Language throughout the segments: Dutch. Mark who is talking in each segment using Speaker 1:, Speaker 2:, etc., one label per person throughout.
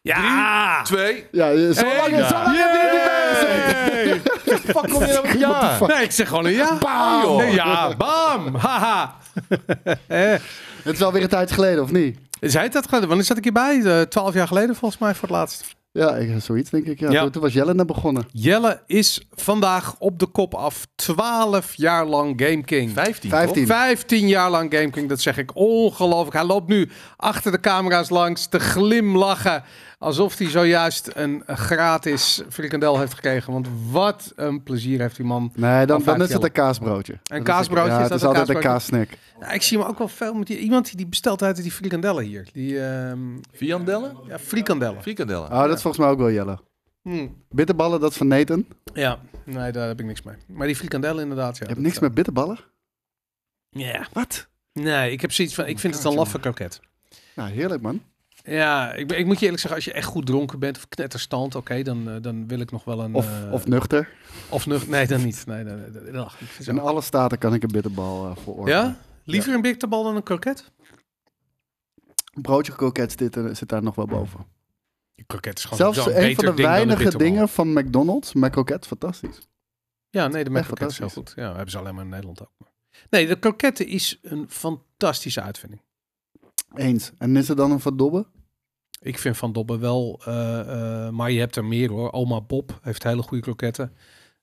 Speaker 1: Ja!
Speaker 2: Twee.
Speaker 3: Ja, eh, zo lang,
Speaker 1: Hey,
Speaker 3: zo lang heb je er niet bij gezeten.
Speaker 1: Yay!
Speaker 2: Fuck, kom je nou met
Speaker 3: What the
Speaker 2: ja?
Speaker 3: fuck?
Speaker 1: Nee, ik zeg gewoon een ja.
Speaker 2: Bam, joh.
Speaker 1: Nee, ja, bam! Haha!
Speaker 3: Het is alweer een tijd geleden, of niet?
Speaker 1: Zij het dat gedaan? Wanneer zat ik hierbij? Eh, Twaalf jaar geleden volgens mij voor het laatst.
Speaker 3: Ja, ik, eh, zoiets denk ik. Ja.
Speaker 1: Ja.
Speaker 3: Toen, toen was Jelle net begonnen.
Speaker 1: Jelle is vandaag op de kop af 12 jaar lang Game King.
Speaker 2: Vijftien, toch?
Speaker 3: 15.
Speaker 1: 15 jaar lang Game King, dat zeg ik ongelooflijk. Hij loopt nu achter de camera's langs te glimlachen. Alsof hij zojuist een gratis frikandel heeft gekregen. Want wat een plezier heeft die man.
Speaker 3: Nee, dan,
Speaker 1: Al vijf
Speaker 3: dan is het
Speaker 1: Jelle.
Speaker 3: een kaasbroodje.
Speaker 1: Een
Speaker 3: Dat
Speaker 1: kaasbroodje,
Speaker 3: Ja,
Speaker 1: is
Speaker 3: het
Speaker 1: dat
Speaker 3: is
Speaker 1: een
Speaker 3: altijd een
Speaker 1: kaasbroodje?
Speaker 3: kaassnack.
Speaker 1: Ja, Nou, ik zie hem ook wel veel met die, iemand die bestelt uit die frikandellen hier. Die ehm,
Speaker 2: Viandellen?
Speaker 1: ja, frikandellen.
Speaker 2: Frikandellen.
Speaker 3: Oh, dat is volgens mij ook wel Jelle.
Speaker 1: Hm.
Speaker 3: Bitterballen, dat is van Nathan.
Speaker 1: Ja, nee, daar heb ik niks mee. Maar die frikandellen inderdaad, ja.
Speaker 3: Je hebt
Speaker 1: dat,
Speaker 3: niks
Speaker 1: eh,
Speaker 3: met bitterballen?
Speaker 1: Ja.
Speaker 3: Wat? Oh,
Speaker 1: Nee, ik heb zoiets van, ik vind het een laffe kroket.
Speaker 3: Nou, heerlijk man.
Speaker 1: Ja, ik, ben- ik moet je eerlijk zeggen, als je echt goed dronken bent of knetterstand, oké, dan, eh, dan wil ik nog wel een...
Speaker 3: Of,
Speaker 1: eh,
Speaker 3: of nuchter.
Speaker 1: of nog- Nee, dan niet. Nee, nee, nee, nee, nee, ach, ik vind
Speaker 3: In
Speaker 1: zo-
Speaker 3: alle staten kan ik een bitterbal eh veroordelen.
Speaker 1: ja? Liever een bitterbal dan een kroket?
Speaker 3: Een broodje kroket zit, er- zit daar nog wel boven.
Speaker 1: Een kroket is gewoon
Speaker 3: Zelfs
Speaker 1: Oh, zo'n
Speaker 3: een van
Speaker 1: beter ding
Speaker 3: de
Speaker 1: dan een
Speaker 3: weinige
Speaker 1: bitterbal.
Speaker 3: dingen van McDonald's, maar kroket, fantastisch.
Speaker 1: Ja, nee, de
Speaker 3: Echt
Speaker 1: McCroket is heel goed.
Speaker 3: fantastisch.
Speaker 1: Ja, hebben ze alleen maar in Nederland ook. Nee, de kroketten is een fantastische uitvinding.
Speaker 3: Eens. En is er dan een verdobbe?
Speaker 1: Ik vind Van Dobben wel, eh, eh, maar je hebt er meer hoor. Oma Bob heeft hele goede kroketten.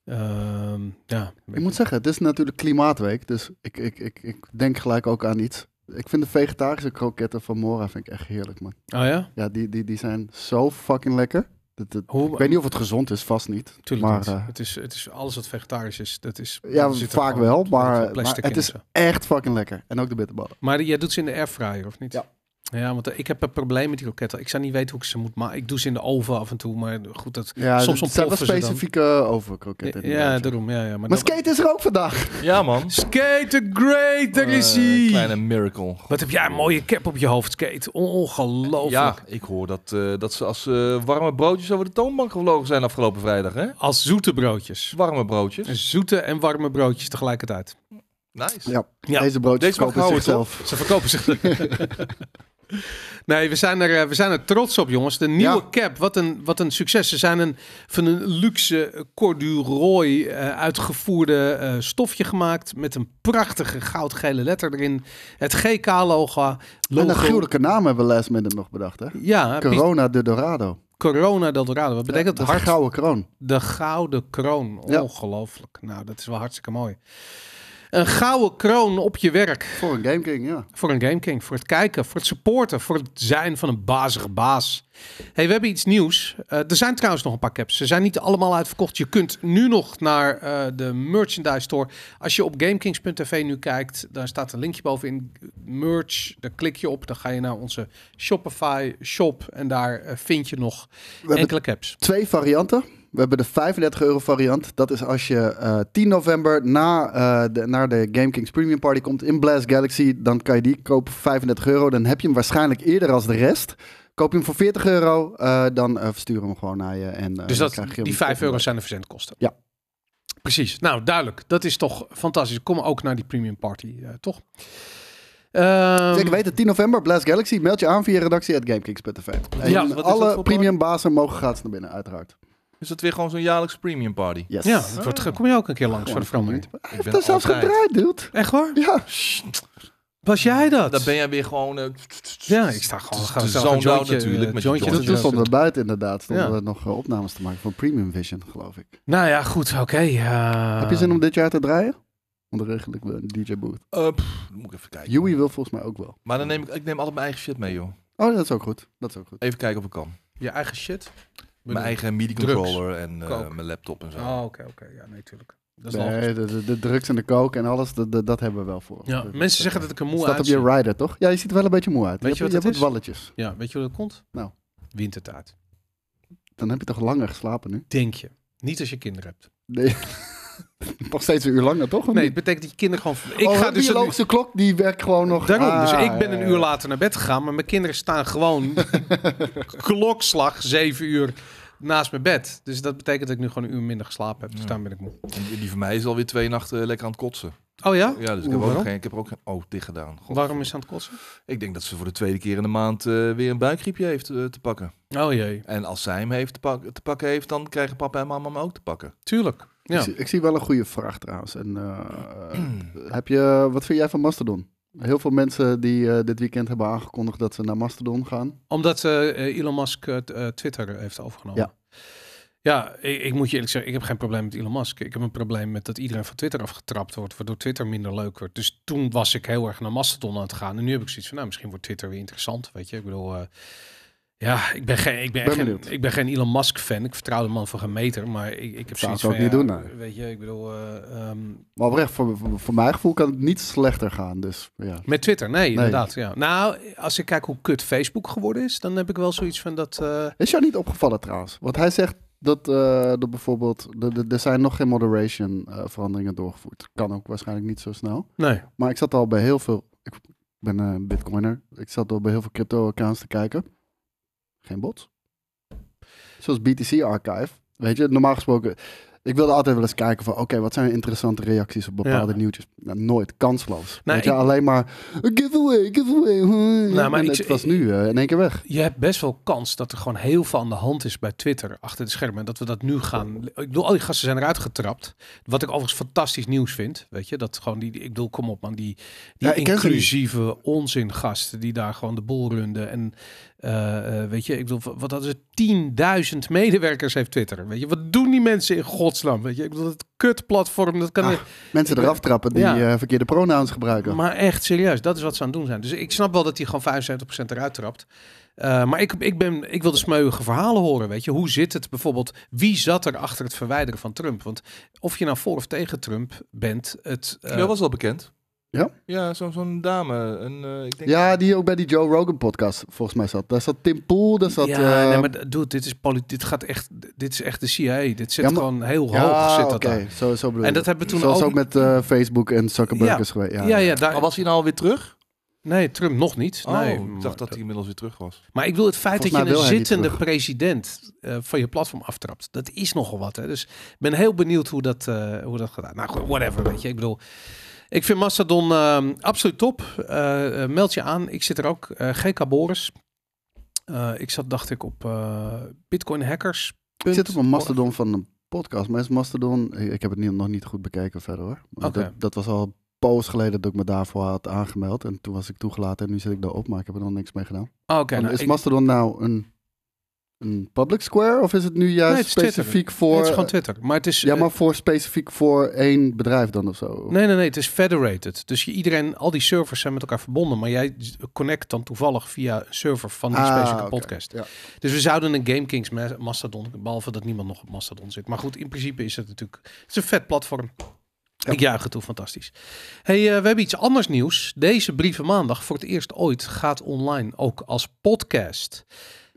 Speaker 1: Ehm, ja,
Speaker 3: Ik moet zeggen, het is natuurlijk klimaatweek, dus ik, ik, ik, ik denk gelijk ook aan iets. Ik vind de vegetarische kroketten van Mora vind ik echt heerlijk, man.
Speaker 1: Oh ja?
Speaker 3: Ja, die, die, die zijn zo fucking lekker. Dat, dat-
Speaker 1: Hoe,
Speaker 3: ik weet niet of het gezond is, vast niet.
Speaker 1: Tuurlijk
Speaker 3: maar,
Speaker 1: niet.
Speaker 3: eh,
Speaker 1: het, is, het is alles wat vegetarisch is. Dat is
Speaker 3: Ja,
Speaker 1: er zit er
Speaker 3: vaak
Speaker 1: gewoon
Speaker 3: wel,
Speaker 1: heel veel
Speaker 3: maar, maar
Speaker 1: plastic
Speaker 3: het
Speaker 1: in
Speaker 3: is
Speaker 1: en zo.
Speaker 3: eh, echt fucking lekker. En ook de bitterballen.
Speaker 1: Maar jij doet ze in de airfryer, of niet?
Speaker 3: Ja.
Speaker 1: Ja, want eh, ik heb een probleem met die kroketten. Ik zou niet weten hoe ik ze moet maken. Ik doe ze in de oven af en toe, maar goed, dat...
Speaker 3: Ja,
Speaker 1: Soms
Speaker 3: het zijn wel
Speaker 1: ontploffen ze dan.
Speaker 3: specifieke overkroketten.
Speaker 1: Ja,
Speaker 3: inderdaad,
Speaker 1: daarom. Ja, ja, maar
Speaker 3: Maar
Speaker 1: dan-
Speaker 3: skate is er ook vandaag.
Speaker 2: Ja, man.
Speaker 1: Skate the Great, daar is
Speaker 2: Eh,
Speaker 1: hij!
Speaker 2: kleine miracle.
Speaker 1: Wat heb jij een mooie cap op je hoofd, Skate. Ongelooflijk.
Speaker 2: Ja, ik hoor dat, eh, dat ze als eh, warme broodjes over de toonbank gevlogen zijn afgelopen vrijdag, hè?
Speaker 1: Als zoete broodjes.
Speaker 2: Warme broodjes.
Speaker 1: Zoete en warme broodjes tegelijkertijd.
Speaker 2: Nice.
Speaker 3: Ja,
Speaker 1: Ja.
Speaker 3: deze broodjes
Speaker 2: Deze mag
Speaker 3: kopen
Speaker 2: houden,
Speaker 3: zichzelf.
Speaker 1: Ze verkopen zich. Nee, we zijn, er, eh, we zijn er trots op, jongens. De nieuwe
Speaker 3: Ja.
Speaker 1: cap, wat een, wat een succes. Ze zijn een, van een luxe eh, corduroy eh, uitgevoerde eh, stofje gemaakt... met een prachtige goudgele letter erin. Het GK-logo.
Speaker 3: En een gruwelijke naam hebben we last minute nog bedacht, hè?
Speaker 1: Ja, Corona,
Speaker 3: Corona de Dorado.
Speaker 1: Corona Dorado. Wat betekent
Speaker 3: de
Speaker 1: dat? Hart
Speaker 3: gouden kroon.
Speaker 1: De Gouden Kroon.
Speaker 3: Ja.
Speaker 1: Ongelooflijk. Nou, dat is wel hartstikke mooi. Een gouden kroon op je werk.
Speaker 3: Voor een Game King, ja.
Speaker 1: Voor een Game King. Voor het kijken. Voor het supporten. Voor het zijn van een bazige baas. hey, we hebben iets nieuws. Eh, er zijn trouwens nog een paar caps. Ze zijn niet allemaal uitverkocht. Je kunt nu nog naar eh, de merchandise store. Als je op GameKings.tv nu kijkt, daar staat een linkje bovenin. Merch. Daar klik je op. Dan ga je naar onze Shopify shop. En daar eh, vind je nog
Speaker 3: hebben-
Speaker 1: enkele caps.
Speaker 3: Twee varianten. We hebben de 35 euro variant. Dat is als je eh, 10 november na, eh, de, naar de Game Kings Premium Party komt in Blast Galaxy. Dan kan je die kopen voor 35 euro. Dan heb je hem waarschijnlijk eerder als de rest. Koop je hem voor 40 euro, eh, dan eh, versturen we hem gewoon naar je. En, eh,
Speaker 1: Dus
Speaker 3: dan
Speaker 1: dat,
Speaker 3: krijg je hem
Speaker 1: die 5
Speaker 3: op-
Speaker 1: euro zijn de verzendkosten.
Speaker 3: Ja.
Speaker 1: Precies. Nou, duidelijk. Dat is toch fantastisch. Kom ook naar die premium party, eh, toch? Ehm,
Speaker 3: Zeker weten, 10 november, Blast Galaxy. Meld je aan via redactie at GameKings.tv. En
Speaker 1: Ja, wat is
Speaker 2: dat
Speaker 3: alle
Speaker 2: voor
Speaker 3: premium bazen mogen gratis naar binnen, uiteraard.
Speaker 2: Is dat weer gewoon zo'n jaarlijks premium party?
Speaker 3: Yes.
Speaker 1: Ja, het wordt, ge- kom je ook een keer langs voor de verandering.
Speaker 2: Ik
Speaker 3: Dat is zelfs gedraaid, dude.
Speaker 1: Echt waar?
Speaker 3: Ja.
Speaker 1: Was jij dat?
Speaker 2: Dan ben jij weer gewoon... eh,
Speaker 1: Ja, ik sta gewoon... gewoon
Speaker 2: de
Speaker 1: zelf
Speaker 2: zone
Speaker 1: een jointje,
Speaker 2: down natuurlijk,
Speaker 1: eh,
Speaker 2: met je
Speaker 1: jointje
Speaker 2: jointje.
Speaker 1: te
Speaker 3: Toen
Speaker 2: Dus-
Speaker 1: doen.
Speaker 3: stonden we buiten inderdaad, stonden
Speaker 1: Ja.
Speaker 3: we nog eh, opnames te maken van Premium Vision, geloof ik.
Speaker 1: Nou ja, goed. Oké. eh,
Speaker 3: Heb je zin om dit jaar te draaien? Want regel ik wel een DJ booth.
Speaker 2: Eh, pff, dan moet ik even kijken.
Speaker 3: Joey wil volgens mij ook wel.
Speaker 2: Maar dan neem ik, ik neem altijd mijn eigen shit mee, joh.
Speaker 3: Oh, dat is ook goed. Dat is ook goed.
Speaker 2: Even kijken of ik kan.
Speaker 1: Je eigen shit?
Speaker 2: Mijn
Speaker 1: Bedoel-
Speaker 2: eigen MIDI
Speaker 1: Drugs.
Speaker 2: controller en eh,
Speaker 1: Coke.
Speaker 2: mijn laptop en zo.
Speaker 1: Oh, oké, oké. Ja, nee, tuurlijk. Dat is wel-
Speaker 3: Nee, de, de, de drugs en de coke en alles, dat- dat- dat hebben we wel voor.
Speaker 1: Ja,
Speaker 3: Dat-
Speaker 1: mensen zeggen dat ik er moe
Speaker 3: staat op je
Speaker 1: uitzie.
Speaker 3: rider, toch? Ja, je ziet er wel een beetje moe uit.
Speaker 1: Weet je
Speaker 3: hebt-
Speaker 1: wat het
Speaker 3: hebt
Speaker 1: is?
Speaker 3: walletjes.
Speaker 1: Ja, weet je hoe dat komt?
Speaker 3: Nou.
Speaker 1: Wintertijd.
Speaker 3: Dan heb je toch langer geslapen nu?
Speaker 1: Denk je. Niet als je kinderen
Speaker 3: Oh,
Speaker 1: hebt.
Speaker 3: Nee. Nog steeds een uur langer, toch? Of
Speaker 1: Nee, het
Speaker 3: niet?
Speaker 1: betekent dat je kinderen gewoon... Ik
Speaker 3: oh,
Speaker 1: ga
Speaker 3: de
Speaker 1: dus een-
Speaker 3: biologische klok, die werkt gewoon nog.
Speaker 1: Daarom, dus
Speaker 3: Ah,
Speaker 1: ik ben
Speaker 3: ja,
Speaker 1: een
Speaker 3: ja,
Speaker 1: uur
Speaker 3: ja.
Speaker 1: later naar bed gegaan, maar mijn kinderen staan gewoon klokslag zeven uur naast mijn bed. Dus dat betekent dat ik nu gewoon een uur minder geslapen heb. Dus
Speaker 2: Ja.
Speaker 1: daarom ben ik moe.
Speaker 2: En Die die van mij is alweer twee nachten lekker aan het kotsen.
Speaker 1: Oh ja?
Speaker 2: Ja,
Speaker 1: Oeh,
Speaker 2: dus ik heb, ook
Speaker 1: waarom?
Speaker 2: geen, ik heb er ook geen oog dicht gedaan. God.
Speaker 1: Waarom is ze aan het kotsen?
Speaker 2: Ik denk dat ze voor de tweede keer in de maand eh, weer een buikgriepje heeft eh, te pakken.
Speaker 1: Oh jee,
Speaker 2: En als zij hem heeft te, pak- te pakken heeft, dan krijgen papa en mama hem ook te pakken.
Speaker 1: tuurlijk. Ja.
Speaker 3: Ik, zie, ik zie wel een goede vraag trouwens. En, eh, heb je, wat vind jij van Mastodon? Heel veel mensen die eh, dit weekend hebben aangekondigd dat ze naar Mastodon gaan.
Speaker 1: Omdat eh, eh, Elon Musk eh, t- eh, Twitter heeft overgenomen.
Speaker 3: Ja.
Speaker 1: Ja, ik, ik moet je eerlijk zeggen, ik heb geen probleem met Elon Musk. Ik heb een probleem met dat iedereen van Twitter afgetrapt wordt, waardoor Twitter minder leuk wordt. Dus toen was ik heel erg naar Mastodon aan het gaan. En nu heb ik zoiets van, nou, misschien wordt Twitter weer interessant, weet je. Ik bedoel, eh, ja, ik ben geen, ik ben,
Speaker 3: Ben benieuwd.
Speaker 1: geen, ik ben geen Elon Musk fan. Ik vertrouw de man van geen meter, maar ik, ik heb
Speaker 3: zou
Speaker 1: zoiets
Speaker 3: ik
Speaker 1: van,
Speaker 3: ook niet
Speaker 1: ja,
Speaker 3: doen, nee.
Speaker 1: weet je, ik bedoel, eh, ehm,
Speaker 3: Maar oprecht, voor, voor, voor mijn gevoel kan het niet slechter gaan. Dus ja.
Speaker 1: Met Twitter, nee, inderdaad. Ja. Nou, als ik kijk hoe kut Facebook geworden is, dan heb ik wel zoiets van dat. eh,
Speaker 3: Is jou niet opgevallen trouwens? Want hij zegt dat, eh, dat bijvoorbeeld, de- de- er zijn nog geen moderation eh, veranderingen doorgevoerd. Kan ook waarschijnlijk niet zo snel.
Speaker 1: nee.
Speaker 3: Maar ik zat al bij heel veel, ik ben eh, een bitcoiner, ik zat al bij heel veel crypto accounts te kijken. Geen bots. Zoals BTC Archive. Weet je, normaal gesproken, ik wilde altijd wel eens kijken van, oké, wat zijn interessante reacties op bepaalde
Speaker 1: Ja.
Speaker 3: nieuwtjes? Nou, nooit, kansloos.
Speaker 1: Nou,
Speaker 3: Weet je,
Speaker 1: ik-
Speaker 3: alleen maar, giveaway, giveaway. huh.
Speaker 1: Nou, maar
Speaker 3: en
Speaker 1: ik-
Speaker 3: het was nu eh, in één keer weg.
Speaker 1: Je hebt best wel kans dat er gewoon heel veel aan de hand is bij Twitter achter de schermen. En dat we dat nu gaan.
Speaker 3: Oh.
Speaker 1: Ik bedoel, al die gasten zijn eruit getrapt. Wat ik overigens fantastisch nieuws vind. Weet je, dat gewoon die. Ik bedoel, kom op man. Die, die
Speaker 3: Ja, ik ken ze niet.
Speaker 1: inclusieve onzin gasten die daar gewoon de boel runden. En eh, eh, weet je, ik bedoel, wat hadden ze? 10.000 medewerkers heeft Twitter. Weet je, wat doen die mensen in godsnaam? Weet je, ik bedoel, dat kutplatform, dat kan.
Speaker 3: Ah, Mensen
Speaker 1: Ik-
Speaker 3: eraf trappen die
Speaker 1: Ja.
Speaker 3: eh, verkeerde pronouns gebruiken.
Speaker 1: Maar echt serieus, dat is wat ze aan het doen zijn. Dus ik snap wel dat hij gewoon 75% eruit trapt. Eh, maar ik, ik, ben, ik wil de smeuïge verhalen horen, weet je. Hoe zit het bijvoorbeeld, wie zat er achter het verwijderen van Trump? Want of je nou voor of tegen Trump bent, het... eh,
Speaker 2: dat was al bekend.
Speaker 3: Ja?
Speaker 2: Ja, zo- zo'n dame. Een, eh, ik denk
Speaker 3: ja, die ook bij die Joe Rogan podcast volgens mij zat. Daar zat Tim Poel, daar zat...
Speaker 1: ja,
Speaker 3: eh,
Speaker 1: nee, maar d- dude, dit is, polit- dit, gaat echt, dit is echt de CIA. Dit zit
Speaker 3: Ja, maar-
Speaker 1: gewoon heel hoog,
Speaker 3: ja,
Speaker 1: zit dat
Speaker 3: oké,
Speaker 1: daar.
Speaker 3: Zo, zo bedoel
Speaker 1: En
Speaker 3: je.
Speaker 1: dat hebben we toen
Speaker 3: Zoals
Speaker 1: ook...
Speaker 3: ook met eh, Facebook en Zuckerberg
Speaker 1: Ja.
Speaker 3: is geweest. Ja,
Speaker 1: ja, ja, daar...
Speaker 2: Maar was hij nou alweer terug?
Speaker 1: Nee, Trump nog niet. nee,
Speaker 2: oh, ik
Speaker 1: maar-
Speaker 2: dacht dat hij inmiddels weer terug was.
Speaker 1: Maar ik wil het feit
Speaker 3: Volgens
Speaker 1: dat
Speaker 3: mij
Speaker 1: je een
Speaker 3: wil hij niet
Speaker 1: zittende
Speaker 3: terug.
Speaker 1: president eh, van je platform aftrapt. Dat is nogal wat. Hè? Dus ik ben heel benieuwd hoe dat, eh, hoe dat gaat. Nou, goed, whatever. Weet je, ik bedoel. Ik vind Mastodon eh, absoluut top. Eh, eh, meld je aan. Ik zit er ook. eh, GK Boris. Eh, ik zat, dacht ik, op eh Bitcoin Hackers.
Speaker 3: Ik zit op een mastodon van een podcast. Maar is mastodon... Ik ik heb het niet, nog niet goed bekeken verder hoor. Maar
Speaker 1: Oké.
Speaker 3: Dat, dat was al een poos geleden dat ik me daarvoor had aangemeld. En toen was ik toegelaten en nu zit ik daarop. Maar ik heb er nog niks mee gedaan.
Speaker 1: Oh, Oké,
Speaker 3: Want
Speaker 1: nou,
Speaker 3: is
Speaker 1: ik-
Speaker 3: mastodon Ah, nou een, een public square? Of is het nu juist
Speaker 1: het is Twitter.
Speaker 3: specifiek
Speaker 1: nee,
Speaker 3: voor...
Speaker 1: het is gewoon Twitter. Maar het is.
Speaker 3: ja,
Speaker 1: eh,
Speaker 3: maar voor specifiek voor één bedrijf dan of zo?
Speaker 1: Nee, nee, nee, het is federated. Dus je, iedereen, al die servers zijn met elkaar verbonden. Maar jij connect dan toevallig via een server van die specifieke
Speaker 3: Ah, oké,
Speaker 1: podcast.
Speaker 3: ja.
Speaker 1: Dus we zouden een Game Kings ma- Mastodon, behalve dat niemand nog op Mastodon zit. Maar goed, in principe is het natuurlijk, het is een vet platform. Ik juich het toe, fantastisch. Hey, eh, we hebben iets anders nieuws. Deze Brieven Maandag, voor het eerst ooit, gaat online ook als podcast.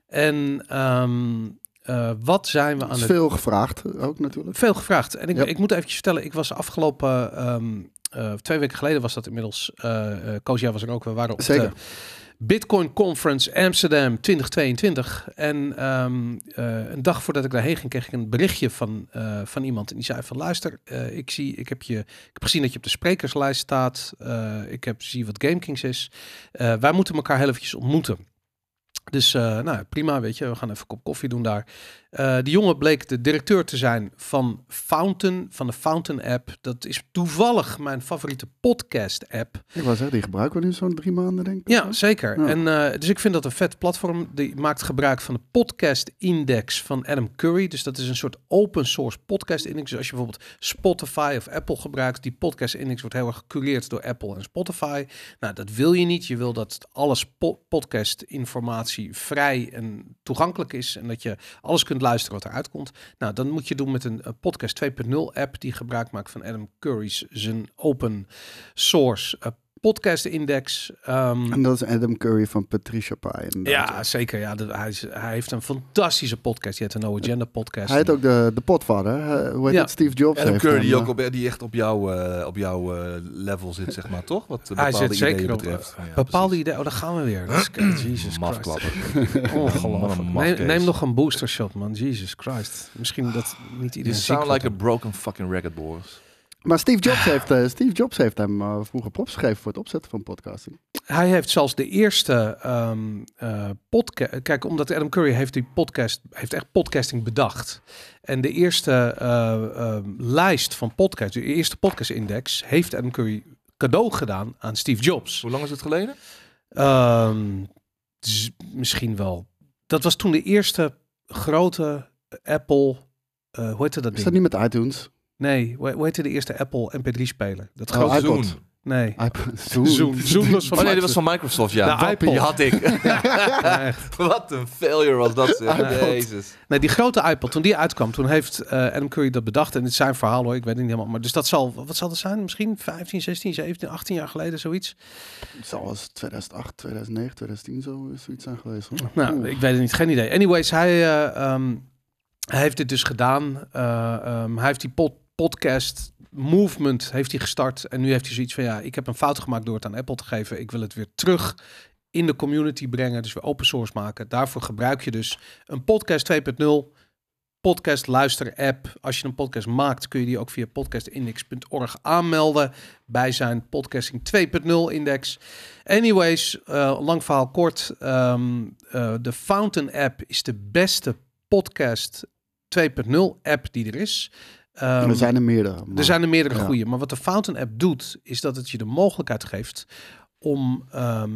Speaker 1: En ehm, eh, wat zijn we aan
Speaker 3: Dat is
Speaker 1: het
Speaker 3: veel gevraagd ook natuurlijk.
Speaker 1: veel gevraagd. En ik,
Speaker 3: Ja.
Speaker 1: ik moet eventjes vertellen, ik was afgelopen... ehm, eh, twee weken geleden was dat inmiddels. eh eh, Koos, jij was er ook. We waren op
Speaker 3: Zeker.
Speaker 1: de Bitcoin Conference Amsterdam 2022. En ehm, eh, een dag voordat ik daarheen ging, kreeg ik een berichtje van, eh, van iemand. En die zei van, luister, eh, ik, zie, ik, heb je, ik heb gezien dat je op de sprekerslijst staat. Eh, ik heb, zie wat GameKings is. Eh, wij moeten elkaar heel eventjes ontmoeten. Dus eh, nou, prima, weet je, we gaan even een kop koffie doen daar. Eh, die jongen bleek de directeur te zijn van Fountain, van de Fountain app. Dat is toevallig mijn favoriete podcast app.
Speaker 3: Ik wou zeggen, die gebruiken we nu zo'n drie maanden denk ik.
Speaker 1: Ja, zeker.
Speaker 3: Ja.
Speaker 1: En, eh, dus ik vind dat een vet platform. Die maakt gebruik van de podcast index van Adam Curry. Dus dat is een soort open source podcast index. Dus als je bijvoorbeeld Spotify of Apple gebruikt, die podcast index wordt heel erg gecureerd door Apple en Spotify. Nou, dat wil je niet. Je wil dat alles po- podcast informatie vrij en toegankelijk is. En dat je alles kunt luisteren wat eruit komt. Nou, dan moet je doen met een eh, podcast 2.0 app die gebruik maakt van Adam Curry's zijn open source eh, podcast index. Ehm,
Speaker 3: En dat is Adam Curry van Patricia Pai. inderdaad.
Speaker 1: ja, zeker. Ja, dat, hij, is- hij heeft een fantastistie podcast. Die heet de No Agenda podcast.
Speaker 3: Hij heet ook de, de potvader. hè? Hoe heet
Speaker 1: Ja.
Speaker 3: het? Steve Jobs
Speaker 2: Adam
Speaker 3: heeft
Speaker 2: Curry,
Speaker 3: hem,
Speaker 2: die, ook
Speaker 3: eh,
Speaker 2: op, die echt op jouw eh, op jouw eh, level zit, zeg maar, toch? Wat eh, bepaalde
Speaker 1: Hij zit
Speaker 2: ideeën
Speaker 1: zeker op eh,
Speaker 2: betreft. Ja,
Speaker 1: bepaalde ideeën. Oh, daar gaan we weer. Dat is, Jesus Christ.
Speaker 2: Mafklapper. Wat
Speaker 1: Ongelooflijk.
Speaker 2: een
Speaker 1: Neem,
Speaker 2: mafkees.
Speaker 1: neem nog een booster shot, man. Jesus Christ. Misschien dat niet
Speaker 2: You
Speaker 1: iedereen ziek
Speaker 2: sound
Speaker 1: wordt.
Speaker 2: like a broken fucking record, Boris.
Speaker 3: Maar Steve Jobs heeft, eh, Steve Jobs heeft hem eh, vroeger props gegeven voor het opzetten van podcasting.
Speaker 1: Hij heeft zelfs de eerste ehm, podcast. eh, Kijk, omdat Adam Curry heeft die podcast, heeft echt podcasting bedacht. En de eerste eh, ehm, lijst van podcasts, de eerste podcast-index, heeft Adam Curry cadeau gedaan aan Steve Jobs.
Speaker 2: Hoe lang is het geleden?
Speaker 1: Oh, Ehm, z- misschien wel. Dat was toen de eerste grote Apple. eh hoe heette dat
Speaker 3: Is
Speaker 1: ding?
Speaker 3: dat niet met iTunes?
Speaker 1: Nee, hoe hoe heette de eerste Apple MP3-speler? Dat
Speaker 3: Oh,
Speaker 1: grote.
Speaker 3: iPod.
Speaker 2: Zoen.
Speaker 1: Nee.
Speaker 3: iPod.
Speaker 1: Zoom. Zoom was van
Speaker 2: Oh nee, dat
Speaker 1: Microsoft.
Speaker 2: was van Microsoft, ja.
Speaker 1: De
Speaker 2: Dat
Speaker 1: iPod.
Speaker 2: Die had ik.
Speaker 1: Nee, echt.
Speaker 2: Wat een failure was dat, zeg.
Speaker 1: iPod.
Speaker 2: Jezus.
Speaker 1: Nee, die grote iPod, toen die uitkwam, toen heeft eh, Adam Curry dat bedacht. En het is zijn verhaal hoor, ik weet het niet helemaal. Maar dus dat zal, wat zal dat zijn? Misschien 15, 16, 17, 18 jaar geleden, zoiets.
Speaker 3: Het zal als 2008, 2009, 2010 zo is zoiets zijn geweest. Hoor.
Speaker 1: Nou,
Speaker 3: Oeh.
Speaker 1: ik weet het niet, geen idee. Anyways, hij, eh, ehm, hij heeft dit dus gedaan. Eh, ehm, hij heeft die pod- podcast movement heeft hij gestart. En nu heeft hij zoiets van, ja, ik heb een fout gemaakt door het aan Apple te geven. Ik wil het weer terug in de community brengen. Dus weer open source maken. Daarvoor gebruik je dus een podcast 2.0 podcast luister app. Als je een podcast maakt, kun je die ook via podcastindex.org aanmelden bij zijn podcasting 2.0 index. Anyways, eh, lang verhaal kort. ehm, eh, de Fountain app is de beste podcast 2.0 app die er is. Ehm,
Speaker 3: er zijn er meerdere.
Speaker 1: er
Speaker 3: maar-
Speaker 1: zijn er meerdere
Speaker 3: Ja.
Speaker 1: goede. Maar wat de Fountain app doet, is dat het je de mogelijkheid geeft om ehm,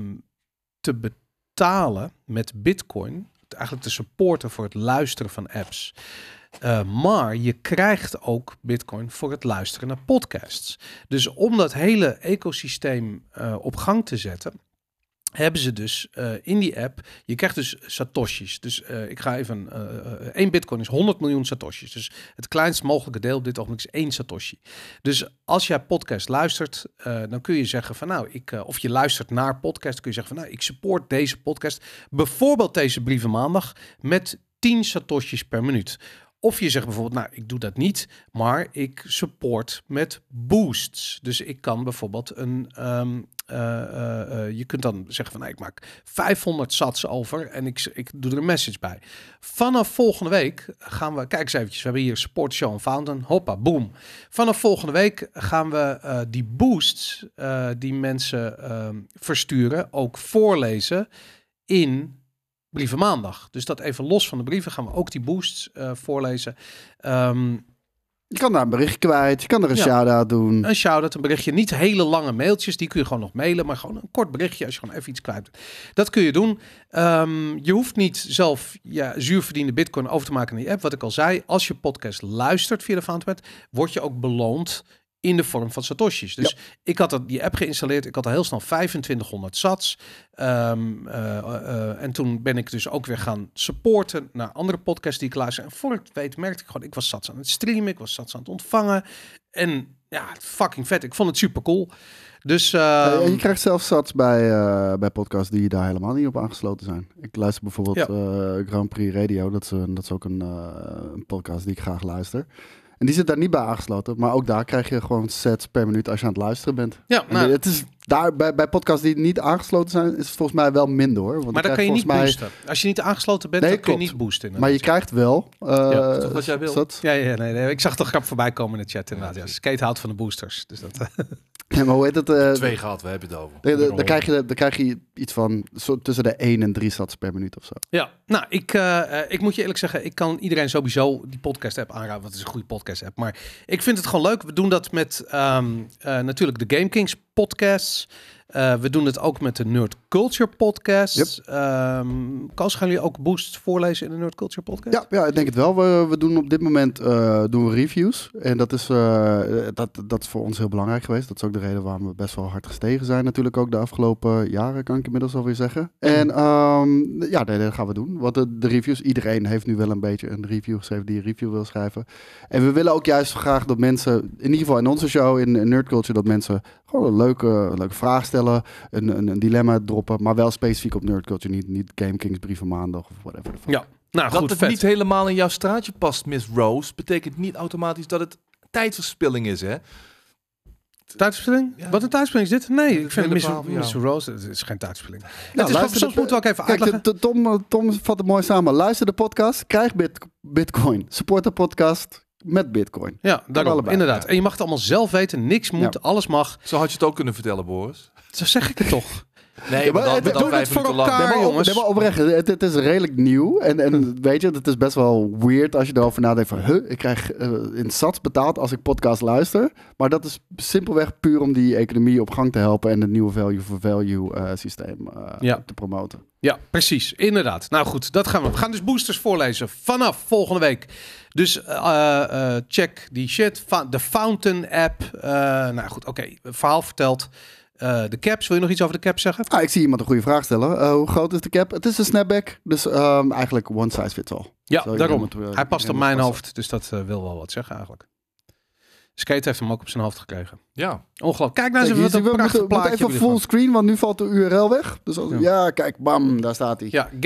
Speaker 1: te betalen met bitcoin. Eigenlijk te supporten voor het luisteren van apps. Eh, maar je krijgt ook bitcoin voor het luisteren naar podcasts. Dus om dat hele ecosysteem eh, op gang te zetten, hebben ze dus eh, in die app, je krijgt dus satoshis. Dus eh, ik ga even, eh, eh, één bitcoin is 100 miljoen satoshis. Dus het kleinst mogelijke deel op dit ogenblik is één satoshi. Dus als jij podcast luistert, eh, dan kun je zeggen van nou, ik, eh, of je luistert naar podcast, kun je zeggen van nou, ik support deze podcast. Bijvoorbeeld deze brieven maandag met 10 satoshis per minuut. Of je zegt bijvoorbeeld, nou, ik doe dat niet, maar ik support met boosts. Dus ik kan bijvoorbeeld een, ehm, eh, eh, eh, je kunt dan zeggen van, nou, ik maak 500 sats over en ik, ik doe er een message bij. Vanaf volgende week gaan we, kijk eens eventjes, we hebben hier Support Show en Fountain, hoppa, boom. Vanaf volgende week gaan we eh, die boosts eh, die mensen ehm, versturen ook voorlezen in Brieven Maandag. Dus dat even los van de brieven gaan we ook die boosts eh, voorlezen. Ehm,
Speaker 3: Je kan daar een bericht kwijt, je kan er een
Speaker 1: Ja. Eh,
Speaker 3: shout-out doen.
Speaker 1: een shout-out, een berichtje. Niet hele lange mailtjes, die kun je gewoon nog mailen. Maar gewoon een kort berichtje als je gewoon even iets kwijt bent. Dat kun je doen. Ehm, je hoeft niet zelf ja, zuurverdiende bitcoin over te maken in die app. Wat ik al zei, als je podcast luistert via de Fountainhead, word je ook beloond in de vorm van satoshis. Dus ik had dat, die app geïnstalleerd. Ik had al heel snel 2500 sats. Ehm, eh, eh, eh, en toen ben ik dus ook weer gaan supporten naar andere podcasts die ik luister. En voor ik het weet merkte ik gewoon, ik was sats aan het streamen. Ik was sats aan het ontvangen. En ja, fucking vet. Ik vond het super cool. Dus ehm,
Speaker 3: Eh, en je krijgt zelfs sats bij, eh, bij podcasts die daar helemaal niet op aangesloten zijn. Ik luister bijvoorbeeld
Speaker 1: Ja.
Speaker 3: eh, Grand Prix Radio. Dat is, een- dat is ook een, eh, een podcast die ik graag luister. En die zit daar niet bij aangesloten. Maar ook daar krijg je gewoon sets per minuut als je aan het luisteren bent.
Speaker 1: ja,
Speaker 3: En
Speaker 1: nou,
Speaker 3: het is daar, bij, bij podcasts die niet aangesloten zijn, is het volgens mij wel minder hoor. Want
Speaker 1: maar
Speaker 3: dan
Speaker 1: dan kan je
Speaker 3: krijg
Speaker 1: niet
Speaker 3: volgens mij,
Speaker 1: boosten. Als je niet aangesloten bent,
Speaker 3: Nee,
Speaker 1: dan kun je
Speaker 3: klopt.
Speaker 1: niet boosten. inderdaad.
Speaker 3: Maar je krijgt wel. eh
Speaker 1: Ja, dat
Speaker 2: is toch wat jij wil?
Speaker 3: sats.
Speaker 1: Ja, ja nee, nee, ik zag de grap voorbij komen in de chat inderdaad. Ja, Skate houdt van de boosters. Dus dat,
Speaker 3: Ja, maar hoe heet het? eh,
Speaker 4: Twee gehad, we hebben het over.
Speaker 3: de- de- dan, krijg je, dan krijg je iets van zo tussen de 1 en 3 sats per minuut of zo.
Speaker 1: Ja, nou, ik, eh, eh, ik moet je eerlijk zeggen, ik kan iedereen sowieso die podcast-app aanraden, want het is een goede podcast-app. Maar ik vind het gewoon leuk. We doen dat met ehm, eh, natuurlijk de Game Kings podcasts. Eh, we doen het ook met de Nerd Culture podcast. Ehm Koos, gaan jullie ook boosts voorlezen in de Nerd Culture podcast?
Speaker 3: Ja, ja ik denk het wel. We, we doen op dit moment eh, doen we reviews. En dat is, eh, dat, dat is voor ons heel belangrijk geweest. Dat is ook de reden waarom we best wel hard gestegen zijn. Natuurlijk ook de afgelopen jaren, kan ik inmiddels alweer zeggen. En ehm, ja, nee, dat gaan we doen. Want de, de reviews, iedereen heeft nu wel een beetje een review geschreven die een review wil schrijven. En we willen ook juist graag dat mensen, in ieder geval in onze show, in, in Nerd Culture, dat mensen gewoon een leuke, leuke vraag stellen. Een, een, een dilemma droppen, maar wel specifiek op Nerd Culture. Niet, niet Game Kings brieven maandag of whatever. the fuck.
Speaker 1: Ja. Nou,
Speaker 2: dat
Speaker 1: goed,
Speaker 2: het
Speaker 1: vet.
Speaker 2: niet helemaal in jouw straatje past, Miss Rose, betekent niet automatisch dat het tijdverspilling is, hè?
Speaker 1: Tijdverspilling?
Speaker 2: Ja.
Speaker 1: Wat een tijdverspilling is dit? Nee,
Speaker 2: Ja,
Speaker 1: ik
Speaker 2: dat
Speaker 1: vind
Speaker 2: hele
Speaker 1: Miss,
Speaker 2: verhaal van jou.
Speaker 1: Miss Rose, het is geen tijdverspilling. het is
Speaker 3: luister,
Speaker 1: gewoon,
Speaker 3: dat-
Speaker 1: soms moeten we ook even
Speaker 3: Kijk,
Speaker 1: uitleggen.
Speaker 3: de- eh, de- Tom, Tom vat het mooi samen. Luister de podcast, krijg bit, bitcoin. Support de podcast, met bitcoin.
Speaker 1: Ja, daarom.
Speaker 3: allebei,
Speaker 1: inderdaad.
Speaker 2: ja.
Speaker 1: En je mag het allemaal zelf weten. Niks moet, alles mag.
Speaker 2: Zo had je het ook kunnen vertellen, Boris.
Speaker 1: Zo zeg ik het toch.
Speaker 2: Nee,
Speaker 3: maar
Speaker 2: maar dan,
Speaker 3: het-
Speaker 2: met al
Speaker 1: doe dit
Speaker 2: vijf
Speaker 1: voor
Speaker 2: minuten lang.
Speaker 1: elkaar.
Speaker 3: Nee, maar, op-
Speaker 1: jongens. Hm.
Speaker 3: nee, maar oprecht, het, het is redelijk nieuw. En, en weet je, het is best wel weird als je erover nadenkt van... Huh, ik krijg eh, in sats betaald als ik podcast luister. Maar dat is simpelweg puur om die economie op gang te helpen... en het nieuwe value for value eh, systeem eh,
Speaker 1: Ja.
Speaker 3: te promoten.
Speaker 1: Ja, precies. Inderdaad. Nou goed, dat gaan we. We gaan dus boosters voorlezen vanaf volgende week. Dus eh, eh, check die shit. Fa- De Fountain app. Eh, nou goed, oké. Verhaal verteld. Eh, de caps. Wil je nog iets over de caps zeggen?
Speaker 3: Ah, ik zie iemand een goede vraag stellen. Eh, hoe groot is de cap? Het is een snapback, dus ehm, eigenlijk one size fits all.
Speaker 1: Ja,
Speaker 3: Zou je
Speaker 1: daarom.
Speaker 3: iemand, eh,
Speaker 1: Hij past op
Speaker 3: iemand
Speaker 1: mijn
Speaker 3: passen?
Speaker 1: hoofd, dus dat eh, wil wel wat zeggen eigenlijk. Skate heeft hem ook op zijn hoofd gekregen.
Speaker 2: Ja,
Speaker 1: Ongelooflijk. Kijk nou eens
Speaker 3: Kijk,
Speaker 1: even wat
Speaker 3: hier
Speaker 1: een
Speaker 3: zie- we
Speaker 1: prachtig
Speaker 3: moeten- we moeten
Speaker 1: plaatje.
Speaker 3: even
Speaker 1: hebben we
Speaker 3: full screen, want nu valt de URL weg. Dus als,
Speaker 1: Ja.
Speaker 3: ja. kijk, bam, daar staat hij.
Speaker 1: ervan. Ja,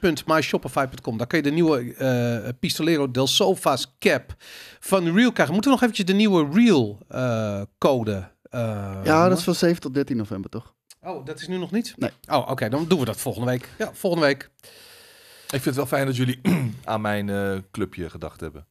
Speaker 1: gamekingsmerch.myshopify.com. Daar kun je de nieuwe eh, Pistolero del Sofa's cap van Real krijgen. Moeten we nog eventjes de nieuwe Real eh, code... eh,
Speaker 3: Ja,
Speaker 1: noemen?
Speaker 3: dat is van 7 tot 13 november, toch?
Speaker 1: Oh, dat is nu nog niet?
Speaker 3: Nee.
Speaker 1: Oh, oké. dan doen we dat volgende week. Ja, volgende week.
Speaker 2: ik vind het wel fijn dat jullie aan mijn eh, clubje gedacht hebben.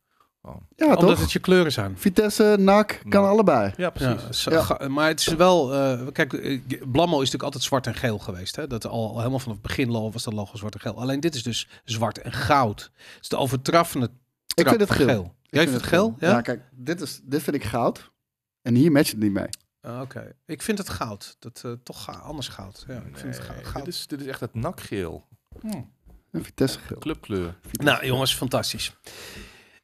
Speaker 3: Ja,
Speaker 1: Omdat
Speaker 3: toch?
Speaker 1: het je kleuren zijn.
Speaker 3: Vitesse, NAC, kan
Speaker 2: Nou.
Speaker 3: allebei.
Speaker 2: Ja,
Speaker 1: Ja, zo- ga- maar het is wel... eh, kijk, eh, Blammo is natuurlijk altijd zwart en geel geweest. Hè? Dat al, al helemaal vanaf het begin lo- was dat logo zwart en geel. Alleen dit is dus zwart en goud. Het is de overtraffende trap
Speaker 3: vind het geel.
Speaker 1: Jij
Speaker 3: Ik
Speaker 1: vindt het geel? Ja.
Speaker 3: Ja, kijk, dit, is, dit vind ik goud. En hier matcht het niet mee.
Speaker 1: Ah, Oké. Ik vind het goud. Dat, eh, toch ga- anders goud. Ja, ik vind het goud.
Speaker 2: Nee, dit, is, dit is echt het nakgeel.
Speaker 3: En Vitesse geel.
Speaker 2: Clubkleur.
Speaker 1: Nou, jongens, fantastisch.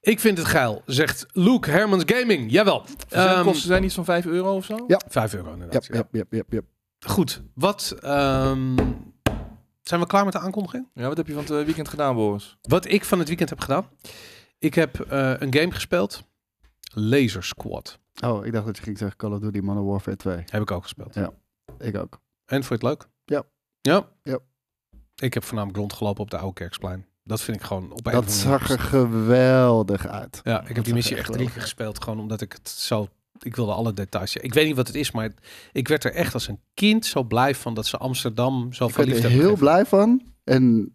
Speaker 1: Ik vind het geil, zegt Luke Hermans Gaming. Jawel. Ehm
Speaker 2: Kosten zijn iets van 5 euro of zo?
Speaker 3: Ja.
Speaker 1: 5 euro inderdaad.
Speaker 3: Ja,
Speaker 1: ja.
Speaker 3: ja, ja, ja, ja.
Speaker 1: Goed, wat. ehm, zijn we klaar met de aankondiging?
Speaker 2: Ja, wat heb je van het eh, weekend gedaan, Boris?
Speaker 1: Wat ik van het weekend heb gedaan. Ik heb eh, een game gespeeld. Laser Squad.
Speaker 3: Oh, ik dacht dat je ging zeggen Call of Duty Modern Warfare 2.
Speaker 1: Heb ik ook gespeeld.
Speaker 3: Ja. Ik ook.
Speaker 1: En vond je het leuk?
Speaker 3: Ja.
Speaker 1: Ja?
Speaker 3: Ja.
Speaker 1: Ik heb voornamelijk rondgelopen op de Oude Kerksplein. Dat vind ik gewoon op een
Speaker 3: Dat
Speaker 1: of andere manier-
Speaker 3: zag er geweldig uit.
Speaker 1: Ja, ik heb die
Speaker 3: zag
Speaker 1: missie
Speaker 3: er
Speaker 1: echt
Speaker 3: echt
Speaker 1: drie
Speaker 3: wel-
Speaker 1: keer gespeeld. Gewoon omdat ik het zo... Ik wilde alle details. Ik weet niet wat het is, maar ik werd er echt als een kind zo blij van dat ze Amsterdam zo
Speaker 3: Ik ben
Speaker 1: verliefd
Speaker 3: er
Speaker 1: hebben
Speaker 3: heel
Speaker 1: gegeven.
Speaker 3: blij van. En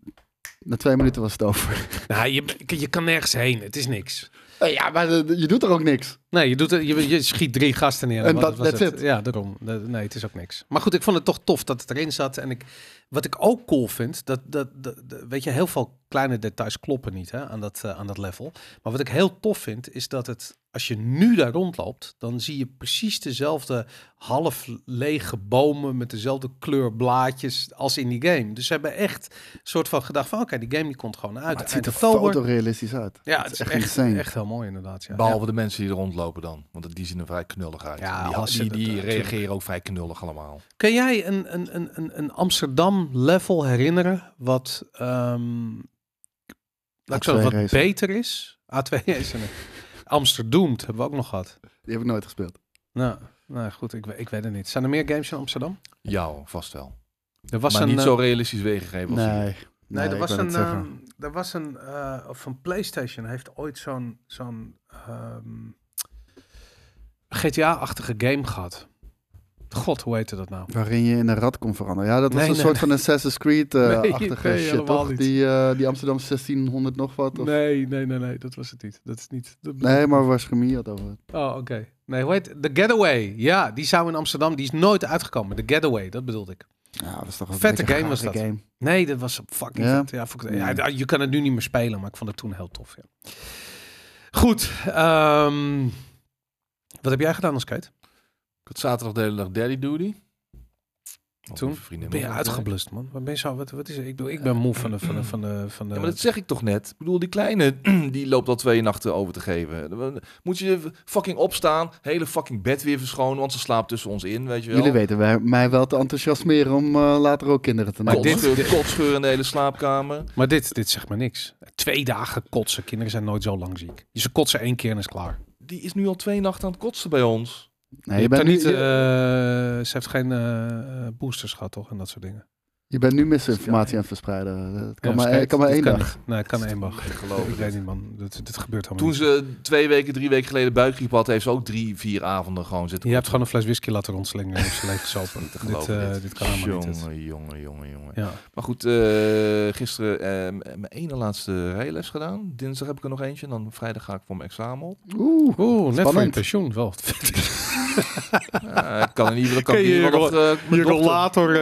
Speaker 3: na twee minuten was het over.
Speaker 1: Nou, je, je kan nergens heen. Het is niks.
Speaker 3: Ja, maar je doet er ook niks.
Speaker 1: Nee, je, doet, het- je, je schiet drie gasten neer.
Speaker 3: En
Speaker 1: Wat-
Speaker 3: dat-
Speaker 1: was
Speaker 3: that's
Speaker 1: het.
Speaker 3: it.
Speaker 1: Ja, daarom. Dat- Nee, het is ook niks. Maar goed, ik vond het toch tof dat het erin zat. En ik, wat ik ook cool vind, dat, dat, dat, dat- weet je, heel veel kleine details kloppen niet hè, aan, dat, eh, aan dat level. Maar wat ik heel tof vind, is dat het, als je nu daar rondloopt, dan zie je precies dezelfde half lege bomen met dezelfde kleur blaadjes als in die game. Dus ze hebben echt een soort van gedacht van, oké, die game die komt gewoon uit.
Speaker 3: Maar het ziet er
Speaker 1: Eind oktober.
Speaker 3: fotorealistisch uit.
Speaker 1: Ja, het is echt, echt,
Speaker 3: insane.
Speaker 1: heel mooi inderdaad. Ja.
Speaker 2: Behalve de mensen die er rondlopen dan. Want die zien er vrij knullig uit.
Speaker 1: Ja,
Speaker 2: die
Speaker 1: als ze
Speaker 2: die,
Speaker 1: dat-
Speaker 2: die
Speaker 1: natuurlijk.
Speaker 2: reageren ook vrij knullig allemaal.
Speaker 1: Kun jij een, een, een, een, een Amsterdam-level herinneren wat, ehm laat ik zo,
Speaker 3: A2
Speaker 1: zeggen, wat
Speaker 3: racer.
Speaker 1: beter is? A2 Racing. Amsterdam hebben we ook nog gehad.
Speaker 3: Die heb ik nooit gespeeld.
Speaker 1: Nou, nou goed, ik, we- ik weet het niet. Zijn er meer games in Amsterdam?
Speaker 2: Ja, vast wel.
Speaker 1: Er was
Speaker 2: maar
Speaker 1: een,
Speaker 2: niet
Speaker 1: eh,
Speaker 2: zo realistisch weergegeven als hier.
Speaker 1: Nee, er,
Speaker 3: ik
Speaker 1: was
Speaker 3: wou
Speaker 1: een,
Speaker 3: net zeggen.
Speaker 1: ehm, er was een, eh, of van PlayStation heeft ooit zo'n zo'n ehm, GTA-achtige game gehad. God, hoe heette dat nou?
Speaker 3: Waarin je in een rat kon veranderen. Ja, dat was
Speaker 1: Nee,
Speaker 3: een
Speaker 1: nee,
Speaker 3: soort van Assassin's
Speaker 1: Nee,
Speaker 3: Creed-achtige
Speaker 1: nee,
Speaker 3: shit,
Speaker 1: helemaal
Speaker 3: toch?
Speaker 1: niet.
Speaker 3: Die, eh, die Amsterdam 1600 nog wat? Of... Nee.
Speaker 1: nee, nee, nee, dat was het niet. Dat is niet. dat-
Speaker 3: maar waar Schemier had over.
Speaker 1: Oh, oké. Nee, hoe heet The Getaway. Ja, die zou in Amsterdam, die is nooit uitgekomen. The Getaway, dat bedoelde ik.
Speaker 3: Ja, dat was toch een
Speaker 1: Vette
Speaker 3: beetje een
Speaker 1: game was
Speaker 3: gare
Speaker 1: dat.
Speaker 3: game.
Speaker 1: Nee, dat was fucking
Speaker 3: Ja?
Speaker 1: vet. Ja, vond ik- ja, je kan het nu niet meer spelen, maar ik vond het toen heel tof. Ja. Goed. ehm, wat heb jij gedaan als Kate?
Speaker 2: Ik had zaterdag de hele dag Daddy Duty. Of
Speaker 1: Toen
Speaker 2: mijn vriendin
Speaker 1: Ben je
Speaker 2: was dat, denk ik.
Speaker 1: uitgeblust, man? Wat ben je zo? Wat, wat is het? Ik bedoel, ik ben moe van de van de van de van de.
Speaker 2: Ja, maar dat zeg ik toch net. Ik bedoel, die kleine, die loopt al twee nachten over te geven. Moet je fucking opstaan, hele fucking bed weer verschonen, want ze slaapt tussen ons in, weet je wel.
Speaker 3: Jullie weten wij- mij wel te enthousiasmeren om eh, later ook kinderen te
Speaker 1: Maar
Speaker 3: nemen.
Speaker 1: dit-
Speaker 2: Kotscheur, kotscheur in de hele slaapkamer.
Speaker 1: Maar dit, dit zegt me niks. Twee dagen kotsen. Kinderen zijn nooit zo lang ziek. Dus ze kotsen één keer en is klaar.
Speaker 2: Die is nu al twee nachten aan het kotsen bij ons.
Speaker 3: Nee,
Speaker 1: je
Speaker 3: je
Speaker 1: hebt
Speaker 3: bent
Speaker 1: daar
Speaker 3: nu-
Speaker 1: niet.
Speaker 3: je-
Speaker 1: eh, ze heeft geen eh, boosters gehad, eh, toch? En dat soort dingen.
Speaker 3: Je bent nu misinformatie aan het verspreiden. Eh, Het kan, maar, het kan maar één dag.
Speaker 1: Nee, het kan één dag.
Speaker 2: Ik geloof
Speaker 1: Ik
Speaker 2: het.
Speaker 1: weet niet, man. Dit, dit gebeurt allemaal
Speaker 2: Oh. Toen
Speaker 1: niet.
Speaker 2: ze twee weken, drie weken geleden buikgriep had, heeft ze ook drie, vier avonden gewoon zitten.
Speaker 1: Je hebt gewoon een fles whisky laten rondslingen op zijn leeggesopen.
Speaker 2: Niet te
Speaker 1: dit,
Speaker 2: geloven,
Speaker 1: eh, dit. kan helemaal
Speaker 2: jongen,
Speaker 1: niet. dit.
Speaker 2: jongen, jongen, jongen.
Speaker 1: Ja.
Speaker 2: Maar goed, eh, gisteren eh, m- mijn ene laatste rijles gedaan. Dinsdag heb ik er nog eentje. En dan vrijdag ga ik voor mijn examen op.
Speaker 3: Oeh.
Speaker 1: Oeh, net voor je
Speaker 3: Spannend.
Speaker 1: pensioen. Wel.
Speaker 2: Ja, Eh, ik kan in ieder geval kan
Speaker 1: Kun
Speaker 2: ik in
Speaker 1: je
Speaker 2: ieder geval
Speaker 1: je
Speaker 2: nog, eh, mijn dochter-
Speaker 1: rollator
Speaker 2: Ja,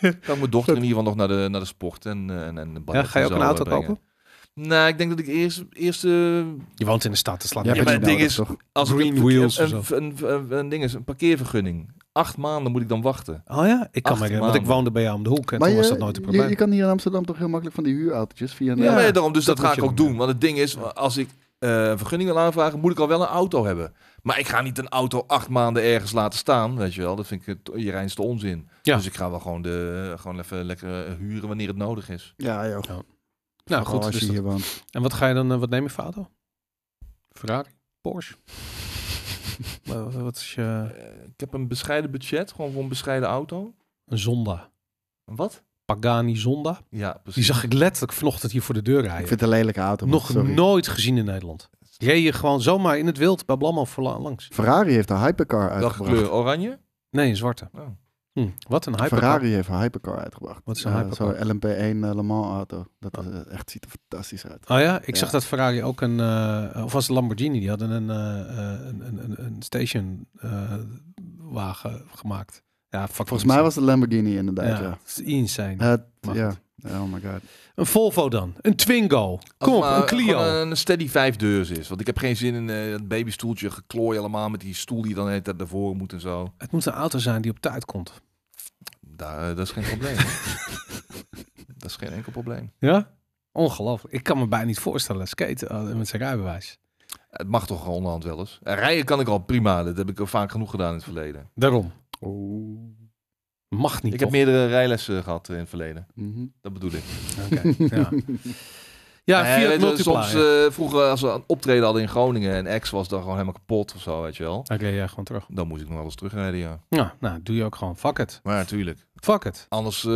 Speaker 2: kan ik mijn dochter in ieder geval nog naar de, naar de sport en, eh, en, en de
Speaker 1: Ja,
Speaker 2: ballet
Speaker 1: ga je
Speaker 2: en
Speaker 1: ook een
Speaker 2: zo,
Speaker 1: auto
Speaker 2: eh, brengen.
Speaker 1: kopen?
Speaker 2: Nou, ik denk dat ik eerst, eerst eh,
Speaker 1: Je woont in de stad, te slaan.
Speaker 3: Ja,
Speaker 2: maar het ding is-
Speaker 3: toch?
Speaker 2: als ik
Speaker 1: Green
Speaker 2: een-
Speaker 1: wheels
Speaker 2: een,
Speaker 1: of
Speaker 2: een, een, een ding is, een parkeervergunning. Acht maanden moet ik dan wachten.
Speaker 1: Oh ja, ik kan
Speaker 2: Acht
Speaker 1: me herinneren, want ik
Speaker 2: maanden.
Speaker 1: woonde bij jou om de hoek en
Speaker 3: Maar
Speaker 1: toen
Speaker 3: je,
Speaker 1: was dat nooit een
Speaker 3: je-
Speaker 1: probleem.
Speaker 3: je kan hier in Amsterdam toch heel makkelijk van die huurautootjes via een...
Speaker 2: Ja,
Speaker 1: Ja,
Speaker 2: maar daarom, dus
Speaker 1: dat
Speaker 2: dat,
Speaker 1: moet
Speaker 2: ga
Speaker 1: je
Speaker 2: ik ook
Speaker 1: doen,
Speaker 2: doen. Want het ding is, als ik eh vergunningen wil aanvragen, moet ik al wel een auto hebben. Maar ik ga niet een auto acht maanden ergens laten staan, weet je wel. Dat vind ik het, je reinste onzin.
Speaker 1: Ja.
Speaker 2: Dus ik ga wel gewoon, de, gewoon even lekker eh, huren wanneer het nodig is.
Speaker 3: Ja, joh.
Speaker 1: Nou
Speaker 3: Vooral
Speaker 1: goed,
Speaker 3: als
Speaker 1: dus
Speaker 3: je
Speaker 1: dat-
Speaker 3: hier woont.
Speaker 1: en wat ga je dan, eh, wat neem je voor auto? Ferrari? Porsche? Wa- wa- wat is je...
Speaker 2: Eh, ik heb een bescheiden budget, gewoon voor een bescheiden auto.
Speaker 1: Een Zonda.
Speaker 2: Een Wat?
Speaker 1: Pagani Zonda.
Speaker 2: Ja,
Speaker 1: Die
Speaker 2: precies.
Speaker 1: zag ik letterlijk vanochtend hier voor de deur
Speaker 3: Ik
Speaker 1: rijden.
Speaker 3: vind het een lelijke auto. man,
Speaker 1: Nog
Speaker 3: sorry.
Speaker 1: nooit gezien in Nederland. Reed je gewoon zomaar in het wild bij Blamman voorla- langs.
Speaker 3: Ferrari heeft een hypercar
Speaker 2: Welke
Speaker 3: uitgebracht.
Speaker 2: kleur? Oranje?
Speaker 1: Nee, een zwarte.
Speaker 2: Oh.
Speaker 1: Hm, wat een hypercar.
Speaker 3: Ferrari heeft een hypercar uitgebracht.
Speaker 1: Wat is een
Speaker 3: Eh,
Speaker 1: hypercar?
Speaker 3: Zo'n LMP1 eh, Le Mans auto. Dat is, eh, echt, ziet er fantastisch uit.
Speaker 1: Oh ja, ik
Speaker 3: Ja.
Speaker 1: zag dat Ferrari ook een, eh, of was het Lamborghini, die hadden een, eh, eh, een, een, een- een station eh, wagen gemaakt. Ja, fuck
Speaker 3: Volgens mij was het Lamborghini
Speaker 1: ja,
Speaker 3: inderdaad, ja.
Speaker 1: het is insane.
Speaker 3: Het-
Speaker 1: Maar
Speaker 3: ja. Oh my god.
Speaker 1: Een Volvo dan, een Twingo,
Speaker 2: Als
Speaker 1: kom op,
Speaker 2: maar
Speaker 1: een Clio.
Speaker 2: eh, gewoon Een, een steady vijf deurs is. Want ik heb geen zin in eh, dat babystoeltje geklooi allemaal met die stoel die dan net naar voren moet en zo.
Speaker 1: Het moet een auto zijn die op tijd komt.
Speaker 2: Daar, eh, dat is geen probleem. hè. dat is geen enkel probleem.
Speaker 1: Ja? Ongelooflijk. Ik kan me bijna niet voorstellen, skaten eh, met zijn rijbewijs.
Speaker 2: Het mag toch onderhand wel eens. En rijden kan ik al prima. Dat heb ik al vaak genoeg gedaan in het verleden.
Speaker 1: Daarom,
Speaker 3: Oh.
Speaker 1: mag niet
Speaker 2: ik
Speaker 1: toch?
Speaker 2: heb meerdere rijlessen gehad eh, in het verleden.
Speaker 3: mhm.
Speaker 2: Dat bedoel ik.
Speaker 1: Oké, ja. ja,
Speaker 2: Eh,
Speaker 1: Fiat
Speaker 2: weet je,
Speaker 1: Multipla,
Speaker 2: soms
Speaker 1: ja.
Speaker 2: eh, vroeger als we een optreden hadden in Groningen en ex was dan gewoon helemaal kapot of zo, weet je wel.
Speaker 1: Oké, ja, gewoon terug.
Speaker 2: Dan moest ik nog wel eens terugrijden, ja.
Speaker 1: Ja, nou, doe je ook gewoon. Fuck it.
Speaker 2: Maar natuurlijk.
Speaker 1: Fuck it.
Speaker 2: Anders eh,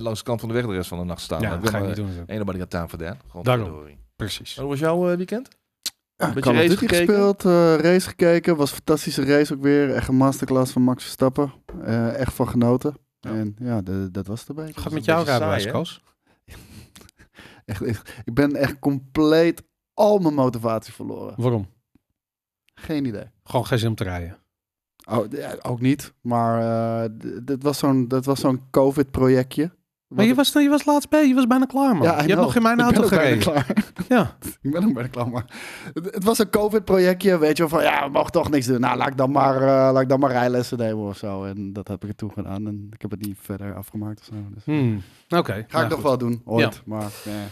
Speaker 2: langs de kant van de weg de rest van de nacht staan.
Speaker 1: Ja,
Speaker 2: Dan
Speaker 1: dat ga je
Speaker 2: ben-
Speaker 1: niet doen. Oh. natuurlijk.
Speaker 2: Ain't nobody got time for that.
Speaker 1: Daarom.
Speaker 2: Godverdorie.
Speaker 1: Precies.
Speaker 2: Wat was jouw eh, weekend?
Speaker 3: Ja,
Speaker 2: Beetje
Speaker 3: Call of
Speaker 2: race
Speaker 3: Duty
Speaker 2: gekeken?
Speaker 3: Ah, gespeeld, eh, race gekeken. Was een fantastische race ook weer. Echt een masterclass van Max Verstappen. Eh, echt van genoten.
Speaker 2: Ja.
Speaker 3: En ja, de- dat was het erbij.
Speaker 1: Gaat
Speaker 2: een
Speaker 1: met jouw
Speaker 2: beetje saai,
Speaker 1: rijbewijs,
Speaker 2: hè?
Speaker 1: Koos?
Speaker 3: Echt, echt- ik ben echt compleet al mijn motivatie verloren.
Speaker 1: Waarom?
Speaker 3: Geen idee.
Speaker 1: Gewoon geen zin om te rijden.
Speaker 3: Oh, d- ja, ook niet. Maar eh, d- dit was zo'n, dat was zo'n COVID-projectje.
Speaker 1: Maar je
Speaker 3: Wat-
Speaker 1: was, je was laatst bij, je was bijna klaar, man.
Speaker 3: Ja, I
Speaker 1: je hebt
Speaker 3: know.
Speaker 1: nog in mijn
Speaker 3: Ik ben
Speaker 1: auto
Speaker 3: ook bijna
Speaker 1: gereden.
Speaker 3: klaar.
Speaker 1: Ja.
Speaker 3: Ik ben ook bijna klaar, maar het, het was een COVID-projectje, weet je wel, van ja, we mogen toch niks doen. Nou, laat ik dan maar, eh, laat ik dan maar rijlessen nemen of zo. En dat heb ik toen gedaan en ik heb het niet verder afgemaakt of zo. Dus.
Speaker 1: Hmm. Oké.
Speaker 3: Ga ik nog wel doen, ooit,
Speaker 1: Ja.
Speaker 3: maar nee.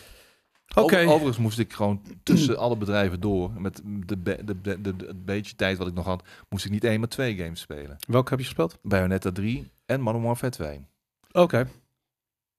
Speaker 1: Oké.
Speaker 2: Over- overigens moest ik gewoon tussen alle bedrijven door. Met de, be- de, de, de- het beetje tijd wat ik nog had, moest ik niet één, maar twee games spelen.
Speaker 1: Welke heb je gespeeld?
Speaker 2: Bayonetta 3 en Modern Warfare 2.
Speaker 1: Oké.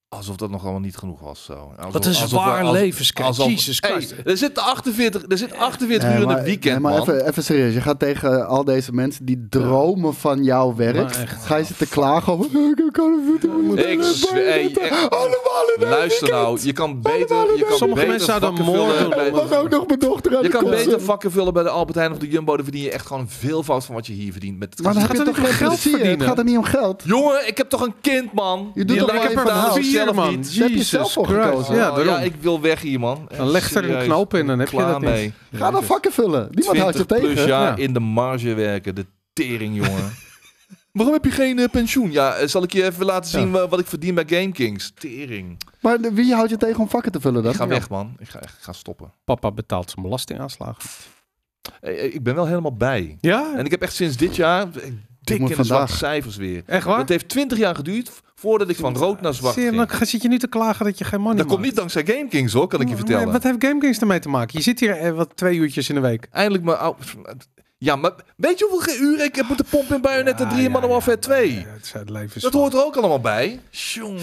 Speaker 2: Alsof dat nog allemaal niet genoeg was. Zo. Alsof,
Speaker 1: Wat een
Speaker 2: alsof-
Speaker 1: zwaar
Speaker 2: als-
Speaker 1: levenskijk.
Speaker 2: alsof-
Speaker 1: Jezus
Speaker 2: Hey,
Speaker 1: Christus.
Speaker 2: er zitten 48, er zitten 48
Speaker 3: Nee,
Speaker 2: uur in
Speaker 3: maar-
Speaker 2: het weekend,
Speaker 3: nee, maar
Speaker 2: man.
Speaker 3: Even, even serieus, je gaat tegen eh, al deze mensen die dromen van jouw werk.
Speaker 1: Maar echt.
Speaker 3: Ga je zitten klagen over, ik heb Call of Duty, we moeten
Speaker 2: Ik
Speaker 3: naar
Speaker 2: zweer-
Speaker 3: Bayonetta.
Speaker 2: hey, echt.
Speaker 3: Allemaal in één
Speaker 2: Luister
Speaker 3: weekend.
Speaker 2: nou, je kan
Speaker 3: Allemaal
Speaker 2: beter... Je
Speaker 3: in-
Speaker 2: kan
Speaker 1: Sommige
Speaker 2: beter
Speaker 1: mensen zouden
Speaker 2: vakken
Speaker 1: moord
Speaker 2: vullen
Speaker 1: doen,
Speaker 2: bij-
Speaker 1: man.
Speaker 3: Was ook nog mijn dochter aan
Speaker 2: Je
Speaker 3: de
Speaker 2: kan
Speaker 3: kont
Speaker 2: beter
Speaker 3: zetten.
Speaker 2: vakken vullen bij de Albert Heijn of de Jumbo. Dan verdien je echt gewoon een veelvoud van wat je hier verdient. Met het
Speaker 3: Maar dan
Speaker 1: Het
Speaker 3: heb je
Speaker 1: gaat er
Speaker 3: toch
Speaker 1: niet om
Speaker 3: geen
Speaker 1: geld
Speaker 3: geld verdienen? Het
Speaker 1: verdienen.
Speaker 3: gaat er niet om geld.
Speaker 2: Jongen, ik heb toch een kind, man.
Speaker 3: Je doet
Speaker 2: Die
Speaker 3: toch
Speaker 2: lijkt
Speaker 3: wel
Speaker 2: me
Speaker 3: even
Speaker 2: daar
Speaker 3: een huis,
Speaker 2: zelf
Speaker 1: man.
Speaker 2: niet.
Speaker 3: Daar heb je
Speaker 1: Jezus
Speaker 3: zelf voor
Speaker 1: Christ.
Speaker 3: gekozen.
Speaker 1: Ja,
Speaker 2: Oh,
Speaker 1: daarom.
Speaker 2: ja, ik wil weg hier, man.
Speaker 1: Dan leg er een
Speaker 2: Serieus.
Speaker 1: knoop in en heb je
Speaker 2: Klaar
Speaker 1: dat niet.
Speaker 2: mee.
Speaker 3: Ga dan vakken vullen. Niemand houdt
Speaker 2: 20
Speaker 3: je tegen.
Speaker 2: plus jaar
Speaker 1: Ja.
Speaker 2: in de marge werken. De tering, jongen. Waarom heb je geen eh, pensioen? Ja, eh, zal ik je even laten zien wa- wat ik verdien bij GameKings. Tering.
Speaker 3: Maar de- wie houdt je tegen om vakken te vullen dan?
Speaker 2: Ik ga
Speaker 3: Ja.
Speaker 2: weg, man. Ik ga, ik ga stoppen.
Speaker 1: Papa betaalt zijn belastingaanslagen.
Speaker 2: Eh, eh, Ik ben wel helemaal bij.
Speaker 1: Ja?
Speaker 2: En ik heb echt sinds dit jaar eh, dik in
Speaker 3: moet
Speaker 2: de zwarte
Speaker 3: vandaag.
Speaker 2: cijfers weer.
Speaker 1: Echt waar?
Speaker 2: Het heeft 20 jaar geduurd v- voordat ik van rood naar zwart
Speaker 1: Zie je, dan
Speaker 2: ging.
Speaker 1: ga- zit je nu te klagen dat je geen money
Speaker 2: Dat komt
Speaker 1: maakt.
Speaker 2: niet dankzij GameKings, hoor. Kan ik je
Speaker 1: Maar
Speaker 2: vertellen.
Speaker 1: Wat heeft GameKings ermee te maken? Je zit hier eh, wat twee uurtjes in de week.
Speaker 2: Eindelijk mijn oude... Ja, maar weet je hoeveel uren ik heb moeten pompen in Bayonetta 3 en Modern Warfare 2?
Speaker 1: Ja, het, het leven is
Speaker 2: dat
Speaker 1: zwaar.
Speaker 2: hoort er ook allemaal bij. Jongen,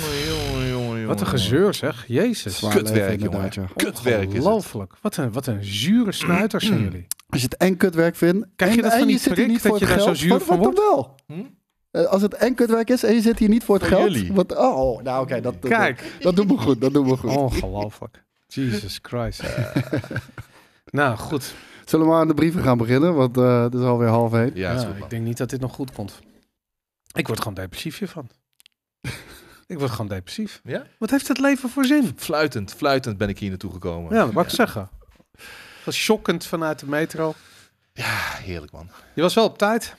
Speaker 2: jongen, jongen.
Speaker 1: Wat een gezeur zeg. Jezus.
Speaker 3: Zwaar
Speaker 2: Kutwerk,
Speaker 3: leven inderdaad, ja.
Speaker 2: Kutwerk is het.
Speaker 1: Ongelooflijk. Wat een, wat een zure snuiter zijn jullie.
Speaker 3: Als je het en kutwerk vindt,
Speaker 1: Krijg je
Speaker 3: en,
Speaker 1: dat van
Speaker 3: en
Speaker 1: die
Speaker 3: je zit hier
Speaker 1: prik
Speaker 3: niet
Speaker 1: dat
Speaker 3: voor
Speaker 1: je
Speaker 3: het
Speaker 1: daar zo
Speaker 3: geld,
Speaker 1: zuur
Speaker 3: maar dat
Speaker 1: van
Speaker 3: wordt dan wel.
Speaker 2: Hm?
Speaker 3: Eh, Als het en kutwerk is en je zit hier niet voor het
Speaker 2: Voor
Speaker 3: geld.
Speaker 2: jullie.
Speaker 3: Want, oh, nou oké. dat, dat-
Speaker 1: Kijk.
Speaker 3: Dat, dat doen we goed, dat doen we
Speaker 2: Oh.
Speaker 3: goed.
Speaker 1: Ongelooflijk. Jesus Christ. nou, goed.
Speaker 3: Zullen we maar aan de brieven gaan beginnen? Want eh, het is alweer half heen.
Speaker 2: Ja, is
Speaker 1: Ja,
Speaker 2: goed, man.
Speaker 1: ik denk niet dat dit nog goed komt. Ik word gewoon depressief hiervan. ik word gewoon depressief.
Speaker 2: Ja?
Speaker 1: Wat heeft het leven voor zin?
Speaker 2: Fluitend, fluitend ben ik hier naartoe gekomen.
Speaker 1: Ja, dat mag ik zeggen. Dat was shockend vanuit de metro.
Speaker 2: Ah, heerlijk, man.
Speaker 1: Je was wel op tijd.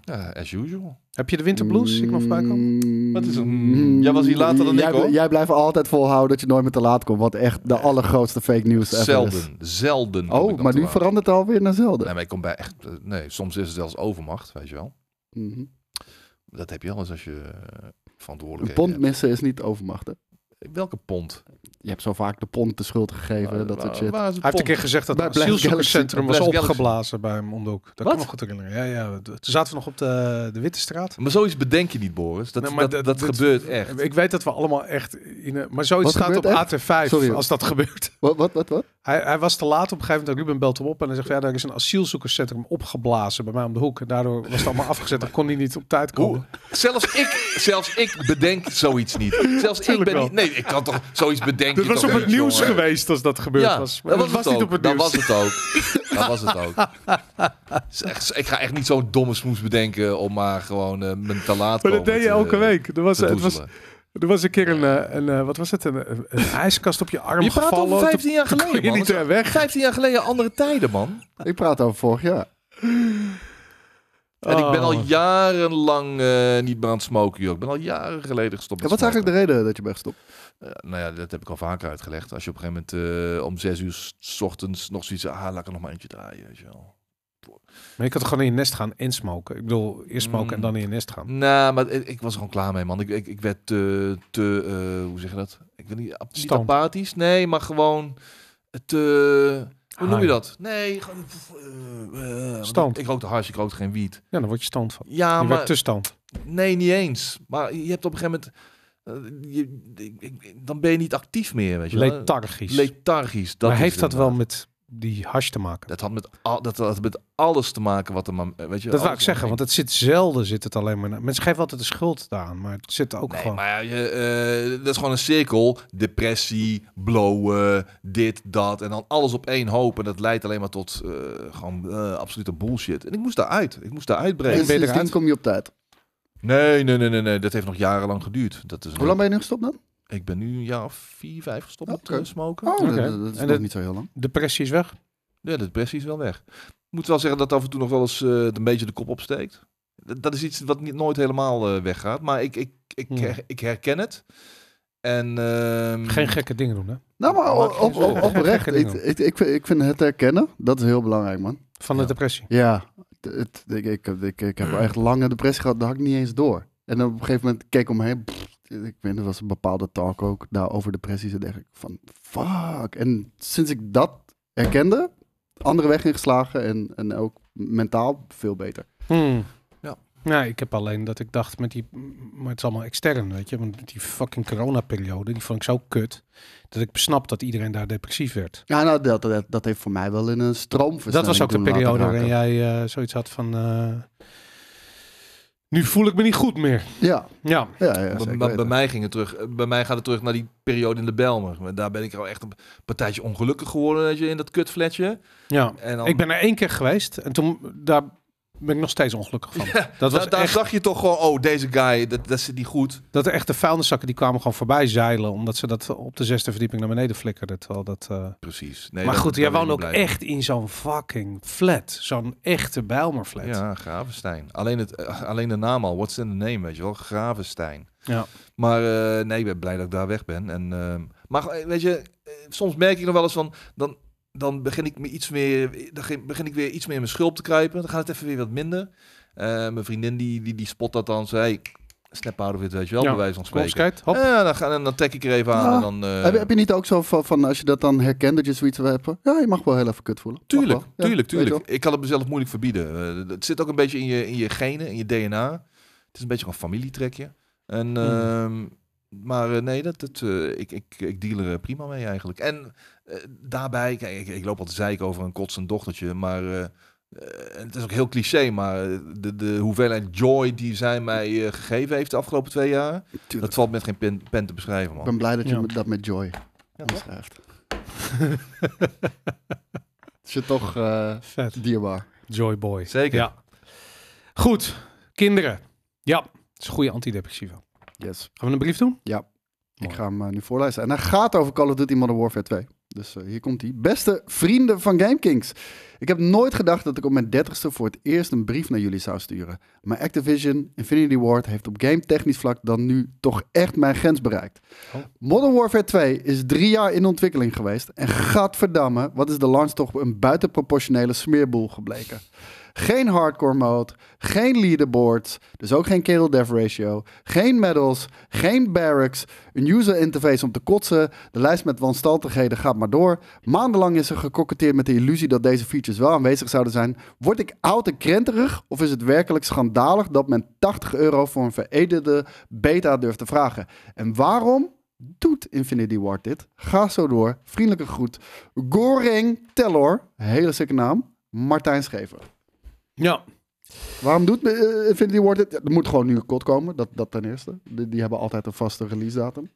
Speaker 2: Ja, as usual.
Speaker 1: Heb je de winterblues? Ik nog voorbij komen?
Speaker 2: Wat is het? Mm, jij was hier later dan
Speaker 3: jij,
Speaker 2: ik, hoor.
Speaker 3: Jij blijft altijd volhouden dat je nooit meer te laat komt. Wat echt de allergrootste fake news ever is.
Speaker 2: Zelden, zelden. kom ik
Speaker 3: Oh,
Speaker 2: dan
Speaker 3: maar
Speaker 2: te
Speaker 3: nu
Speaker 2: laat.
Speaker 3: verandert het alweer naar zelden.
Speaker 2: Nee, maar ik kom bij echt... eh, Nee, soms is het zelfs overmacht, weet je wel.
Speaker 3: Mhm.
Speaker 2: Dat heb je wel eens als je eh,
Speaker 3: Een
Speaker 2: verantwoordelijkheid
Speaker 3: pond missen is niet overmacht. hè?
Speaker 2: hebt. Welke pond?
Speaker 3: Je hebt zo vaak de pond de schuld gegeven,
Speaker 2: Waar-
Speaker 3: dat soort
Speaker 2: waar-
Speaker 3: shit.
Speaker 2: Waar is
Speaker 1: Hij
Speaker 2: het
Speaker 1: heeft een
Speaker 2: pond?
Speaker 1: keer gezegd dat
Speaker 3: Bij
Speaker 1: het
Speaker 3: Blast
Speaker 1: asielzoekerscentrum was
Speaker 2: Galaxy. Blast Galaxy.
Speaker 1: opgeblazen bij hem om de hoek. Dat kan
Speaker 2: Wat?
Speaker 1: ik me goed herinneren. Ja, ja. we- Toen zaten we nog op de, de Witte Straat.
Speaker 2: Maar zoiets bedenk je niet, Boris. Dat,
Speaker 1: Nee, maar
Speaker 2: dat,
Speaker 1: dat-
Speaker 2: dat
Speaker 1: dit-
Speaker 2: gebeurt echt.
Speaker 1: Ik weet dat we allemaal echt... In, een- maar zoiets
Speaker 3: Wat
Speaker 1: staat op
Speaker 3: gebeurt
Speaker 1: AT5
Speaker 3: Sorry.
Speaker 1: als dat gebeurt.
Speaker 3: Wat, wat, wat? wat?
Speaker 1: Hij, hij was te laat op een gegeven moment. Ruben belt hem op en hij zegt... Ja, daar is een asielzoekerscentrum opgeblazen bij mij om de hoek. En daardoor was het allemaal afgezet en kon hij niet op tijd komen.
Speaker 2: Hoe? Zelfs ik, zelfs ik bedenk zoiets niet. Zelfs ik
Speaker 1: Tuurlijk
Speaker 2: ben
Speaker 1: wel.
Speaker 2: niet... Nee, ik kan toch zoiets bedenken.
Speaker 1: Dit was
Speaker 2: toch
Speaker 1: op het
Speaker 2: niet,
Speaker 1: nieuws
Speaker 2: jongen?
Speaker 1: geweest als dat gebeurd
Speaker 2: Ja,
Speaker 1: was. Maar
Speaker 2: dat was,
Speaker 1: was
Speaker 2: het
Speaker 1: niet
Speaker 2: ook.
Speaker 1: op het
Speaker 2: dat
Speaker 1: nieuws.
Speaker 2: was het ook. dat was het ook. Is echt- ik ga echt niet zo'n domme smoes bedenken om maar gewoon eh me te laat
Speaker 1: Maar
Speaker 2: komen
Speaker 1: dat deed
Speaker 2: te-
Speaker 1: je elke week. Er was,
Speaker 2: te
Speaker 1: het was,
Speaker 2: doezelen.
Speaker 1: er was een keer een, eh, een, eh, wat was het? Een, een- een ijskast op je arm
Speaker 2: Je praat
Speaker 1: gevallen.
Speaker 2: over 15 jaar
Speaker 1: Toen kon
Speaker 2: geleden,
Speaker 1: je
Speaker 2: man.
Speaker 1: niet eh, weg.
Speaker 2: 15 jaar geleden andere tijden, man.
Speaker 3: Ik praat over vorig jaar.
Speaker 2: En ik ben al
Speaker 1: Oh.
Speaker 2: jarenlang eh, niet meer aan het smoken, joh. Ik ben al jaren geleden gestopt
Speaker 3: Ja,
Speaker 2: met
Speaker 3: wat is
Speaker 2: smoken.
Speaker 3: eigenlijk de reden dat je bent gestopt?
Speaker 2: Eh, nou ja, dat heb ik al vaker uitgelegd. Als je op een gegeven moment eh, om 6 uur s- s ochtends nog zoiets... Ah, laat ik er nog maar eentje draaien, weet je wel.
Speaker 1: Maar je kan toch gewoon in je nest gaan en smoken. Ik bedoel, eerst smoken
Speaker 2: Mm.
Speaker 1: en dan in je nest gaan.
Speaker 2: Nou, maar ik, ik was er gewoon klaar mee, man. Ik, ik, ik werd te... te eh, hoe zeg je dat? Ik wil niet, ap- niet
Speaker 1: Stamp.
Speaker 2: apathisch. Nee, maar gewoon eh, te... Hoe noem je
Speaker 1: High.
Speaker 2: dat? Nee, gewoon... eh, eh,
Speaker 1: Stamp.
Speaker 2: Ik rookte hars, ik rookte geen wiet.
Speaker 1: Ja, dan word je stand van.
Speaker 2: Ja,
Speaker 1: je
Speaker 2: maar...
Speaker 1: werd te stand.
Speaker 2: Nee, niet eens. Maar je hebt op een gegeven moment... eh, je- ik- ik- dan ben je niet actief meer, weet je wel.
Speaker 1: Lethargisch.
Speaker 2: Lethargisch. Dat
Speaker 1: maar
Speaker 2: is
Speaker 1: heeft
Speaker 2: het
Speaker 1: dat wel
Speaker 2: inderdaad.
Speaker 1: met die hash te maken? Dat,
Speaker 2: Dat had met, al, dat had met alles te maken wat er maar... Weet je,
Speaker 1: wou ik zeggen, want het zit zelden zit het alleen maar... na- Mensen geven altijd de schuld daaraan, maar het zit ook
Speaker 2: Nee,
Speaker 1: gewoon...
Speaker 2: maar ja, je, eh, dat is gewoon een cirkel. Depressie, blowen, dit, dat. En dan alles op één hoop. En dat leidt alleen maar tot eh, gewoon eh, absolute bullshit. En ik moest daaruit. Ik moest daar
Speaker 3: En
Speaker 2: uitbreken.
Speaker 1: ben je
Speaker 3: sindsdien
Speaker 1: eruit?
Speaker 3: kom je op tijd.
Speaker 2: Nee, nee, nee, nee, nee. Dat heeft nog jarenlang geduurd. Dat is
Speaker 3: Hoe lang ben je nu gestopt dan?
Speaker 2: Ik ben nu een jaar of vier, vijf gestopt met
Speaker 3: Oké.
Speaker 2: eh, smoken.
Speaker 3: Oh,
Speaker 1: Oké.
Speaker 3: dat, dat is
Speaker 1: En
Speaker 3: nog
Speaker 1: dat-
Speaker 3: niet zo heel lang.
Speaker 1: Depressie is weg.
Speaker 2: Ja, de depressie is wel weg. Ik moet wel zeggen dat af en toe nog wel eens eh, het een beetje de kop opsteekt. Dat, dat is iets wat niet, nooit helemaal eh, weggaat. Maar ik, ik, ik,
Speaker 1: Ja.
Speaker 2: her- ik herken het. En, ehm,
Speaker 1: Geen gekke dingen doen, hè?
Speaker 3: Nou, maar
Speaker 2: Maak
Speaker 3: op,
Speaker 2: je
Speaker 3: op,
Speaker 2: zorgen.
Speaker 3: op- oprecht.
Speaker 1: Gekke
Speaker 3: Ik,
Speaker 1: dingen.
Speaker 3: ik, ik, vind- ik vind het herkennen, dat is heel belangrijk, man.
Speaker 1: Van de
Speaker 2: Ja.
Speaker 1: depressie.
Speaker 3: Ja, het, het- ik, ik, ik, ik heb echt lange depressie gehad, daar had ik niet eens door. En dan op een gegeven moment keek ik omheen. pff, ik weet, er was een bepaalde talk ook daar over depressies. En dacht ik van, fuck. En sinds ik dat herkende, andere weg ingeslagen en, en ook mentaal veel beter.
Speaker 1: Hmm.
Speaker 2: Ja.
Speaker 1: Nou, ik heb alleen dat ik dacht met die... Maar het is allemaal extern, weet je. Want met die fucking coronaperiode, die vond ik zo kut... dat ik besnap dat iedereen daar depressief werd.
Speaker 3: Ja, nou, dat, dat, dat heeft voor mij wel in een stroomversnelling
Speaker 1: Dat was ook de
Speaker 3: toen laten
Speaker 1: periode
Speaker 3: raken.
Speaker 1: waarin jij eh, zoiets had van... eh, nu voel ik me niet goed meer.
Speaker 3: Ja,
Speaker 1: Ja.
Speaker 3: ja, ja
Speaker 2: bij-
Speaker 3: zeker
Speaker 2: bij, bij
Speaker 3: weten.
Speaker 2: mij ging het terug. Bij mij gaat het terug naar die periode in de Belmer. Daar ben ik al echt een partijtje ongelukkig geworden weet je, in dat kutfletje.
Speaker 1: ja.
Speaker 2: En dan,
Speaker 1: Ik ben er één keer geweest en toen... Daar ben ik nog steeds ongelukkig van. dat was
Speaker 2: daar, daar
Speaker 1: echt...
Speaker 2: dacht je toch gewoon, oh, deze guy, dat, dat zit niet goed.
Speaker 1: Dat de echte vuilniszakken die kwamen gewoon voorbij zeilen... omdat ze dat op de zesde verdieping naar beneden flikkerden. Terwijl dat... eh,
Speaker 2: Precies. Nee,
Speaker 1: maar
Speaker 2: dat-
Speaker 1: goed,
Speaker 2: daar
Speaker 1: jij
Speaker 2: ben ik
Speaker 1: woont ook
Speaker 2: niet blij mee.
Speaker 1: echt in zo'n fucking flat. Zo'n echte Bijlmerflat. Ja.
Speaker 2: Ja, Gravenstein. Alleen, het, eh, alleen de naam al. What's in the name, weet je wel? Gravenstein.
Speaker 1: Ja.
Speaker 2: Maar eh, nee, ik ben blij dat ik daar weg ben. En, ehm, maar eh, weet je, eh, soms merk ik nog wel eens van... Dan, dan begin ik me iets meer... Dan ge- begin ik weer iets meer in mijn schulp te kruipen. Dan gaat het even weer wat minder. Eh, mijn vriendin die, die, die spot dat dan. Ze hey, snap out of it, weet je wel?
Speaker 1: Ja.
Speaker 2: Bij wijze van
Speaker 1: Kom eens,
Speaker 2: spreken.
Speaker 1: kijk. Hop. Ah.
Speaker 2: Ja, dan, ga, en dan trek ik er even aan.
Speaker 3: Ja.
Speaker 2: En dan, eh,
Speaker 3: heb, je- heb je niet ook zo van, van als je dat dan herkent, dat je zoiets hebt van, ja, je mag wel heel even kut voelen. Mag
Speaker 2: Tuurlijk,
Speaker 3: wel. Ja,
Speaker 2: tuurlijk,
Speaker 3: weet je wel.
Speaker 2: tuurlijk. Ik kan het mezelf moeilijk verbieden. Eh, het zit ook een beetje in je, in je genen, in je DNA. Het is een beetje een familietrekje. En,
Speaker 3: Mm.
Speaker 2: ehm, maar eh, nee, dat, dat, eh, ik, ik, ik deal er eh, prima mee eigenlijk. En eh, daarbij, kijk, ik, ik loop altijd zeik over een kotsend dochtertje, maar eh, eh, en het is ook heel cliché, maar eh, de, de hoeveelheid joy die zij mij eh, gegeven heeft de afgelopen twee jaar, dat valt met geen pen, pen te beschrijven,
Speaker 3: Ik
Speaker 2: man.
Speaker 3: ben blij dat je
Speaker 1: Ja.
Speaker 3: me dat met joy
Speaker 2: Ja, toch?
Speaker 3: omschrijft. Het is je toch eh,
Speaker 1: Vet.
Speaker 3: dierbaar.
Speaker 1: Joyboy.
Speaker 2: Zeker.
Speaker 1: Ja. Goed. Kinderen. Ja, dat is een goede antidepressiva.
Speaker 3: Yes.
Speaker 1: Gaan we een brief doen?
Speaker 3: Ik
Speaker 1: Mooi.
Speaker 3: ga hem eh, nu voorlezen. En hij gaat over Call of Duty Modern Warfare 2. Dus eh, hier komt hij. Beste vrienden van GameKings. Ik heb nooit gedacht dat ik op mijn 30ste voor het eerst een brief naar jullie zou sturen. Maar Activision Infinity Ward heeft op game technisch vlak dan nu toch echt mijn grens bereikt.
Speaker 1: Oh.
Speaker 3: Modern Warfare 2 is drie jaar in ontwikkeling geweest. En gadverdamme, wat is de launch toch een buitenproportionele smeerboel gebleken. Geen hardcore mode, geen leaderboards, dus ook geen kill death ratio, geen medals, geen barracks, een user interface om te kotsen, de lijst met wanstaltigheden gaat maar door. Maandenlang is er gekoketteerd met de illusie dat deze features wel aanwezig zouden zijn. Word ik oud en krenterig of is het werkelijk schandalig dat men 80 euro voor een veredelde beta durft te vragen? En waarom doet Infinity Ward dit? Ga zo door. Vriendelijke groet. Goring Tellor, hele sikke naam, Martijn Schever.
Speaker 1: Ja.
Speaker 3: Waarom doet eh, Infinity Ward dit? Ja, Er moet gewoon nu een kot komen, dat, dat ten eerste. Die, die hebben altijd een vaste release datum.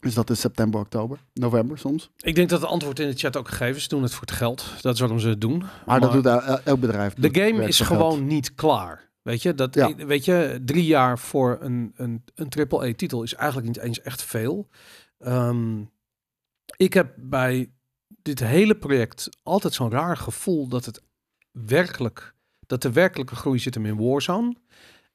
Speaker 3: Dus dat is september, oktober, november soms.
Speaker 1: Ik denk dat het antwoord in de chat ook gegeven is. Ze doen het voor het geld. Dat is waarom ze het doen.
Speaker 3: Maar, dat doet el- el- elk bedrijf.
Speaker 1: De
Speaker 3: Doet-
Speaker 1: game
Speaker 3: werkt
Speaker 1: is
Speaker 3: voor geld.
Speaker 1: gewoon niet klaar. Weet je, dat,
Speaker 3: Ja.
Speaker 1: weet je, drie jaar voor een, een, een triple-E-titel is eigenlijk niet eens echt veel. Ehm, ik heb bij dit hele project altijd zo'n raar gevoel dat het werkelijk, dat de werkelijke groei zit hem in Warzone.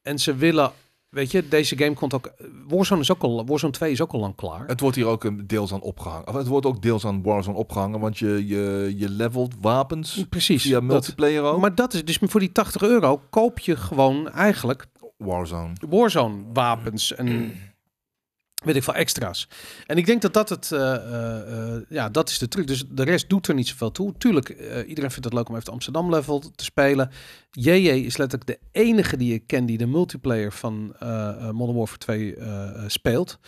Speaker 1: En ze willen, weet je, deze game komt ook, Warzone, is ook al, Warzone 2 is ook al lang klaar.
Speaker 2: Het wordt hier ook een deels aan opgehangen. Of het wordt ook deels aan Warzone opgehangen, want je, je, je levelt wapens
Speaker 1: Precies.
Speaker 2: via
Speaker 1: dat.
Speaker 2: multiplayer ook.
Speaker 1: Maar dat is dus voor die 80 euro koop je gewoon eigenlijk
Speaker 2: Warzone.
Speaker 1: Warzone wapens en weet ik veel extra's. En ik denk dat dat het, eh, eh, eh, ja, dat is de truc. Dus de rest doet er niet zoveel toe. Tuurlijk, eh, iedereen vindt het leuk om even het Amsterdam level te spelen. JJ is letterlijk de enige die ik ken die de multiplayer van eh, eh, Modern Warfare 2 eh, eh, speelt.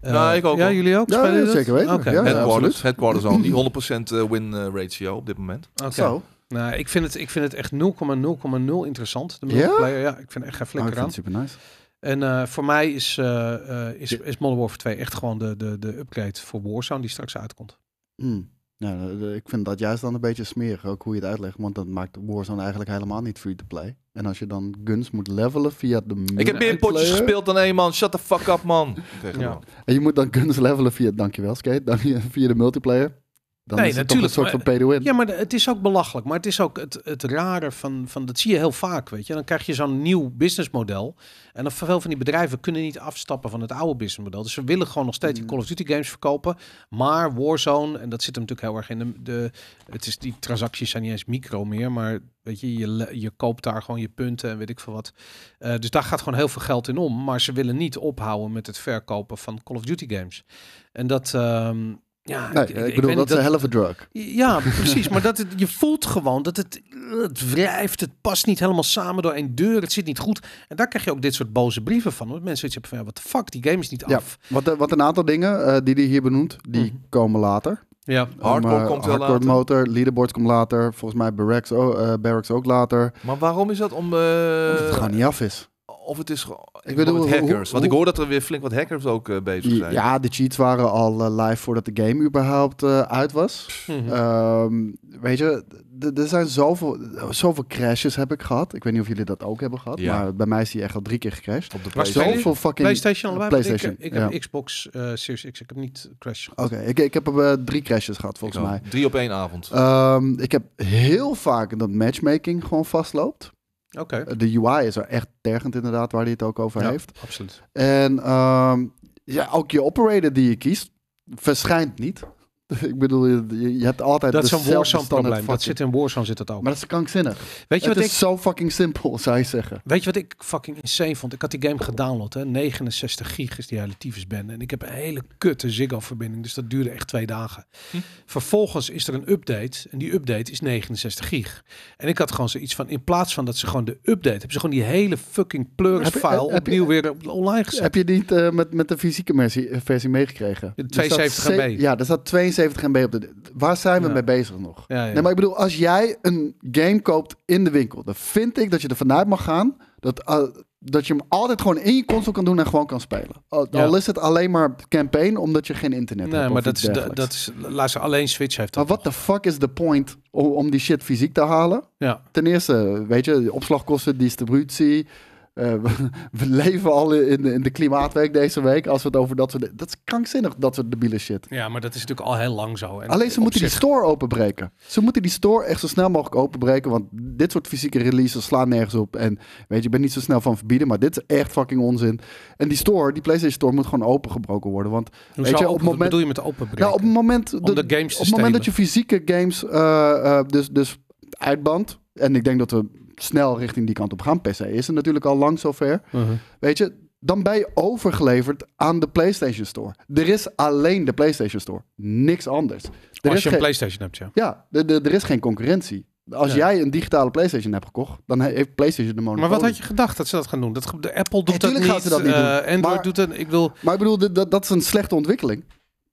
Speaker 1: Eh,
Speaker 2: Ja, ik ook
Speaker 1: Ja,
Speaker 2: wel.
Speaker 1: jullie ook?
Speaker 3: Ja,
Speaker 1: Spelen jullie dat?
Speaker 3: zeker weten.
Speaker 1: Oké.
Speaker 3: Ja, ja.
Speaker 2: Headquarters, headquarters al. Die 100% eh, win eh, ratio op dit moment.
Speaker 1: Oké.
Speaker 3: Zo.
Speaker 1: Nou, ik vind het, ik vind het echt 0,0,0 interessant. De
Speaker 3: Ja?
Speaker 1: multiplayer, ja? ik vind er echt geen
Speaker 3: Nou,
Speaker 1: flikker
Speaker 3: ik
Speaker 1: aan.
Speaker 3: vind het super nice.
Speaker 1: En eh, voor mij is, eh, eh, is, is Modern Warfare 2 echt gewoon de, de, de upgrade voor Warzone die straks uitkomt.
Speaker 3: Hmm. Ja, de- de- ik vind dat juist dan een beetje smerig, ook hoe je het uitlegt. Want dat maakt Warzone eigenlijk helemaal niet free to play. En als je dan guns moet levelen via de
Speaker 2: Ik heb meer potjes
Speaker 3: multiplayer-
Speaker 2: gespeeld dan één man. Shut the fuck up, man. Tegen
Speaker 1: Ja.
Speaker 2: hem.
Speaker 3: En je moet dan guns levelen via, dankjewel Skate, dan via via de multiplayer. Dan
Speaker 1: Nee,
Speaker 3: is het
Speaker 1: natuurlijk,
Speaker 3: toch een soort van pay to win.
Speaker 1: Ja, maar de- het is ook belachelijk. Maar het is ook het, het rare van, van, dat zie je heel vaak, weet je. Dan krijg je zo'n nieuw businessmodel. En dan veel van die bedrijven kunnen niet afstappen van het oude businessmodel. Dus ze willen gewoon nog steeds die
Speaker 3: Mm.
Speaker 1: Call of Duty games verkopen. Maar Warzone, en dat zit hem natuurlijk heel erg in de... de het is, die transacties zijn niet eens micro meer, maar weet je, je, le- je koopt daar gewoon je punten en weet ik veel wat. Eh, dus daar gaat gewoon heel veel geld in om. Maar ze willen niet ophouden met het verkopen van Call of Duty games. En dat... ehm, ja,
Speaker 3: Nee,
Speaker 1: ik- ik-
Speaker 3: ik,
Speaker 1: ik weet
Speaker 3: bedoel,
Speaker 1: niet,
Speaker 3: dat is een hell of a drug.
Speaker 1: ja, precies. Maar dat het, je voelt gewoon dat het, het wrijft. Het past niet helemaal samen door één deur. Het zit niet goed. En daar krijg je ook dit soort boze brieven van. hoor. mensen iets hebben van, ja, wat de fuck, die game is niet
Speaker 3: Ja.
Speaker 1: af.
Speaker 3: Wat, eh, wat een aantal dingen eh, die hij hier benoemt, die
Speaker 1: Mhm.
Speaker 3: komen later.
Speaker 1: Ja,
Speaker 2: Hardcore
Speaker 3: eh,
Speaker 2: komt wel
Speaker 3: hardcore
Speaker 2: later.
Speaker 3: motor, leaderboard komt later. Volgens mij barracks, ook- eh, barracks ook later.
Speaker 2: Maar waarom is dat om... eh,
Speaker 3: Omdat het gewoon niet af is.
Speaker 2: Of het is gewoon... Ik
Speaker 3: bedoel,
Speaker 2: bedoel,
Speaker 3: hoe-
Speaker 2: hackers. Want ik
Speaker 3: hoe-
Speaker 2: hoor dat er weer flink wat hackers ook eh, bezig zijn.
Speaker 3: Ja, de cheats waren al eh, live voordat de game überhaupt eh, uit was.
Speaker 1: Mhm.
Speaker 3: Ehm, weet je, d- d- er zijn zoveel, zoveel crashes heb ik gehad. Ik weet niet of jullie dat ook hebben gehad,
Speaker 2: Ja.
Speaker 3: maar bij mij is die echt al drie keer gecrashed.
Speaker 2: Op de
Speaker 1: Maar
Speaker 2: PlayStation.
Speaker 1: spelen-
Speaker 3: Zoveel fucking...
Speaker 1: PlayStation allebei. want
Speaker 3: PlayStation,
Speaker 1: Ik, ik heb
Speaker 3: ja.
Speaker 1: Xbox eh, Series X. Ik heb niet Crash gehad.
Speaker 3: Oké, ik, ik heb er eh, drie crashes gehad volgens
Speaker 2: Ik ook.
Speaker 3: mij.
Speaker 2: Drie op één avond.
Speaker 3: Ehm, ik heb heel vaak dat matchmaking gewoon vastloopt.
Speaker 1: Oké,
Speaker 3: De UI is er echt tergend inderdaad, waar hij het ook over
Speaker 1: Ja.
Speaker 3: heeft.
Speaker 1: absoluut.
Speaker 3: En ehm, ja, ook je operator die je kiest, verschijnt niet. ik bedoel, je, je- je hebt altijd
Speaker 1: Dat is een
Speaker 3: dezelfde
Speaker 1: Warzone-probleem.
Speaker 3: standaard
Speaker 1: Dat
Speaker 3: fucking-
Speaker 1: zit in Warzone zit dat ook.
Speaker 3: Maar dat is krankzinnig.
Speaker 1: Weet je
Speaker 3: het
Speaker 1: wat
Speaker 3: is
Speaker 1: ik...
Speaker 3: zo fucking simpel, zou je zeggen.
Speaker 1: Weet je wat ik fucking insane vond? Ik had die game gedownload, hè? 69 gig is die hele tyfusband. En ik heb een hele kutte Ziggo-verbinding, dus dat duurde echt twee dagen.
Speaker 2: Hm.
Speaker 1: Vervolgens is er een update en die update is 69 gig. En ik had gewoon zoiets van, in plaats van dat ze gewoon de update... hebben ze gewoon die hele fucking
Speaker 3: Heb je- heb
Speaker 1: pleuris-file
Speaker 3: je-
Speaker 1: opnieuw weer op- online gezet.
Speaker 3: Heb je niet eh, met, met de fysieke versie, versie meegekregen?
Speaker 1: De
Speaker 3: Er staat
Speaker 1: 72 MB.
Speaker 3: ze- Ja, er staat 72 70 MB op de... Waar zijn we
Speaker 1: Ja.
Speaker 3: mee bezig nog?
Speaker 1: Ja, ja.
Speaker 3: Nee, maar ik bedoel, als jij een game koopt in de winkel, dan vind ik dat je er vanuit mag gaan dat, eh, dat je hem altijd gewoon in je console kan doen en gewoon kan spelen. Al,
Speaker 1: Ja.
Speaker 3: al is het alleen maar campaign omdat je geen internet hebt.
Speaker 1: nee,
Speaker 3: of
Speaker 1: maar
Speaker 3: iets
Speaker 1: dat is, dat,
Speaker 3: dergelijks.
Speaker 1: dat is... Luister, alleen Switch heeft
Speaker 3: Maar
Speaker 1: dat.
Speaker 3: wat
Speaker 1: nog.
Speaker 3: de fuck is de point om, om die shit fysiek te halen?
Speaker 1: Ja.
Speaker 3: Ten eerste, weet je, de opslagkosten, distributie. eh, we, we leven al in, in de klimaatweek deze week. Als we het over dat soort. Dat is krankzinnig, dat soort debiele shit.
Speaker 1: ja, maar dat is natuurlijk al heel lang zo. En
Speaker 3: Alleen ze
Speaker 1: op
Speaker 3: moeten die
Speaker 1: zich-
Speaker 3: store openbreken. Ze moeten die store echt zo snel mogelijk openbreken. Want dit soort fysieke releases slaan nergens op. En weet je, ik ben niet zo snel van verbieden. Maar dit is echt fucking onzin. En die store, die PlayStation Store, moet gewoon opengebroken worden. Want
Speaker 1: Hoezo
Speaker 3: weet je,
Speaker 1: open-
Speaker 3: op het
Speaker 1: wat
Speaker 3: moment.
Speaker 1: bedoel je met openbreken?
Speaker 3: Nou, op het moment,
Speaker 1: Om de games te
Speaker 3: op het moment dat je
Speaker 1: stelen.
Speaker 3: fysieke games eh, eh, dus, dus uitbandt. En ik denk dat we snel richting die kant op gaan. PC is er natuurlijk al lang zover.
Speaker 1: Mhm.
Speaker 3: Weet je, dan ben je overgeleverd aan de PlayStation Store. Er is alleen de PlayStation Store. Niks anders. Er
Speaker 1: Als
Speaker 3: is
Speaker 1: je een
Speaker 3: geen-
Speaker 1: PlayStation hebt, ja.
Speaker 3: ja, de- de- er is geen concurrentie. Als
Speaker 1: Nee.
Speaker 3: jij een digitale PlayStation hebt gekocht, dan he- heeft PlayStation de monopolie.
Speaker 1: Maar wat had je gedacht dat ze dat gaan doen? Dat, ge- de Apple doet dat
Speaker 3: tuurlijk
Speaker 1: niet.
Speaker 3: gaan ze dat niet doen.
Speaker 1: eh, Android
Speaker 3: Maar-
Speaker 1: doet dat. Ik wil.
Speaker 3: Maar ik bedoel, dit- dat, dat is een slechte ontwikkeling.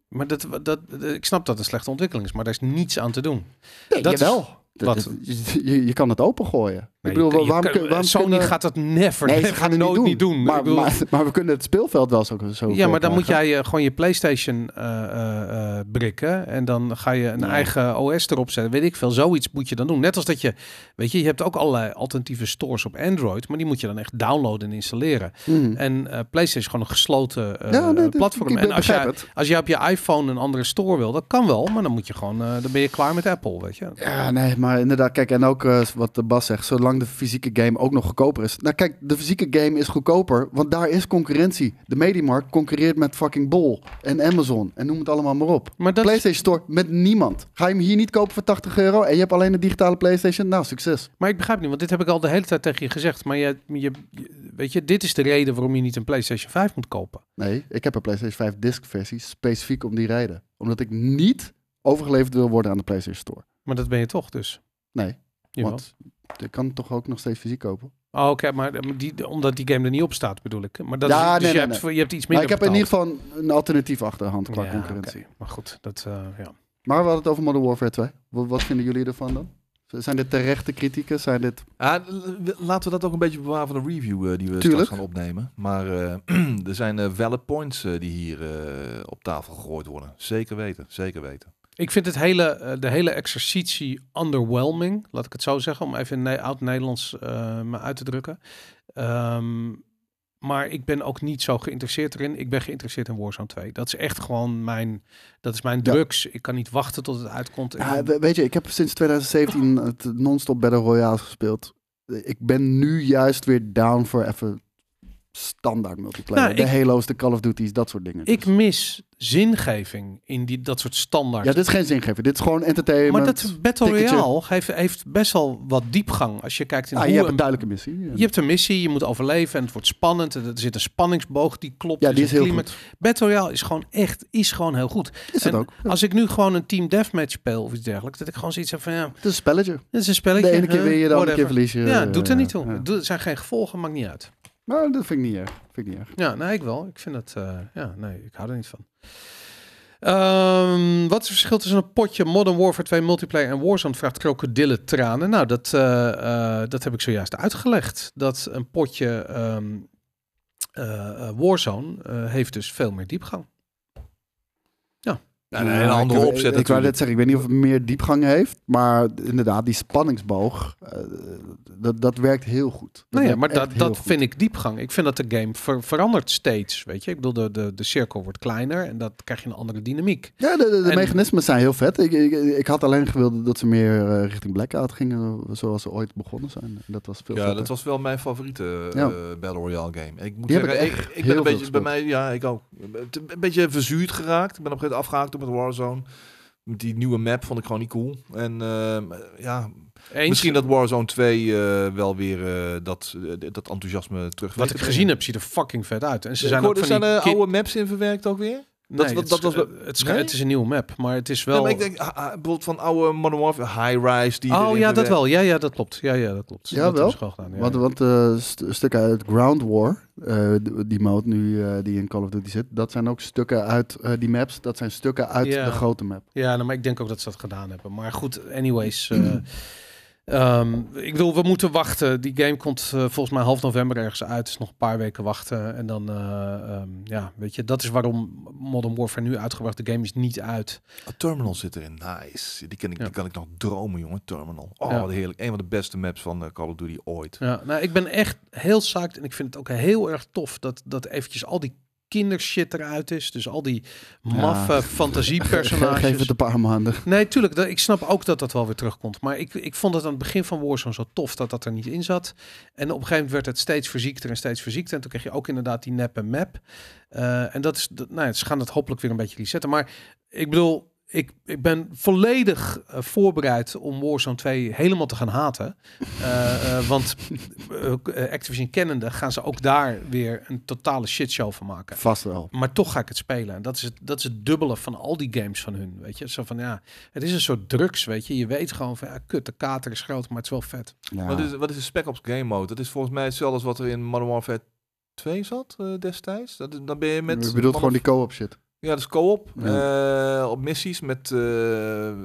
Speaker 1: Maar dat, dat, dat- ik snap dat het een slechte ontwikkeling is, maar daar is niets aan te doen.
Speaker 3: Nee,
Speaker 1: Dat is-
Speaker 3: jawel. D-
Speaker 1: wat?
Speaker 3: d- Je, je kan het opengooien.
Speaker 1: Nee,
Speaker 3: ik bedoel,
Speaker 1: je- je
Speaker 3: waarom,
Speaker 1: kan-
Speaker 3: kun- waarom
Speaker 1: Sony
Speaker 3: kunnen-
Speaker 1: gaat dat never,
Speaker 3: Nee, ze
Speaker 1: never,
Speaker 3: gaan het
Speaker 1: nooit niet doen.
Speaker 3: Maar,
Speaker 1: Ik bedoel-
Speaker 3: maar, maar we kunnen het speelveld wel zo, zo
Speaker 1: ja, maar dan
Speaker 3: verkrijgen.
Speaker 1: moet jij eh, gewoon je PlayStation eh, eh, eh, brikken en dan ga je een
Speaker 3: Nee.
Speaker 1: eigen OS erop zetten. Weet ik veel, zoiets moet je dan doen. Net als dat je, weet je, je hebt ook allerlei alternatieve stores op Android, maar die moet je dan echt downloaden en installeren.
Speaker 3: Mhm.
Speaker 1: En eh, PlayStation is gewoon een gesloten eh,
Speaker 3: Ja, nee, dat-
Speaker 1: platform.
Speaker 3: ik
Speaker 1: En als
Speaker 3: begrijp
Speaker 1: jij,
Speaker 3: het.
Speaker 1: als jij op je iPhone een andere store wil, dat kan wel, maar dan moet je gewoon, eh, dan ben je klaar met Apple, weet je.
Speaker 3: Ja, nee, maar inderdaad, kijk, en ook eh, wat de Bas zegt, zolang de fysieke game ook nog goedkoper is. Nou kijk, de fysieke game is goedkoper, want daar is concurrentie. De Mediamarkt concurreert met fucking Bol en Amazon en noem het allemaal maar op.
Speaker 1: Maar dat is-
Speaker 3: PlayStation Store met niemand. Ga je hem hier niet kopen voor 80 euro en je hebt alleen een digitale PlayStation? Nou, succes.
Speaker 1: Maar ik begrijp niet, want dit heb ik al de hele tijd tegen je gezegd. Maar je, je, je- weet je, dit is de reden waarom je niet een PlayStation 5 moet kopen.
Speaker 3: Nee, ik heb een PlayStation 5 disc versie specifiek om die reden. Omdat ik niet overgeleverd wil worden aan de PlayStation Store.
Speaker 1: Maar dat ben je toch dus.
Speaker 3: Nee,
Speaker 1: Jawel.
Speaker 3: want ik kan het toch ook nog steeds fysiek kopen?
Speaker 1: Oh, Oké, maar eh, die, omdat die game er niet op staat, bedoel ik. Maar dat
Speaker 3: Ja,
Speaker 1: is, dus
Speaker 3: nee,
Speaker 1: je,
Speaker 3: nee,
Speaker 1: hebt, je hebt iets
Speaker 3: Maar
Speaker 1: minder
Speaker 3: ik heb in ieder
Speaker 1: betaald.
Speaker 3: geval een alternatief achterhand qua
Speaker 1: Ja,
Speaker 3: concurrentie.
Speaker 1: oké. Maar goed, dat, eh, ja.
Speaker 3: Maar we hadden het over Modern Warfare 2. Wat, wat vinden jullie ervan dan? Z- Zijn dit terechte kritieken? Zijn dit...
Speaker 2: Ja, Ah, l- laten we dat ook een beetje bewaren voor de review eh, die we
Speaker 3: Tuurlijk.
Speaker 2: straks gaan opnemen. Maar eh, er zijn eh valid points eh, die hier eh, op tafel gegooid worden. Zeker weten, zeker weten.
Speaker 1: Ik vind het hele, eh, de hele exercitie underwhelming, laat ik het zo zeggen, om even in ne- oud-Nederlands eh, me uit te drukken. Ehm, maar ik ben ook niet zo geïnteresseerd erin. Ik ben geïnteresseerd in Warzone 2. Dat is echt gewoon mijn, dat is mijn
Speaker 3: Ja.
Speaker 1: drugs. Ik kan niet wachten tot het uitkomt. Ik
Speaker 3: Ja,
Speaker 1: ben-
Speaker 3: we- weet je, ik heb sinds 2017 het non-stop Battle Royale gespeeld. Ik ben nu juist weer down voor even standaard multiplayer.
Speaker 1: Nou,
Speaker 3: de
Speaker 1: ik-
Speaker 3: Halo's, de Call of Duty's, dat soort dingen. Dus-
Speaker 1: ik mis zingeving in die, dat soort standaard.
Speaker 3: Ja, dit is geen zingever. Dit is gewoon entertainment. Ah,
Speaker 1: maar dat Battle
Speaker 3: ticketje.
Speaker 1: Royale heeft, heeft best wel wat diepgang als je kijkt in
Speaker 3: Ah,
Speaker 1: hoe
Speaker 3: je hebt
Speaker 1: een
Speaker 3: een duidelijke missie. Ja,
Speaker 1: Je hebt een missie, je moet overleven en het wordt spannend. En Er zit een spanningsboog die klopt.
Speaker 3: Ja,
Speaker 1: er
Speaker 3: die
Speaker 1: zit
Speaker 3: is heel
Speaker 1: climax. Battle Royale is gewoon echt, is gewoon heel goed.
Speaker 3: Is het
Speaker 1: En
Speaker 3: ook. Ja.
Speaker 1: Als ik nu gewoon een team deathmatch speel of iets dergelijks, dat ik gewoon zoiets heb van ja,
Speaker 3: Het is een spelletje.
Speaker 1: dit is een spelletje.
Speaker 3: De ene keer
Speaker 1: huh,
Speaker 3: win je, de andere keer
Speaker 1: whatever.
Speaker 3: verlies je.
Speaker 1: Ja, het doet er niet toe.
Speaker 3: Ja.
Speaker 1: Het doet- Het zijn geen gevolgen, maakt niet uit.
Speaker 3: Maar dat vind ik niet erg. Vind ik niet erg.
Speaker 1: Ja, nee, ik wel. Ik vind het, eh, ja, nee, ik hou er niet van. Ehm, wat is het verschil tussen een potje Modern Warfare 2 multiplayer en Warzone? Vraagt krokodillen tranen. Nou, dat, eh, eh, dat heb ik zojuist uitgelegd. Dat een potje ehm, eh, eh, Warzone eh, heeft dus veel meer diepgang.
Speaker 2: Ja, een hele andere
Speaker 3: ik,
Speaker 2: opzet
Speaker 3: Ik, ik wou
Speaker 2: natuurlijk.
Speaker 3: net zeggen, ik weet niet of het meer diepgang heeft, maar inderdaad, die spanningsboog, eh, dat, dat werkt heel goed. Dat
Speaker 1: Nou ja,
Speaker 3: werkt
Speaker 1: maar
Speaker 3: echt
Speaker 1: dat,
Speaker 3: heel
Speaker 1: dat
Speaker 3: goed.
Speaker 1: vind ik diepgang. Ik vind dat de game ver- verandert steeds. Weet je, ik bedoel, de, de, de cirkel wordt kleiner en dat krijg je een andere dynamiek.
Speaker 3: Ja, de, de- de
Speaker 1: en-
Speaker 3: mechanismen zijn heel vet. Ik, ik, ik had alleen gewild dat ze meer eh, richting Blackout gingen, zoals ze ooit begonnen zijn. Dat was veel
Speaker 2: Ja,
Speaker 3: vetter.
Speaker 2: dat was wel mijn favoriete eh
Speaker 3: Ja.
Speaker 2: Battle Royale game. Ik moet
Speaker 3: Die heb
Speaker 2: zeggen,
Speaker 3: ik
Speaker 2: ik, ik
Speaker 3: heel
Speaker 2: ben een
Speaker 3: veel
Speaker 2: beetje bij mij, ja, ik ook. Het- Een beetje verzuurd geraakt. Ik ben op een gegeven moment afgehaakt door met Warzone. Met die nieuwe map vond ik gewoon niet cool. En ehm, ja,
Speaker 1: Eens,
Speaker 2: misschien dat Warzone 2 eh, wel weer eh, dat, eh, dat enthousiasme terug weet
Speaker 1: wat ik
Speaker 2: te brengen.
Speaker 1: gezien heb, ziet er fucking vet uit. En ze
Speaker 2: Ik
Speaker 1: zijn
Speaker 2: hoorde,
Speaker 1: ook van
Speaker 2: er zijn
Speaker 1: die
Speaker 2: eh,
Speaker 1: kid-
Speaker 2: oude maps in verwerkt ook weer.
Speaker 1: Nee,
Speaker 2: dat-
Speaker 1: het
Speaker 2: dat
Speaker 1: is-
Speaker 2: was-
Speaker 1: eh, het, is,
Speaker 2: Nee?
Speaker 1: het is een nieuwe map, maar het is wel...
Speaker 2: Ja, maar ik denk ah, ah, bijvoorbeeld van oude Modern Warfare, High Rise. Die
Speaker 1: oh
Speaker 2: erin
Speaker 1: ja, dat
Speaker 2: verwerkt.
Speaker 1: wel. Ja, ja, dat klopt. Ja, ja, dat klopt.
Speaker 3: Ja,
Speaker 1: dat
Speaker 3: wel.
Speaker 1: hebben ze gewoon gedaan, ja,
Speaker 3: Want,
Speaker 1: ja.
Speaker 3: want eh, st- stukken uit Ground War, eh, d- die mode nu eh, die in Call of Duty zit, dat zijn ook stukken uit eh, die maps. Dat zijn stukken uit
Speaker 1: Ja.
Speaker 3: de grote map.
Speaker 1: Ja, nou, maar ik denk ook dat ze dat gedaan hebben. Maar goed, anyways. eh, ehm, ik bedoel, we moeten wachten. Die game komt eh, volgens mij half november ergens uit. Dus nog een paar weken wachten. En dan, eh, ehm, ja, weet je, dat is waarom Modern Warfare nu uitgebracht. De game is niet uit.
Speaker 2: Ah, Terminal zit erin. Nice. Die, ken ik,
Speaker 1: Ja.
Speaker 2: die kan ik nog dromen, jongen. Terminal. Oh,
Speaker 1: Ja.
Speaker 2: wat heerlijk. Een van de beste maps van eh, Call of Duty ooit.
Speaker 1: Ja, nou, ik ben echt heel psyched. En ik vind het ook heel erg tof dat, dat eventjes al die kindershit eruit is. Dus al die maffe fantasiepersonages.
Speaker 3: Geef het een paar maanden.
Speaker 1: Nee, tuurlijk. dat- Ik snap ook dat dat wel weer terugkomt. Maar ik, ik vond het aan het begin van Warzone zo tof dat dat er niet in zat. En op een gegeven moment werd het steeds verziekter en steeds verziekter. En toen kreeg je ook inderdaad die neppe map. Eh, en dat is, dat, nou ja, ze gaan het hopelijk weer een beetje resetten. Maar ik bedoel, ik, ik ben volledig eh, voorbereid om Warzone 2 helemaal te gaan haten. Eh, eh, want eh, Activision kennende gaan ze ook daar weer een totale shitshow van maken.
Speaker 3: Vast wel.
Speaker 1: Maar toch ga ik het spelen. En dat is het, dat is het dubbele van al die games van hun. Weet je, zo van ja, het is een soort drugs. Weet je, je weet gewoon van ja, kut, de kater is groot, maar het is wel vet.
Speaker 3: Ja.
Speaker 2: Wat, is, wat is de Spec Ops Game Mode? Dat is volgens mij hetzelfde als wat er in Modern Warfare 2 zat eh, destijds. Dat, dan ben je met...
Speaker 3: Je bedoelt
Speaker 2: Modern-
Speaker 3: gewoon die co-op shit.
Speaker 2: Ja, dat is co-op. eh, op missies met eh, eh,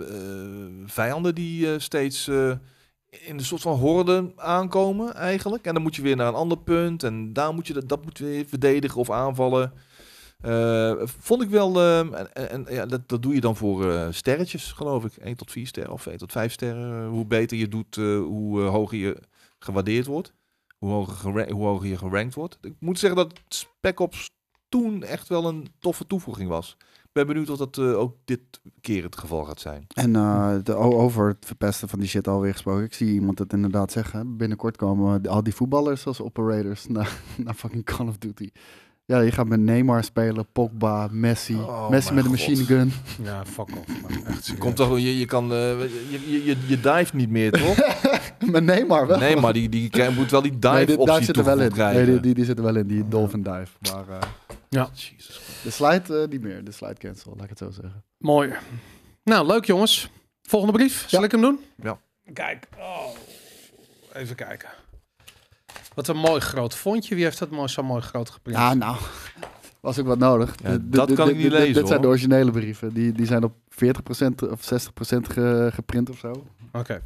Speaker 2: vijanden die eh, steeds eh, in een soort van horde aankomen eigenlijk. En dan moet je weer naar een ander punt. En daar moet je dat, dat moet je weer verdedigen of aanvallen. Eh, vond ik wel... eh, en en- en ja, dat, dat doe je dan voor eh, sterretjes, geloof ik. 1 tot 4 sterren of 1 tot 5 sterren. Hoe beter je doet, eh, hoe eh, hoger je gewaardeerd wordt. Hoe hoger, gera- hoe hoger je gerankt wordt. Ik moet zeggen dat Spec Ops toen echt wel een toffe toevoeging was. Ik ben benieuwd of dat eh, ook dit keer het geval gaat zijn.
Speaker 3: En eh, de, o- over het verpesten van die shit alweer gesproken. Ik zie iemand het inderdaad zeggen. Binnenkort komen al die voetballers als operators naar, naar fucking Call of Duty. Ja, je gaat met Neymar spelen, Pogba, Messi.
Speaker 2: Oh,
Speaker 3: Messi met
Speaker 2: mijn
Speaker 3: een
Speaker 2: God.
Speaker 3: machine gun.
Speaker 1: Ja, fuck off. man. Echt serieus.
Speaker 2: Komt toch, je, je kan, eh, je, je, je, je dive niet meer, toch?
Speaker 3: met Neymar wel.
Speaker 2: Nee, maar die, die krijgt- moet wel die dive
Speaker 3: Nee, dit-
Speaker 2: optie Oh,
Speaker 3: zit er wel in.
Speaker 2: krijgen. Ah,
Speaker 3: Nee, die, die, die zit er wel in, die Dolphin Dive. Maar eh,
Speaker 2: Jezus.
Speaker 3: de slide eh, niet meer, de slide cancel, laat ik het zo zeggen.
Speaker 1: Mooi. Nou, leuk jongens. Volgende brief. Zal
Speaker 3: Ja.
Speaker 1: ik hem doen?
Speaker 2: Ja.
Speaker 1: Kijk. Oh. Even kijken. Wat een mooi groot fondje. Wie heeft dat mooi, zo mooi groot geprint?
Speaker 3: Ja, nou, was ook wat nodig.
Speaker 2: Ja,
Speaker 3: Dit- dit-
Speaker 2: dat
Speaker 3: dit-
Speaker 2: kan ik
Speaker 3: dit-
Speaker 2: niet
Speaker 3: dit-
Speaker 2: lezen,
Speaker 3: Dit zijn de
Speaker 2: hoor.
Speaker 3: originele brieven. Die, die zijn op 40% of 60% ge- geprint of zo.
Speaker 1: Oké.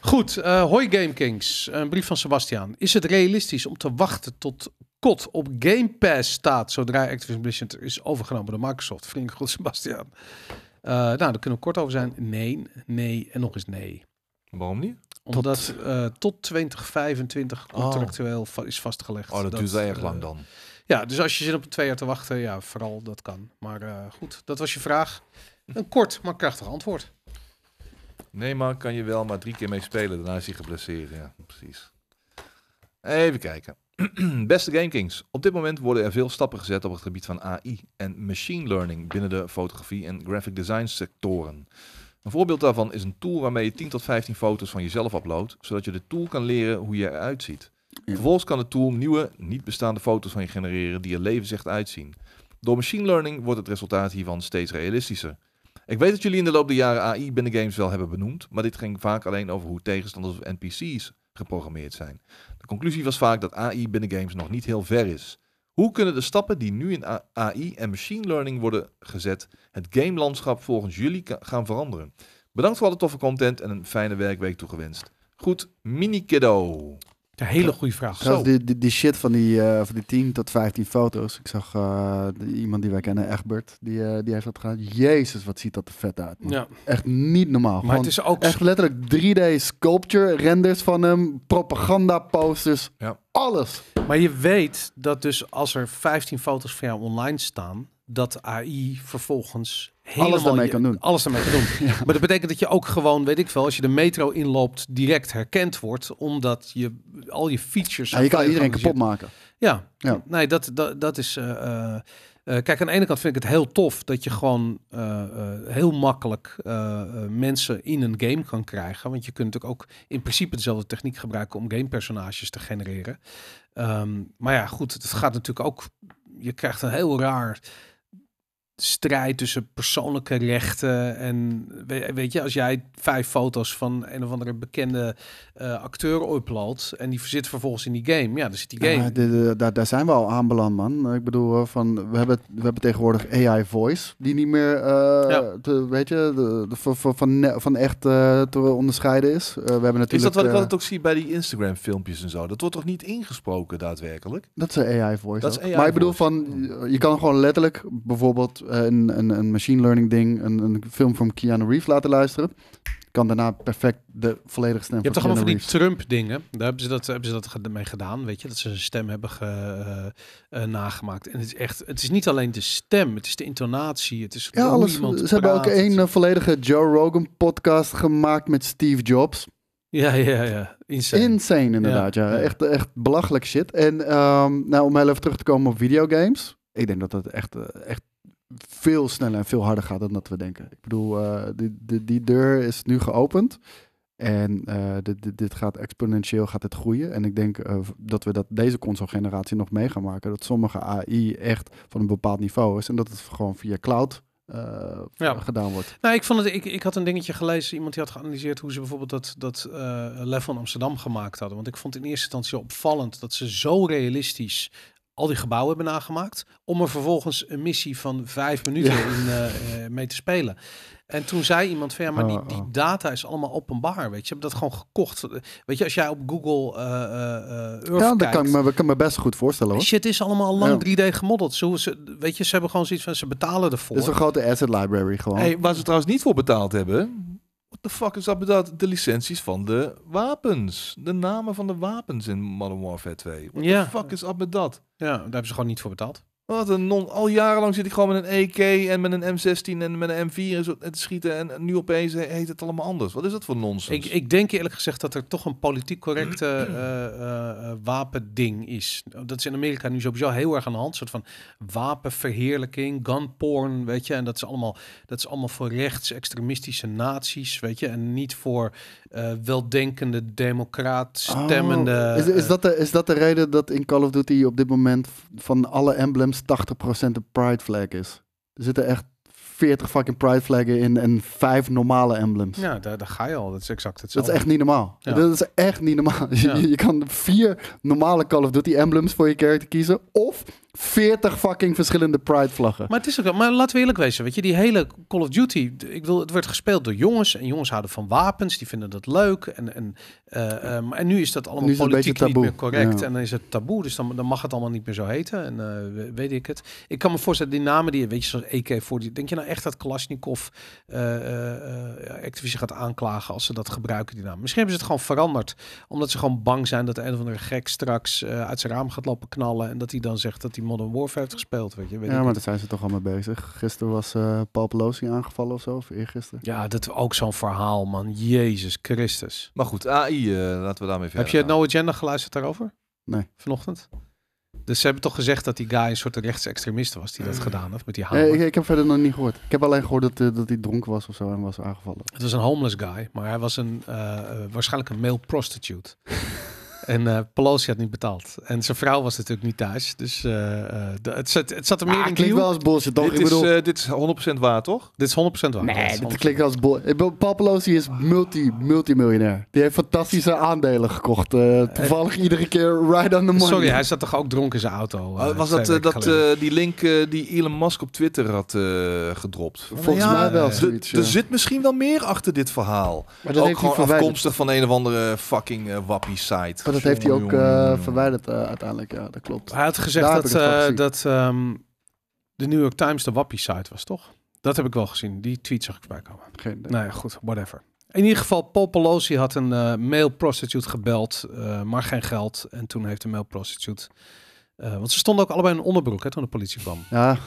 Speaker 1: Goed. eh hoi GameKings. Een brief van Sebastiaan. Is het realistisch om te wachten tot COD op Game Pass staat zodra Activision Blizzard is overgenomen door Microsoft? Vriendelijk goed, Sebastiaan. Eh, nou, daar kunnen we kort over zijn. Nee, nee en nog eens nee.
Speaker 2: Waarom niet?
Speaker 1: Omdat tot, tot 2025 contractueel va- is vastgelegd.
Speaker 2: Oh, dat, duurt wel erg
Speaker 1: eh,
Speaker 2: lang dan.
Speaker 1: ja, dus als je zin op twee jaar te wachten, ja, vooral dat kan. Maar eh, goed, dat was je vraag. Een kort, maar krachtig antwoord.
Speaker 2: Nee, maar kan je wel maar drie keer mee spelen. Daarna is hij geblesseerd. Ja, precies. Even kijken. Beste GameKings, op dit moment worden er veel stappen gezet op het gebied van AI en machine learning binnen de fotografie en graphic design sectoren. Een voorbeeld daarvan is een tool waarmee je 10 tot 15 foto's van jezelf uploadt, zodat je de tool kan leren hoe je eruit ziet.
Speaker 3: Ja.
Speaker 2: Vervolgens kan de tool nieuwe, niet bestaande foto's van je genereren die er levensecht uitzien. Door machine learning wordt het resultaat hiervan steeds realistischer. Ik weet dat jullie in de loop der jaren AI binnen games wel hebben benoemd, maar dit ging vaak alleen over hoe tegenstanders of NPC's geprogrammeerd zijn. De conclusie was vaak dat AI binnen games nog niet heel ver is. Hoe kunnen de stappen die nu in A- AI en machine learning worden gezet, het gamelandschap volgens jullie ka- gaan veranderen? Bedankt voor alle toffe content en een fijne werkweek toegewenst. Goed, mini-kiddo.
Speaker 1: Een hele goede vraag.
Speaker 3: Trouwens,
Speaker 1: Zo.
Speaker 3: die, die, die shit van die, eh, van die 10 tot 15 foto's. Ik zag eh, de- iemand die wij kennen, Egbert, die, eh, die heeft dat gedaan. Jezus, wat ziet dat er vet uit. man.
Speaker 1: Ja,
Speaker 3: Echt niet normaal.
Speaker 1: maar
Speaker 3: Oh, Gewoon
Speaker 1: het is ook
Speaker 3: Echt letterlijk 3D sculpture, renders van hem, propaganda posters,
Speaker 2: Ja.
Speaker 3: alles.
Speaker 1: Maar je weet dat dus als er 15 foto's van jou online staan, dat AI vervolgens helemaal
Speaker 3: daarmee
Speaker 1: je-
Speaker 3: kan doen.
Speaker 1: Alles daarmee kan doen. Maar dat betekent dat je ook gewoon, weet ik veel, als je de metro inloopt, direct herkend wordt, omdat je al je features.
Speaker 3: Ja, Nou, je kan
Speaker 1: van
Speaker 3: iedereen
Speaker 1: geanalyseerd
Speaker 3: kapot maken.
Speaker 1: ja,
Speaker 3: Ja.
Speaker 1: nee, dat, dat, dat is. eh, eh, eh, kijk, aan de ene kant vind ik het heel tof dat je gewoon eh, eh, heel makkelijk eh, eh, mensen in een game kan krijgen. Want je kunt natuurlijk ook in principe dezelfde techniek gebruiken om gamepersonages te genereren. Ehm, maar ja, goed, het gaat natuurlijk ook. Je krijgt een heel raar strijd tussen persoonlijke rechten en we- weet je, als jij vijf foto's van een of andere bekende eh, acteur uploadt en die zit vervolgens in die game, ja, dan zit die game.
Speaker 3: Ja, de- de- daar, daar zijn we al aan beland, man. Ik bedoel, eh, van, we, hebben, we hebben tegenwoordig AI voice, die niet meer, eh,
Speaker 1: Ja.
Speaker 3: te- weet je, de, de- van- van, van, ne- van echt eh, te onderscheiden is. Eh, we hebben natuurlijk,
Speaker 2: Is dat wat ik
Speaker 3: eh,
Speaker 2: altijd ook zie bij die Instagram filmpjes en zo? Dat wordt toch niet ingesproken daadwerkelijk?
Speaker 3: Dat is een AI voice.
Speaker 2: Dat is
Speaker 3: ook.
Speaker 2: AI
Speaker 3: maar ik bedoel
Speaker 2: voice.
Speaker 3: van, je kan gewoon letterlijk bijvoorbeeld eh, een, een, een machine learning ding, een, een film van Keanu Reeves laten luisteren. Kan daarna perfect de volledige stem
Speaker 1: Je hebt toch
Speaker 3: van
Speaker 1: allemaal van
Speaker 3: Keanu
Speaker 1: die
Speaker 3: Reeves.
Speaker 1: Trump-dingen. Daar hebben ze dat, hebben ze dat ged- mee gedaan, weet je. Dat ze zijn stem hebben ge, eh, eh, nagemaakt. En het is echt, het is niet alleen de stem, het is de intonatie, het is
Speaker 3: Ja,
Speaker 1: hoe
Speaker 3: alles. Ze
Speaker 1: iemand
Speaker 3: hebben ook
Speaker 1: praat.
Speaker 3: een eh, volledige Joe Rogan podcast gemaakt met Steve Jobs.
Speaker 1: Ja, ja, ja. Insane.
Speaker 3: Insane inderdaad, ja.
Speaker 1: Ja.
Speaker 3: Echt, echt belachelijk shit. En ehm, nou, om heel even terug te komen op videogames. Ik denk dat dat echt, eh, echt veel sneller en veel harder gaat dan dat we denken. Ik bedoel, eh, die, die, die deur is nu geopend. En eh, dit, dit, dit gaat exponentieel gaat het groeien. En ik denk eh, dat we dat deze console-generatie nog mee gaan maken. Dat sommige AI echt van een bepaald niveau is. En dat het gewoon via cloud eh,
Speaker 1: Ja.
Speaker 3: gedaan wordt.
Speaker 1: Nou, ik, vond het, ik, ik had een dingetje gelezen. Iemand die had geanalyseerd hoe ze bijvoorbeeld dat, dat eh level in Amsterdam gemaakt hadden. Want ik vond het in eerste instantie zo opvallend dat ze zo realistisch al die gebouwen hebben nagemaakt. Om er vervolgens een missie van vijf minuten
Speaker 3: Ja.
Speaker 1: in, eh, eh, mee te spelen. En toen zei iemand van ja, maar die,
Speaker 3: Oh,
Speaker 1: die
Speaker 3: oh.
Speaker 1: data is allemaal openbaar. Weet je, ze hebben dat gewoon gekocht. Weet je, als jij op Google eh eh, eh, Earth
Speaker 3: Ja, dat
Speaker 1: kijkt,
Speaker 3: kan ik me, kan me best goed voorstellen hoor.
Speaker 1: Shit is allemaal al lang 3D gemodeld. Zo, ze, weet je, ze hebben gewoon zoiets van ze betalen ervoor.
Speaker 3: Het is een grote asset library gewoon.
Speaker 2: Hey, waar ze trouwens niet voor betaald hebben. What the fuck is dat bedacht? De licenties van de wapens. De namen van de wapens in Modern Warfare 2. What
Speaker 1: Ja.
Speaker 2: the fuck is dat met dat?
Speaker 1: Ja, daar hebben ze gewoon niet voor betaald.
Speaker 2: Wat een non. Al jarenlang zit ik gewoon met een EK en met een M16 en met een M4 en zo te schieten. En nu opeens heet het allemaal anders. Wat is dat voor nonsens?
Speaker 1: Ik, ik denk eerlijk gezegd dat er toch een politiek correcte eh, eh, eh, wapending is. Dat is in Amerika nu sowieso heel erg aan de hand. Een soort van wapenverheerlijking, gunporn, weet je. En dat is allemaal, dat is allemaal voor rechts-extremistische naties, weet je. En niet voor eh, weldenkende, democraat stemmende...
Speaker 3: Oh, is, is,
Speaker 1: eh,
Speaker 3: dat de, is dat de reden dat in Call of Duty op dit moment v- van alle emblems 80% een pride flag is? Er zitten echt 40 fucking pride flaggen in en 5 normale emblems.
Speaker 1: ja, daar, daar ga je al. Dat is exact
Speaker 3: Dat
Speaker 1: hetzelfde.
Speaker 3: is echt niet normaal.
Speaker 1: Ja.
Speaker 3: Dat is echt niet normaal. Je-
Speaker 1: Ja.
Speaker 3: Je, je kan vier normale Call of Duty emblems voor je character kiezen. Of 40 fucking verschillende pride vlaggen.
Speaker 1: Maar het is ook wel- maar laten we eerlijk wezen, weet je, die hele Call of Duty, d- ik wil, het werd gespeeld door jongens en jongens houden van wapens, die vinden dat leuk en en eh, eh, maar- en nu is dat allemaal
Speaker 3: Nu is het een
Speaker 1: politiek
Speaker 3: beetje
Speaker 1: niet
Speaker 3: taboe,
Speaker 1: meer correct
Speaker 3: ja.
Speaker 1: en dan is het taboe, dus dan, dan mag het allemaal niet meer zo heten en eh, we- weet ik het. Ik kan me voorstellen die namen die weet je zoals AK-40, denk je nou echt dat Kalashnikov eh, eh, eh, Activision gaat aanklagen als ze dat gebruiken die naam? Misschien hebben ze het gewoon veranderd omdat ze gewoon bang zijn dat een of andere gek straks eh, uit zijn raam gaat lopen knallen en dat hij dan zegt dat hij Modern Warfare heeft gespeeld, weet je? Weet ik
Speaker 3: Ja,
Speaker 1: het.
Speaker 3: maar daar zijn ze toch al mee bezig. Gisteren was eh Paul Pelosi aangevallen of zo, of eergisteren.
Speaker 1: Ja, dat ook zo'n verhaal, man. Jezus Christus.
Speaker 2: Maar goed, AI, eh, laten we daarmee verder
Speaker 1: Heb je het nou
Speaker 2: gaan.
Speaker 1: No Agenda geluisterd daarover?
Speaker 3: Nee.
Speaker 1: Vanochtend? Dus ze hebben toch gezegd dat die guy een soort rechtsextremist was die dat gedaan heeft met die hamer.
Speaker 3: Nee, Eh. ik, ik heb verder nog niet gehoord. Ik heb alleen gehoord dat, eh, dat hij dronken was of zo en was aangevallen.
Speaker 1: Het was een homeless guy, maar hij was een, eh, eh, waarschijnlijk een male prostitute. en eh Pelosi had niet betaald. En zijn vrouw was natuurlijk niet thuis. Dus eh, eh, de- het, zat, het zat er meer
Speaker 3: Ah,
Speaker 1: in
Speaker 3: klinkt
Speaker 1: Q.
Speaker 3: wel als bullshit, toch?
Speaker 2: Dit,
Speaker 3: ik bedoel,
Speaker 2: is, eh, dit is 100% waar, toch?
Speaker 1: Dit is 100% waar.
Speaker 3: Nee,
Speaker 1: is
Speaker 3: dit
Speaker 1: 100%
Speaker 3: klinkt als bol. Ik bedoel, Paul Pelosi is multi, multimiljonair. Die heeft fantastische aandelen gekocht. eh, toevallig iedere keer right on the money.
Speaker 1: Sorry, hij zat toch ook dronken in zijn
Speaker 3: Oh,
Speaker 1: auto? eh,
Speaker 2: Uh, was
Speaker 1: twee
Speaker 2: dat, eh,
Speaker 1: weken
Speaker 2: dat
Speaker 1: geleden?
Speaker 2: eh, die link eh, die Elon Musk op Twitter had eh, gedropt?
Speaker 3: Volgens
Speaker 1: Ja,
Speaker 3: mij wel
Speaker 1: eh,
Speaker 2: Er-
Speaker 3: zoiets. ja.
Speaker 2: Er zit misschien wel meer achter dit verhaal.
Speaker 3: Maar
Speaker 2: ook
Speaker 3: dat heeft hij
Speaker 2: gewoon
Speaker 3: verwijderd.
Speaker 2: afkomstig van een of andere fucking eh, wappie site.
Speaker 3: Maar dat heeft hij ook
Speaker 2: Jongen, jongen,
Speaker 3: eh,
Speaker 2: jongen.
Speaker 3: verwijderd eh, uiteindelijk. Ja, dat klopt.
Speaker 1: Hij had gezegd
Speaker 3: Daar heb
Speaker 1: dat,
Speaker 3: ik het van
Speaker 1: eh,
Speaker 3: gezien.
Speaker 1: dat ehm, de New York Times de wappie-site was, toch? Dat heb ik wel gezien. Die tweet zag ik voorbij komen.
Speaker 3: Geen idee.
Speaker 1: Nou ja, goed, whatever. In ieder geval, Paul Pelosi had een eh male prostitute gebeld, eh, maar geen geld. En toen heeft de male prostitute... eh, want ze stonden ook allebei in een onderbroek hè, toen de politie kwam.
Speaker 3: Ja,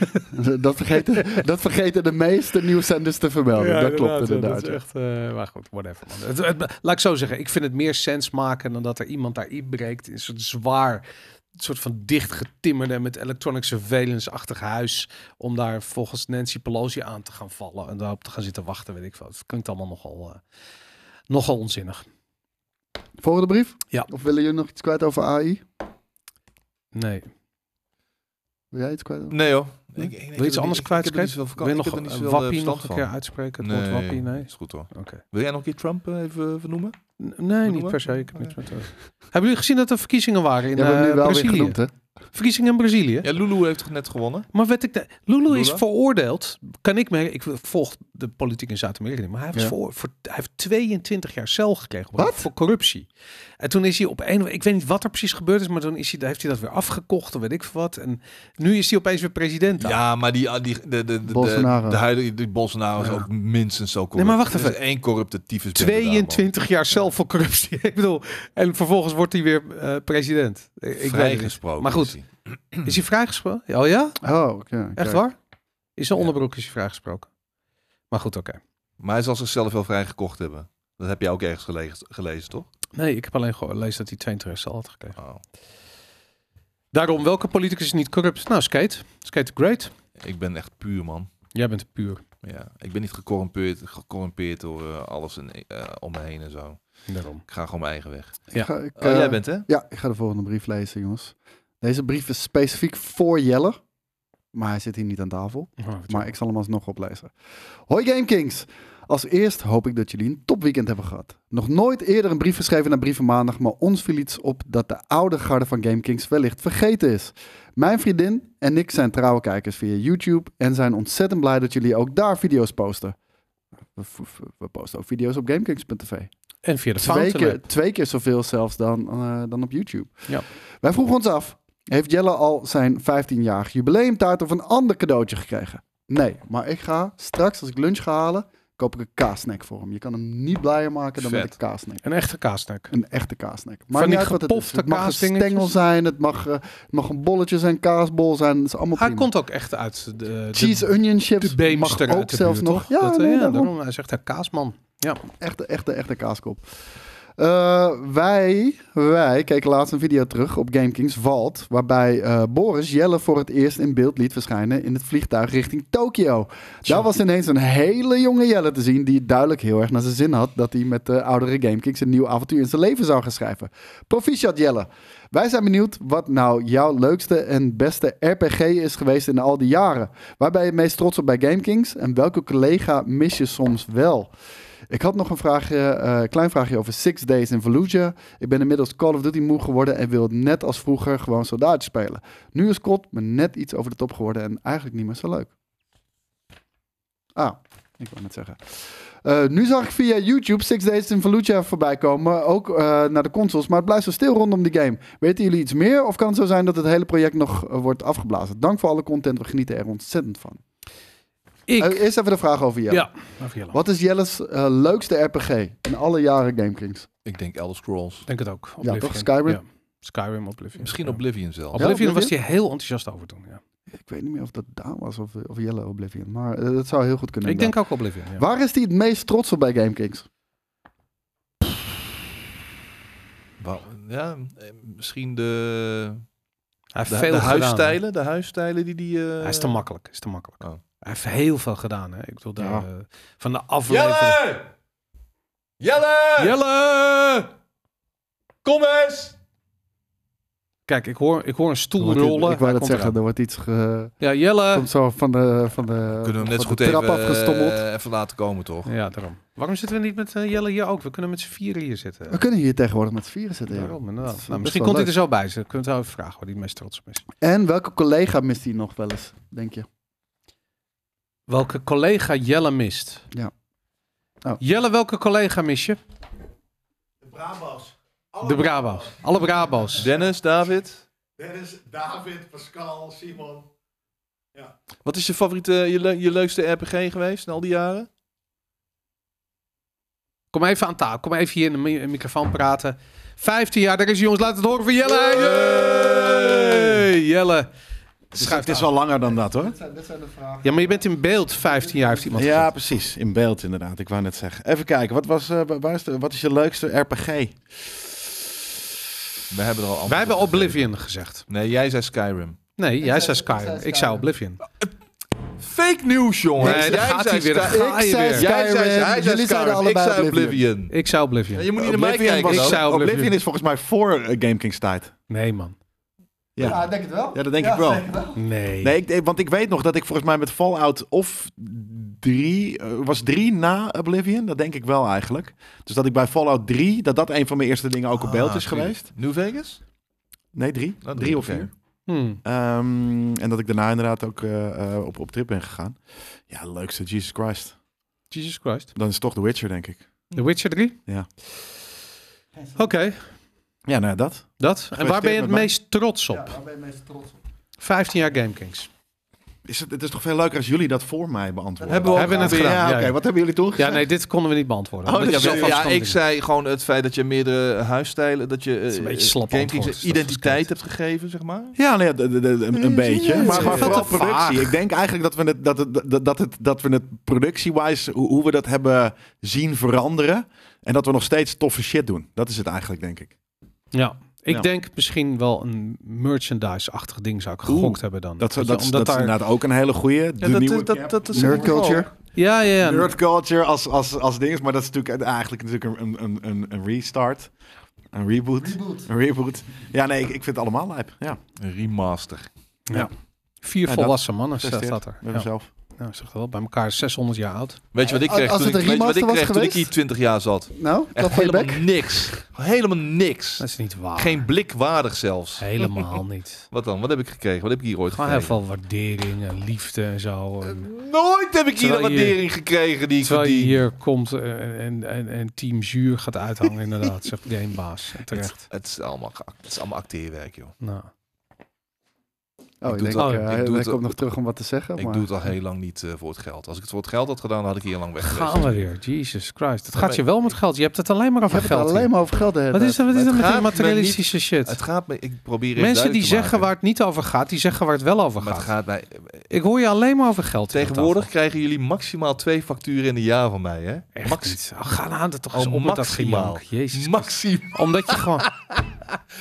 Speaker 3: dat, vergeten, dat vergeten de meeste nieuwszenders te vermelden. dat klopt inderdaad.
Speaker 1: Dat is echt, eh, maar goed, whatever. man. Het, het- laat ik zo zeggen, ik vind het meer sens maken dan dat er iemand daar inbreekt. in Een soort zwaar, soort van dichtgetimmerde met electronic surveillance-achtig huis. Om daar volgens Nancy Pelosi aan te gaan vallen en daarop te gaan zitten wachten, weet ik veel. Het klinkt allemaal nogal, eh, nogal onzinnig.
Speaker 3: Volgende brief?
Speaker 1: Ja.
Speaker 3: Of willen jullie nog iets kwijt over AI?
Speaker 1: Nee.
Speaker 3: Wil jij iets kwijt over?
Speaker 2: Nee joh, Ik- ik- ik heb
Speaker 1: Wil je iets
Speaker 2: er
Speaker 1: anders
Speaker 2: niet- ik heb er
Speaker 1: kwijt,
Speaker 2: niet zoveel verka-
Speaker 1: Wil je
Speaker 2: ik
Speaker 1: nog
Speaker 2: heb er niet
Speaker 1: eh,
Speaker 2: zoveel, eh,
Speaker 1: Wappie
Speaker 2: verstand
Speaker 1: nog een keer
Speaker 2: van.
Speaker 1: uitspreken? Het woord Wappie? Nee.
Speaker 2: Is goed hoor.
Speaker 1: Oké.
Speaker 2: Wil jij nog een keer Trump eh, even vernoemen?
Speaker 1: N- Nee, niet
Speaker 2: we?
Speaker 1: per se. Ik heb
Speaker 2: Oké.
Speaker 1: niks met eh. Hebben jullie gezien dat er verkiezingen waren in
Speaker 3: Je hebt hem nu
Speaker 1: eh,
Speaker 3: wel weer
Speaker 1: Brazilië?
Speaker 3: genoemd, hè?
Speaker 1: verkiezingen in Brazilië?
Speaker 2: Ja, Lulu heeft toch net gewonnen.
Speaker 1: Maar werd ik de, Lulu is
Speaker 2: Lula?
Speaker 1: veroordeeld. Kan ik merken, ik volg de politiek in Zuid-Amerika niet. Maar hij, was
Speaker 3: Ja.
Speaker 1: voor, voor- hij heeft 22 jaar cel gekregen
Speaker 3: Wat?
Speaker 1: voor- voor corruptie. En toen is hij op een, ik weet niet wat er precies gebeurd is, maar toen is hij, heeft hij dat weer afgekocht, of weet ik veel wat. En nu is hij opeens weer president. daar.
Speaker 2: Ja, maar die, ah, die, de, de, de, de,
Speaker 3: Bolsonaro.
Speaker 2: de huidige die Bolsonaro
Speaker 1: Ja.
Speaker 2: is ook minstens zo corrupt.
Speaker 1: Nee, maar wacht
Speaker 2: Er is
Speaker 1: even.
Speaker 2: één corrupte tyfus. bende daar, man.
Speaker 1: 22 jaar cel voor corruptie. ik bedoel, en vervolgens wordt hij weer eh, president. Ik- Ik weet het niet.
Speaker 2: Vrijgesproken.
Speaker 1: Maar goed.
Speaker 2: is hij.
Speaker 1: Is hij vrijgesproken? Oh ja?
Speaker 3: Oh, oké.
Speaker 1: Echt
Speaker 3: kijk.
Speaker 1: waar? Is zijn
Speaker 2: Ja.
Speaker 1: onderbroek is hij vrijgesproken. Maar goed, oké.
Speaker 2: Maar hij zal zichzelf wel vrijgekocht hebben. Dat heb jij ook ergens gelezen, gelezen toch?
Speaker 1: Nee, ik heb alleen gelezen dat hij 22 jaar cel had gekregen.
Speaker 2: Oh.
Speaker 1: Daarom, welke politicus is niet corrupt? Nou, Skate. Skate the Great.
Speaker 2: Ik ben echt puur man.
Speaker 1: Jij bent puur.
Speaker 2: Ja. Ik ben niet gecorrumpeerd, gecorrumpeerd door eh, alles in, eh, om me heen en zo.
Speaker 1: Daarom.
Speaker 2: Ik ga gewoon mijn eigen weg.
Speaker 1: Ja.
Speaker 3: Ik ga- ik,
Speaker 2: Oh,
Speaker 3: eh,
Speaker 2: jij bent hè?
Speaker 3: Ja, ik ga de volgende brief lezen, jongens. Deze brief is specifiek voor Jelle. Maar hij zit hier niet aan tafel. Maar ik zal hem alsnog oplezen. Hoi GameKings! Als eerst hoop ik dat jullie een topweekend hebben gehad. Nog nooit eerder een brief geschreven naar Brieven Maandag, maar ons viel iets op dat de oude garde van GameKings wellicht vergeten is. Mijn vriendin en ik zijn trouwe kijkers via YouTube en zijn ontzettend blij dat jullie ook daar video's posten. We, we- we posten ook video's op GameKings.tv.
Speaker 1: En via de
Speaker 3: Twee
Speaker 1: Fountain
Speaker 3: keer,
Speaker 1: App.
Speaker 3: twee keer zoveel zelfs dan, eh, dan op YouTube.
Speaker 1: Ja.
Speaker 3: Wij vroegen ons af, heeft Jelle al zijn 15-jarig jubileumtaart of een ander cadeautje gekregen? Nee, maar ik ga straks als ik lunch ga halen, koop ik een kaasnack voor hem. Je kan hem niet blijer maken dan met
Speaker 2: Vet.
Speaker 3: een kaasnack.
Speaker 1: Een echte kaasnack.
Speaker 3: Een echte kaasnack.
Speaker 1: Van
Speaker 3: Maar
Speaker 1: die
Speaker 3: niet uit wat het is.
Speaker 1: gepofte
Speaker 3: Het mag een
Speaker 1: kaasdingetjes?
Speaker 3: stengel zijn, het mag, eh, het mag een bolletje zijn, kaasbol zijn, het is allemaal
Speaker 1: Hij
Speaker 3: prima.
Speaker 1: komt ook echt uit de, de,
Speaker 3: Cheese onion
Speaker 1: de
Speaker 3: chips mag
Speaker 1: beemster uit
Speaker 3: ook
Speaker 1: de
Speaker 3: zelfs
Speaker 1: buurt,
Speaker 3: nog.
Speaker 1: toch?
Speaker 3: Ja,
Speaker 1: Dat, eh,
Speaker 3: nee,
Speaker 1: ja,
Speaker 3: daarom.
Speaker 1: daarom. Hij zegt, een kaasman.
Speaker 3: Echte, echte, echte kaaskop. Eh, wij, wij keken laatst een video terug op GameKings Vault... waarbij eh, Boris Jelle voor het eerst in beeld liet verschijnen... in het vliegtuig richting Tokio. Daar was ineens een hele jonge Jelle te zien... die het duidelijk heel erg naar zijn zin had... dat hij met de oudere GameKings een nieuw avontuur in zijn leven zou gaan schrijven. Proficiat Jelle. Wij zijn benieuwd wat nou jouw leukste en beste RPG is geweest in al die jaren. Waar ben je het meest trots op bij GameKings? En welke collega mis je soms wel? Ik had nog een vraagje, eh, klein vraagje over Six Days in Fallujah. Ik ben inmiddels Call of Duty moe geworden en wil het net als vroeger gewoon soldaatje spelen. Nu is COD me net iets over de top geworden en eigenlijk niet meer zo leuk. Ah, ik wou net zeggen. Eh, nu zag ik via YouTube Six Days in Fallujah voorbij komen, ook eh, naar de consoles, maar het blijft zo stil rondom die game. Weten jullie iets meer of kan het zo zijn dat het hele project nog eh, wordt afgeblazen? Dank voor alle content, we genieten er ontzettend van.
Speaker 1: Ik.
Speaker 3: Eh, eerst even de vraag over Jelle.
Speaker 1: ja. Mag Jelle.
Speaker 3: Wat is Jelle's eh, leukste RPG in alle jaren GameKings?
Speaker 2: Ik denk Elder Scrolls.
Speaker 1: Ik denk het ook. Oblivion.
Speaker 3: toch? Skyrim?
Speaker 1: Ja. Skyrim, Oblivion.
Speaker 2: Misschien
Speaker 1: Ja.
Speaker 2: Oblivion zelf.
Speaker 1: Oblivion.
Speaker 3: Oblivion?
Speaker 1: was hij heel enthousiast over toen. Ja.
Speaker 3: Ik weet niet meer of dat Daan was of, eh, of Jelle Oblivion, maar eh, dat zou heel goed kunnen.
Speaker 1: Ik denk ook Oblivion. Ja.
Speaker 3: inderdaad. Waar is hij het meest trots op bij GameKings?
Speaker 2: Wauw. Ja, eh, misschien de,
Speaker 1: Hij
Speaker 2: de,
Speaker 1: heeft veel
Speaker 2: de
Speaker 1: gedaan, hè.
Speaker 2: huisstijlen. de huisstijlen die die. eh,
Speaker 1: Hij is te makkelijk. Is te makkelijk.
Speaker 2: Oh.
Speaker 1: Hij heeft heel veel gedaan. Hè. Ik bedoel, daar,
Speaker 3: Ja.
Speaker 1: eh, van de aflevering.
Speaker 2: Jelle! Jelle!
Speaker 1: Jelle!
Speaker 2: Kom eens!
Speaker 1: Kijk, ik hoor, ik hoor een
Speaker 3: Er
Speaker 1: stoel
Speaker 3: wordt iets-
Speaker 1: rollen.
Speaker 3: Ik wou
Speaker 1: Hij
Speaker 3: dat
Speaker 1: komt eraan.
Speaker 3: zeggen,
Speaker 1: Eh.
Speaker 3: er wordt iets ge,
Speaker 1: Ja, Jelle.
Speaker 3: komt zo van de, van de,
Speaker 2: Kunnen we hem
Speaker 3: van
Speaker 2: net zo goed
Speaker 3: de trap
Speaker 2: even,
Speaker 3: afgestommeld.
Speaker 2: eh, even laten komen, toch?
Speaker 1: Ja, daarom. Waarom zitten we niet met eh, Jelle hier ook? We kunnen met z'n vieren hier zitten.
Speaker 3: we kunnen hier tegenwoordig met vieren zitten. joh.
Speaker 1: Daarom,
Speaker 3: Dat is,
Speaker 1: inderdaad. nou,
Speaker 3: eh, best
Speaker 1: misschien
Speaker 3: wel
Speaker 1: komt hij er
Speaker 3: leuk.
Speaker 1: zo bij. Ze kunnen we het wel even vragen waar die meest trots op is.
Speaker 3: En welke collega mist hij nog wel eens, denk je?
Speaker 1: Welke collega Jelle mist? Nou.
Speaker 3: Ja. Oh.
Speaker 1: Jelle, welke collega mis je?
Speaker 4: De Brabas.
Speaker 1: De Braba's. Alle Braba's.
Speaker 2: Dennis, David.
Speaker 4: Dennis, David, Pascal, Simon.
Speaker 2: Wat is je favoriete, je, le- je leukste RPG geweest in al die jaren?
Speaker 1: Kom even aan tafel. Kom even hier in de mi- microfoon praten. 15 jaar, daar is hij, jongens. Laat het horen van Jelle. Hey, Jelle. Schuif
Speaker 4: het is
Speaker 1: aan.
Speaker 4: wel langer dan dat hoor.
Speaker 3: Dit zijn, de vragen.
Speaker 1: Ja, maar je bent in beeld 15 jaar, heeft iemand
Speaker 4: Ja,
Speaker 1: gezegd.
Speaker 4: precies. In beeld inderdaad. Ik wou net zeggen. Even kijken. Wat, was, eh, wa- waar is de, wat is je leukste RPG?
Speaker 2: We hebben er al
Speaker 1: Wij
Speaker 2: antwoord
Speaker 1: hebben
Speaker 2: op gegeven.
Speaker 1: Oblivion gezegd.
Speaker 2: Nee, jij zei Skyrim.
Speaker 1: Nee, jij
Speaker 3: zei-
Speaker 1: zei
Speaker 3: ik zei
Speaker 1: Skyrim. Ik
Speaker 3: Skyrim.
Speaker 1: zei Oblivion.
Speaker 2: Fake news, jongen.
Speaker 1: Nee, daar
Speaker 2: jij
Speaker 1: gaat
Speaker 2: zei
Speaker 1: hij weer. Daar
Speaker 2: Sky-
Speaker 1: gaat hij
Speaker 3: Ik zei
Speaker 1: weer.
Speaker 3: Sky-
Speaker 2: Jij zei,
Speaker 3: Skyrim.
Speaker 2: hij zei
Speaker 3: Jullie zeiden
Speaker 2: Skyrim. Ik
Speaker 3: allebei
Speaker 2: zei
Speaker 3: Oblivion.
Speaker 2: Oblivion.
Speaker 1: Ik zei Oblivion.
Speaker 2: Je moet niet naar mij kijken.
Speaker 1: was-
Speaker 2: dan.
Speaker 1: zou Oblivion.
Speaker 4: Oblivion is volgens mij voor eh, GameKings tijd.
Speaker 1: Nee, man.
Speaker 4: Ja.
Speaker 5: Ja, ik denk het wel.
Speaker 4: Ja, dat denk ik wel.
Speaker 5: zeker
Speaker 1: Nee.
Speaker 4: Nee, ik, eh, want ik weet nog dat ik volgens mij met Fallout of 3, was 3 na Oblivion, dat denk ik wel eigenlijk. Dus dat ik bij Fallout 3, dat dat een van mijn eerste dingen ook op beeld is geweest.
Speaker 2: Ah, New
Speaker 1: Oh,
Speaker 2: Vegas?
Speaker 4: Nee, 3.
Speaker 2: Nou,
Speaker 4: 3 of
Speaker 2: oké.
Speaker 4: 4.
Speaker 1: Hmm.
Speaker 4: Ehm, en dat ik daarna inderdaad ook eh, eh, op, op trip ben gegaan. Ja, leukste, Jesus Christ.
Speaker 1: Jesus Christ.
Speaker 4: Dan is het toch The Witcher, denk ik.
Speaker 1: The Witcher 3?
Speaker 4: Ja.
Speaker 1: Oké,
Speaker 4: Ja, nou ja, dat.
Speaker 1: dat. En waar ben je het
Speaker 4: met
Speaker 1: meest trots
Speaker 5: Ja,
Speaker 1: op?
Speaker 5: daar ben je meest trots op.
Speaker 1: 15 jaar GameKings.
Speaker 4: Is het, het is toch veel leuker als jullie dat voor mij beantwoorden?
Speaker 1: Hebben we ook
Speaker 4: het
Speaker 1: gedaan,
Speaker 4: Ja,
Speaker 1: ja,
Speaker 4: oké.
Speaker 1: ja.
Speaker 4: Wat hebben jullie toen
Speaker 1: Ja,
Speaker 4: gezegd?
Speaker 1: nee, dit konden we niet beantwoorden.
Speaker 4: Oh,
Speaker 1: Want
Speaker 4: dat
Speaker 1: jij
Speaker 4: is
Speaker 1: wil
Speaker 4: zo.
Speaker 1: vast
Speaker 2: ja,
Speaker 1: andere
Speaker 2: ik zei gewoon het feit dat je meerdere huisstijlen, dat je
Speaker 1: is een
Speaker 2: eh,
Speaker 1: beetje slap
Speaker 2: GameKings
Speaker 1: antwoord, dus dat
Speaker 2: identiteit
Speaker 1: is
Speaker 2: hebt gegeven, zeg maar.
Speaker 4: Ja, nee, de- de- de- een, een beetje.
Speaker 1: het
Speaker 4: Maar,
Speaker 1: is
Speaker 4: maar
Speaker 1: veel
Speaker 4: vooral
Speaker 1: te
Speaker 4: productie.
Speaker 1: vaag.
Speaker 4: Ik denk eigenlijk dat we het, dat het, dat- dat het, dat we het productie-wise, hoe, hoe we dat hebben zien veranderen. En dat we nog steeds toffe shit doen. Dat is het eigenlijk, denk ik.
Speaker 1: Ja. Ik
Speaker 4: Ja.
Speaker 1: denk misschien wel een merchandise-achtig ding zou ik
Speaker 4: Oeh,
Speaker 1: gegokt hebben dan.
Speaker 4: Dat,
Speaker 1: Weet
Speaker 4: dat,
Speaker 1: je,
Speaker 4: dat, is- dat is inderdaad ook een hele goede.
Speaker 2: Ja,
Speaker 4: de
Speaker 2: dat,
Speaker 4: nieuwe
Speaker 2: dat, dat, is
Speaker 3: Nerd culture.
Speaker 1: Ja, ja, ja.
Speaker 4: nerd culture als, als, als ding is. Maar dat is natuurlijk eigenlijk natuurlijk een, een, een, een restart. Een reboot.
Speaker 5: Reboot.
Speaker 4: Een reboot. Ja, nee, ik, ik vind het allemaal lijp. Ja,
Speaker 2: Een Remaster.
Speaker 1: Vier
Speaker 4: Ja,
Speaker 1: volwassen mannen staat
Speaker 4: gefeliciteerd
Speaker 1: dat eh, er.
Speaker 4: met
Speaker 1: Ja.
Speaker 4: mezelf.
Speaker 1: Nou, ik zeg wel, bij elkaar 600 jaar oud.
Speaker 2: Weet je wat ik
Speaker 3: Als-
Speaker 2: kreeg,
Speaker 3: Eh, als
Speaker 2: toen,
Speaker 3: het
Speaker 2: ik,
Speaker 3: een
Speaker 2: weet je wat ik,
Speaker 3: remaster
Speaker 2: kreeg
Speaker 3: was
Speaker 2: toen ik hier 20
Speaker 3: geweest?
Speaker 2: jaar zat?
Speaker 3: Nou, dat
Speaker 2: Echt
Speaker 3: van je
Speaker 2: helemaal
Speaker 3: bek.
Speaker 2: niks. Helemaal niks.
Speaker 1: Dat is niet waar.
Speaker 2: Geen blik waardig zelfs.
Speaker 1: Helemaal niet.
Speaker 2: Wat dan? Wat heb ik gekregen? Wat heb ik hier ooit
Speaker 1: Gewoon
Speaker 2: gekregen?
Speaker 1: heel veel waardering en liefde en zo. En
Speaker 2: Nooit heb ik hier
Speaker 1: Terwijl
Speaker 2: een
Speaker 1: je-
Speaker 2: waardering gekregen Eh, die ik
Speaker 1: terwijl je
Speaker 2: verdien.
Speaker 1: hier komt eh, en, en, en team zuur gaat uithangen, inderdaad, zegt de een baas. En Terecht.
Speaker 2: Het is allemaal, geact- het is allemaal acteerwerk, joh.
Speaker 1: Nou.
Speaker 3: Oh, ik
Speaker 2: doe
Speaker 3: denk,
Speaker 2: het
Speaker 1: al.
Speaker 3: eh,
Speaker 2: Ik
Speaker 3: hij
Speaker 2: doe
Speaker 3: hij
Speaker 2: het
Speaker 3: komt
Speaker 2: al.
Speaker 3: nog terug om wat te zeggen.
Speaker 2: Ik
Speaker 3: maar...
Speaker 2: doe het al heel lang niet eh, voor het geld. Als ik het voor het geld had gedaan, had ik hier lang weg geweest.
Speaker 1: Gaan we weer. Jesus Christ. Het
Speaker 2: Ja,
Speaker 1: gaat
Speaker 2: maar-
Speaker 1: je wel met geld. Je hebt het alleen maar
Speaker 3: Je
Speaker 1: over
Speaker 3: hebt het
Speaker 1: geld.
Speaker 3: alleen
Speaker 1: hier.
Speaker 3: maar over geld. de hele
Speaker 1: Wat
Speaker 3: tijd.
Speaker 1: is er wat is
Speaker 2: Maar
Speaker 1: er met
Speaker 2: het
Speaker 1: die
Speaker 2: gaat me
Speaker 1: materialistische shit?
Speaker 2: Het gaat me, ik probeer het
Speaker 1: Mensen
Speaker 2: duidelijk
Speaker 1: die
Speaker 2: te
Speaker 1: zeggen waar
Speaker 2: maken.
Speaker 1: het niet over gaat, die zeggen waar het wel over
Speaker 2: Maar het
Speaker 1: gaat.
Speaker 2: gaat mij...
Speaker 1: Ik hoor je alleen maar over geld. hier aan
Speaker 2: Tegenwoordig
Speaker 1: tafel.
Speaker 2: krijgen jullie maximaal twee facturen in een jaar van mij, hè?
Speaker 1: Echt
Speaker 2: Max-
Speaker 1: niet. Oh, ga aan het toch eens
Speaker 2: Al
Speaker 1: om met dat
Speaker 2: maximaal.
Speaker 1: gejank. Jezus.
Speaker 2: Maximaal.
Speaker 1: Omdat je gewoon...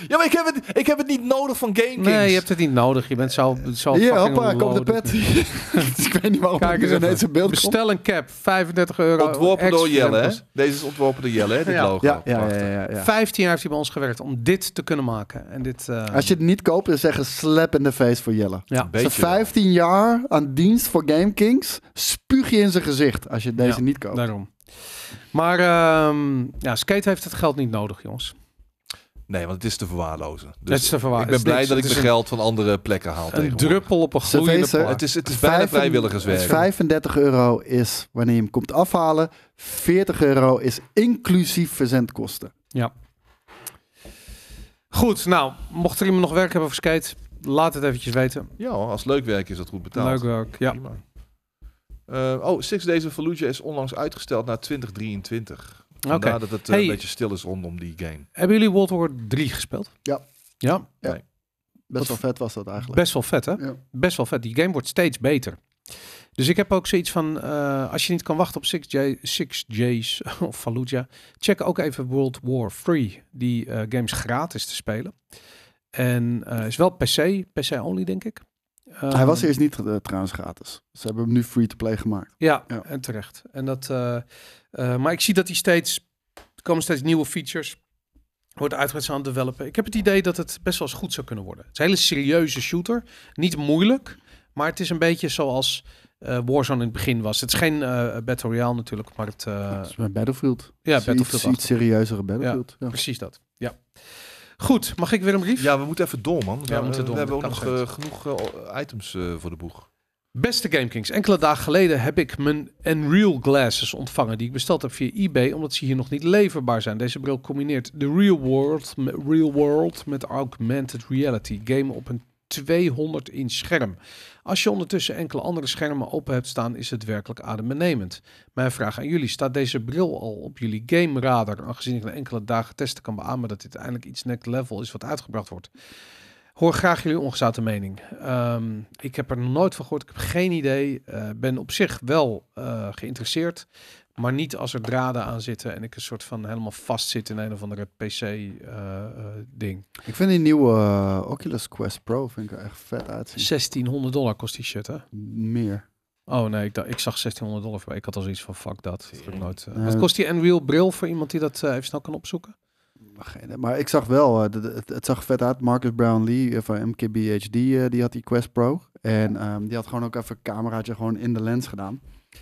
Speaker 2: Ja, maar ik heb het, ik heb het niet nodig van GameKings.
Speaker 1: Nee, je hebt het niet nodig. Je bent zo, zo
Speaker 3: Hier,
Speaker 1: fucking
Speaker 3: hoppa, komt de
Speaker 1: loaded.
Speaker 3: pet. ik weet niet waarom
Speaker 1: Kijk
Speaker 3: Kijk,
Speaker 1: eens
Speaker 3: er ineens
Speaker 1: even.
Speaker 3: een beeld komt.
Speaker 1: Bestel een cap. 35 euro.
Speaker 2: Ontworpen door
Speaker 1: extra
Speaker 2: Jelle, hè?
Speaker 1: rempels.
Speaker 2: Deze is ontworpen door Jelle, hè? Dit
Speaker 1: Ja.
Speaker 2: logo.
Speaker 3: Ja, ja, ja,
Speaker 2: Prachtig.
Speaker 3: ja, ja.
Speaker 1: 15 jaar heeft hij bij ons gewerkt om dit te kunnen maken. En dit... eh,
Speaker 3: Als je het niet koopt, dan zeggen slap in de face voor Jelle.
Speaker 1: Ja.
Speaker 2: Een
Speaker 3: Ze
Speaker 2: beetje wel.
Speaker 3: 15 jaar aan dienst voor GameKings. Spuug je in zijn gezicht als je deze
Speaker 1: Ja,
Speaker 3: niet koopt.
Speaker 1: Daarom. Maar ehm, ja, Skate heeft het geld niet nodig, jongens.
Speaker 2: Nee, want het is te verwaarlozen. Dus
Speaker 1: dat is te verwaar.
Speaker 2: ik ben blij dat ik mijn
Speaker 1: de
Speaker 2: geld van andere plekken haal
Speaker 1: Een
Speaker 2: tegenwoordig.
Speaker 1: druppel op een gloeiende
Speaker 3: Cerveza.
Speaker 1: plaat.
Speaker 2: Het is, het is bijna
Speaker 3: Vijfen-
Speaker 2: vrijwilligerswerk.
Speaker 3: 35 Dus euro is wanneer je hem komt afhalen. 40 euro is inclusief verzendkosten.
Speaker 1: Goed, nou, mocht er iemand nog werk hebben voor Skate, laat het eventjes weten.
Speaker 2: Ja, hoor, als leuk werk is dat goed betaald.
Speaker 1: Leuk werk, ja.
Speaker 2: Prima. Eh, oh, Six Days of Fallujah is onlangs uitgesteld naar 2023.
Speaker 1: Oké.
Speaker 2: Vandaar dat het eh,
Speaker 1: Hey.
Speaker 2: een beetje stil is rondom die game.
Speaker 1: Hebben jullie World War 3 gespeeld?
Speaker 3: Ja.
Speaker 1: Ja,
Speaker 3: Best wel vet was dat eigenlijk.
Speaker 1: best wel vet, hè?
Speaker 3: Ja.
Speaker 1: Best wel vet. Die game wordt steeds beter. Dus ik heb ook zoiets van, eh, als je niet kan wachten op Six, J- Six J's of Fallujah, check ook even World War 3. Die eh, game is gratis te spelen. En eh, is wel PC, PC only, denk ik.
Speaker 3: Hij was
Speaker 1: Ehm,
Speaker 3: eerst niet eh, trouwens gratis. Ze hebben hem nu free-to-play gemaakt.
Speaker 1: Ja,
Speaker 3: Ja.
Speaker 1: en terecht. En dat, eh, eh, maar ik zie dat die steeds, er komen steeds nieuwe features. Wordt uitgebreid aan het developen. Ik heb het idee dat het best wel eens goed zou kunnen worden. Het is een hele serieuze shooter. Niet moeilijk, maar het is een beetje zoals eh, Warzone in het begin was. Het is geen eh Battle Royale natuurlijk, maar het... eh,
Speaker 3: Dat is mijn Battlefield.
Speaker 1: ja,
Speaker 3: Het is
Speaker 1: Battlefield
Speaker 3: Iets, iets
Speaker 1: 8.
Speaker 3: serieuzere Battlefield. Ja.
Speaker 1: Precies dat, ja. Goed, mag ik weer een brief?
Speaker 2: Ja, we moeten even door, man.
Speaker 1: we moeten door,
Speaker 2: We hebben ook
Speaker 1: dat
Speaker 2: nog
Speaker 1: kan
Speaker 2: eh, genoeg eh, items eh, voor de boeg.
Speaker 1: Beste GameKings, enkele dagen geleden heb ik mijn Unreal Glasses ontvangen die ik besteld heb via eBay, omdat ze hier nog niet leverbaar zijn. Deze bril combineert de real world, me- real world met augmented reality, game op een 200 inch scherm. Als je ondertussen enkele andere schermen open hebt staan, is het werkelijk adembenemend. Mijn vraag aan jullie, staat deze bril al op jullie game radar, aangezien ik na enkele dagen testen kan beamen dat dit eindelijk iets next level is wat uitgebracht wordt? Hoor graag jullie ongezouten mening. Ehm, ik heb er nog nooit van gehoord. Ik heb geen idee. Eh, ben op zich wel eh, geïnteresseerd. Maar niet als er draden aan zitten en ik een soort van helemaal vast zit in een of andere eh, PC-ding.
Speaker 3: Ik vind die nieuwe eh, Oculus Quest Pro vind ik er echt vet uitzien.
Speaker 1: 1600 dollar kost die shit, hè?
Speaker 3: Meer.
Speaker 1: Oh nee, ik, dacht- ik zag 1600 dollar voorbij. Ik had al zoiets van fuck dat. dat heb ik nooit, eh.
Speaker 3: Nee.
Speaker 1: Wat kost die Unreal bril voor iemand die dat eh, even snel kan opzoeken?
Speaker 3: geen- Maar ik zag wel, eh, dat- het, het zag vet uit. Marcus Brownlee eh, van MKBHD, eh, die had die Quest Pro. En ehm, die had gewoon ook even een cameraatje gewoon in de lens gedaan.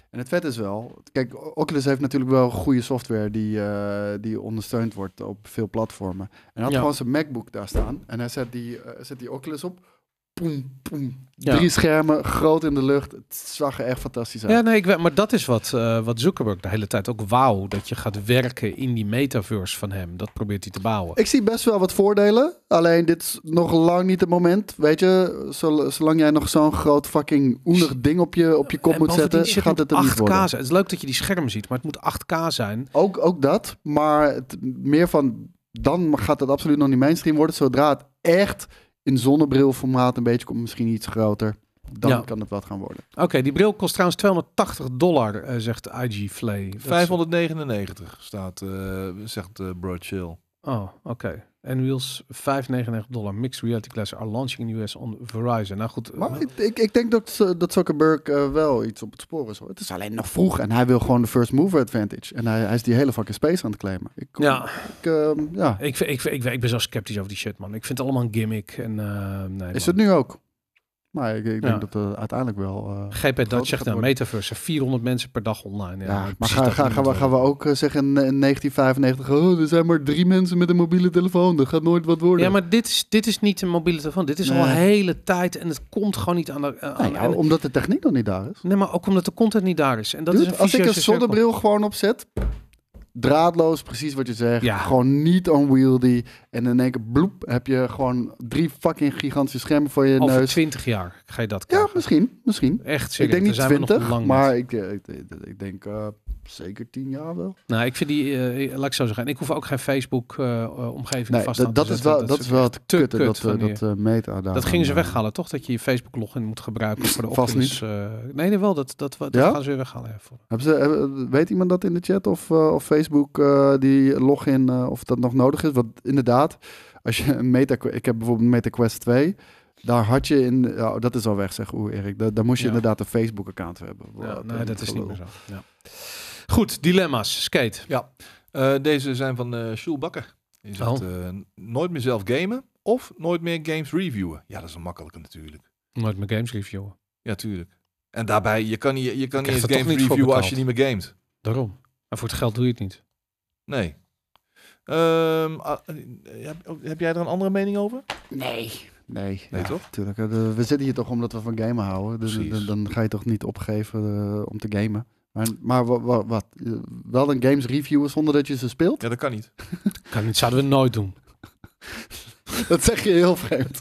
Speaker 3: En het vet is wel, kijk, O- Oculus heeft natuurlijk wel goede software die, eh, die ondersteund wordt op veel platformen. En hij had
Speaker 1: Ja.
Speaker 3: gewoon zijn MacBook daar staan en hij zet die, eh, zet die Oculus op. Poem, poem.
Speaker 1: Ja.
Speaker 3: Drie schermen, groot in de lucht. Het zag er echt fantastisch uit.
Speaker 1: Ja, nee, ik weet, maar dat is wat, eh, wat Zuckerberg de hele tijd ook wou. Dat je gaat werken in die metaverse van hem. Dat probeert hij te bouwen.
Speaker 3: Ik zie best wel wat voordelen. Alleen dit is nog lang niet het moment. Weet je, zol- zolang jij nog zo'n groot fucking oenig ding op je, op je kop
Speaker 1: En
Speaker 3: moet
Speaker 1: bovendien,
Speaker 3: zetten,
Speaker 1: shit
Speaker 3: gaat
Speaker 1: moet
Speaker 3: het er niet
Speaker 1: 8K
Speaker 3: worden.
Speaker 1: zijn. Het is leuk dat je die scherm ziet, maar het moet 8K zijn.
Speaker 3: Ook, ook dat, maar het, meer van dan gaat het absoluut nog niet mainstream worden. Zodra het echt in zonnebrilformaat een beetje komt, misschien iets groter. Dan
Speaker 1: Ja.
Speaker 3: kan het wat gaan worden.
Speaker 1: Oké, die bril kost trouwens 280 dollar, eh, zegt IG Flay. Dat is-
Speaker 2: 599 staat, eh, zegt eh Bro Chill.
Speaker 1: Oh, oké. En wheels 5,99 dollar. Mixed reality class are launching in US on Verizon. Nou goed. eh,
Speaker 3: Maar ik, ik, ik denk dat, ze- dat Zuckerberg eh, wel iets op het spoor is. Hoor. Het is alleen nog vroeg en hij wil gewoon de first mover advantage. En hij, hij is die hele fucking space aan het claimen. Ik,
Speaker 1: ja,
Speaker 3: ik, ehm, ja.
Speaker 1: ik, vind- ik, vind- ik, ben- ik ben zo sceptisch over die shit, man. Ik vind het allemaal een gimmick. En, eh, nee,
Speaker 3: Is
Speaker 1: man.
Speaker 3: het nu ook? Maar ik, ik denk
Speaker 1: Ja.
Speaker 3: dat het uiteindelijk wel. eh,
Speaker 1: GP
Speaker 3: gaat
Speaker 1: Dutch zegt nou,
Speaker 3: worden?
Speaker 1: metaverse, 400 mensen per dag online. Ja,
Speaker 3: ja, maar
Speaker 1: precies
Speaker 3: ga,
Speaker 1: dat
Speaker 3: ga, gaan, we,
Speaker 1: niemand
Speaker 3: gaan we
Speaker 1: wil.
Speaker 3: ook eh, zeggen in, in 1995: oh, er zijn maar drie mensen met een mobiele telefoon. Dat gaat nooit wat worden.
Speaker 1: Ja, maar dit is, dit is niet een mobiele telefoon. Dit is al
Speaker 3: Nee.
Speaker 1: een hele tijd en het komt gewoon niet aan de... eh,
Speaker 3: Nou
Speaker 1: aan-
Speaker 3: ja,
Speaker 1: en-
Speaker 3: omdat de techniek nog niet daar is.
Speaker 1: nee, maar ook omdat de content niet daar is. En dat
Speaker 3: Dude,
Speaker 1: is een
Speaker 3: Dus als ik een
Speaker 1: vicieuze cirkel.
Speaker 3: zonnebril gewoon opzet, draadloos, precies wat je zegt.
Speaker 1: Ja.
Speaker 3: Gewoon niet unwieldy. En in één keer bloep heb je gewoon drie fucking gigantische schermen voor je
Speaker 1: Over
Speaker 3: neus.
Speaker 1: 20 jaar ga je dat
Speaker 3: Ja,
Speaker 1: krijgen.
Speaker 3: misschien. misschien.
Speaker 1: Echt serieus.
Speaker 3: Ik denk
Speaker 1: daar zijn
Speaker 3: niet
Speaker 1: we nog
Speaker 3: 20,
Speaker 1: lang
Speaker 3: maar ik, eh, ik, ik- ik denk eh, zeker 10 jaar wel.
Speaker 1: Nou, ik vind die, eh, laat ik zo zeggen, en ik hoef ook geen Facebook-omgeving
Speaker 3: Nee,
Speaker 1: vast dus
Speaker 3: dat,
Speaker 1: aan
Speaker 3: dat
Speaker 1: te
Speaker 3: is
Speaker 1: zetten.
Speaker 3: wel, dat, is wel het
Speaker 1: te
Speaker 3: kutte,
Speaker 1: kut
Speaker 3: dat, eh,
Speaker 1: van die-
Speaker 3: dat eh, meta daar.
Speaker 1: dat gingen ze
Speaker 3: aan,
Speaker 1: weghalen, toch? Dat je je Facebook-login moet gebruiken voor de
Speaker 3: Vast
Speaker 1: Oculus. eh, nee, nee, wel, dat, dat, dat
Speaker 3: Ja?
Speaker 1: gaan ze weer weghalen. Ja, voor.
Speaker 3: eh, Hebben ze, hebben- weet iemand dat in de chat of, eh, of Facebook eh, die login, eh, of dat nog nodig is? Want inderdaad, als je een meta, ik heb bijvoorbeeld Meta Quest 2, daar had je in, ja, dat is al weg, zeg hoe Erik, daar, daar moest je
Speaker 1: Ja.
Speaker 3: inderdaad een Facebook-account hebben.
Speaker 1: Ja,
Speaker 3: Wat
Speaker 1: nou, nee,
Speaker 3: een
Speaker 1: dat is niet
Speaker 3: gelul.
Speaker 1: meer zo. Ja. Goed, dilemma's. Skate.
Speaker 2: Ja. Eh, deze zijn van eh Sjoel Bakker. Die zegt, eh, nooit meer zelf gamen of nooit meer games reviewen. Ja, dat is een makkelijke natuurlijk.
Speaker 1: Nooit mijn games reviewen.
Speaker 2: Ja, tuurlijk. En daarbij, je kan niet, je kan niet
Speaker 1: krijg
Speaker 2: eens
Speaker 1: er toch
Speaker 2: games
Speaker 1: niet voor
Speaker 2: reviewen als je
Speaker 1: betaald.
Speaker 2: niet meer gamet.
Speaker 1: Daarom. Maar voor het geld doe je het niet.
Speaker 2: Nee. Ehm, ah, eh, heb, heb jij er een andere mening over?
Speaker 3: Nee,
Speaker 2: Nee,
Speaker 3: ja,
Speaker 2: toch?
Speaker 3: tuurlijk. Eh, de- we zitten hier toch omdat we van gamen houden. Dus
Speaker 2: Precies.
Speaker 3: dan, dan ga je toch niet opgeven eh, om te gamen. Maar, maar wa- wa- wat? Eh, Wel een games reviewen zonder dat je ze speelt?
Speaker 2: Ja, dat kan niet.
Speaker 1: Kan niet, zouden we nooit doen.
Speaker 3: Dat zeg je heel vreemd.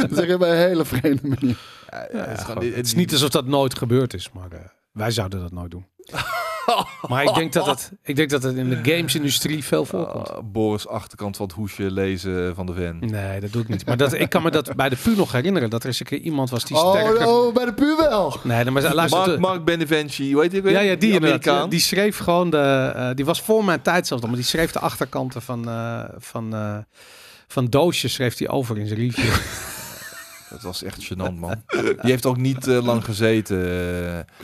Speaker 3: dat zeg je op een hele vreemde manier.
Speaker 2: Ja,
Speaker 1: Ja,
Speaker 2: het, is gewoon-
Speaker 1: gewoon-
Speaker 2: dit-
Speaker 1: het is niet alsof dat nooit gebeurd is, maar eh, wij zouden dat nooit doen. maar
Speaker 2: Oh.
Speaker 1: ik denk dat het, ik denk dat het in de gamesindustrie veel voorkomt.
Speaker 2: Ah, Boris achterkant van het hoesje lezen van de van.
Speaker 1: Nee, dat doe ik niet. Maar dat, ik kan me dat bij de PU nog herinneren. Dat er eens een keer iemand was die sterker...
Speaker 3: Oh, oh, bij de puur wel.
Speaker 1: Nee, maar luister...
Speaker 2: Mark,
Speaker 1: de-
Speaker 2: Mark Benevenci, hoe heet die? ook weer?
Speaker 1: ja, ja, die, inderdaad.
Speaker 2: Amerikaan.
Speaker 1: Ja, Die schreef gewoon de... eh, die was voor mijn tijd zelfs nog, maar die schreef de achterkanten van... eh, van eh, van doosjes schreef hij over in zijn review.
Speaker 2: Dat was echt gênant, man. Die heeft ook niet eh, lang gezeten. Eh,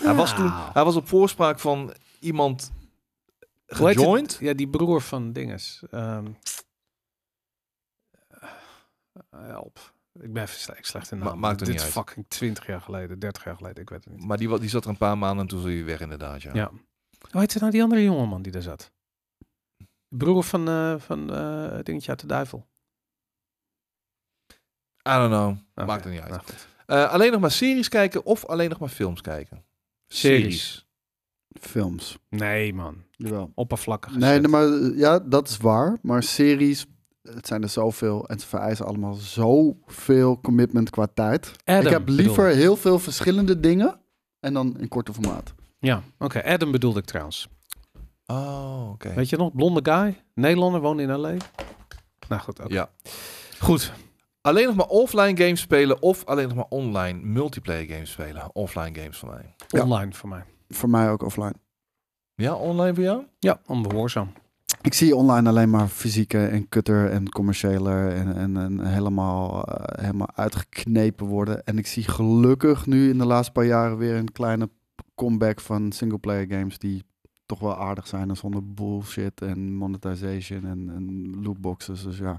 Speaker 2: Hij,
Speaker 1: Ah.
Speaker 2: was
Speaker 1: Nou.
Speaker 2: toen, hij was op voorspraak van iemand
Speaker 1: Hoe heet het?
Speaker 2: gejoined.
Speaker 1: Ja, die broer van dinges. Ehm, eh, help. Ik ben even sle- echt slecht in
Speaker 2: Ma-
Speaker 1: naam.
Speaker 2: maakt
Speaker 1: Dit
Speaker 2: het niet
Speaker 1: is
Speaker 2: uit.
Speaker 1: fucking 20 jaar geleden, 30 jaar geleden, ik weet het niet.
Speaker 2: Maar die, wa- die zat er een paar maanden en toen was hij weg inderdaad, ja.
Speaker 1: Ja. Hoe heette nou die andere jongeman die daar zat? De Broer van, eh van eh, het Dingetje uit de Duivel.
Speaker 2: I don't know.
Speaker 1: Oké.
Speaker 2: Maakt er niet uit.
Speaker 1: Nou, goed.
Speaker 2: Eh, alleen nog maar series kijken of alleen nog maar films kijken?
Speaker 1: Series.
Speaker 3: Films.
Speaker 1: Nee, man.
Speaker 3: Jawel.
Speaker 1: Oppervlakkig.
Speaker 3: Nee,
Speaker 1: gezet.
Speaker 3: nee, maar eh, ja, dat is waar. Maar series, het zijn er zoveel. En ze vereisen allemaal zoveel commitment qua tijd.
Speaker 1: Adam,
Speaker 3: ik heb liever
Speaker 1: bedoel ik.
Speaker 3: heel veel verschillende dingen. En dan in korte formaat.
Speaker 1: Ja, oké. Adam bedoelde ik trouwens.
Speaker 2: Oh, oké.
Speaker 1: Weet je nog? Blonde guy. Nederlander, woonde in L.A. Nou goed, oké.
Speaker 2: Ja.
Speaker 1: Goed.
Speaker 2: Alleen nog maar offline games spelen of alleen nog maar online multiplayer games spelen. Offline games van mij.
Speaker 3: Ja.
Speaker 1: Online voor mij.
Speaker 3: Voor mij ook offline.
Speaker 2: Ja, online voor jou?
Speaker 1: Ja, onbehoorzaam.
Speaker 3: Ik zie online alleen maar fysieke en kutter en commerciële en, en, en helemaal, eh, helemaal uitgeknepen worden. En ik zie gelukkig nu in de laatste paar jaren weer een kleine comeback van singleplayer games die toch wel aardig zijn dan zonder bullshit en monetization en, en lootboxes. Dus ja,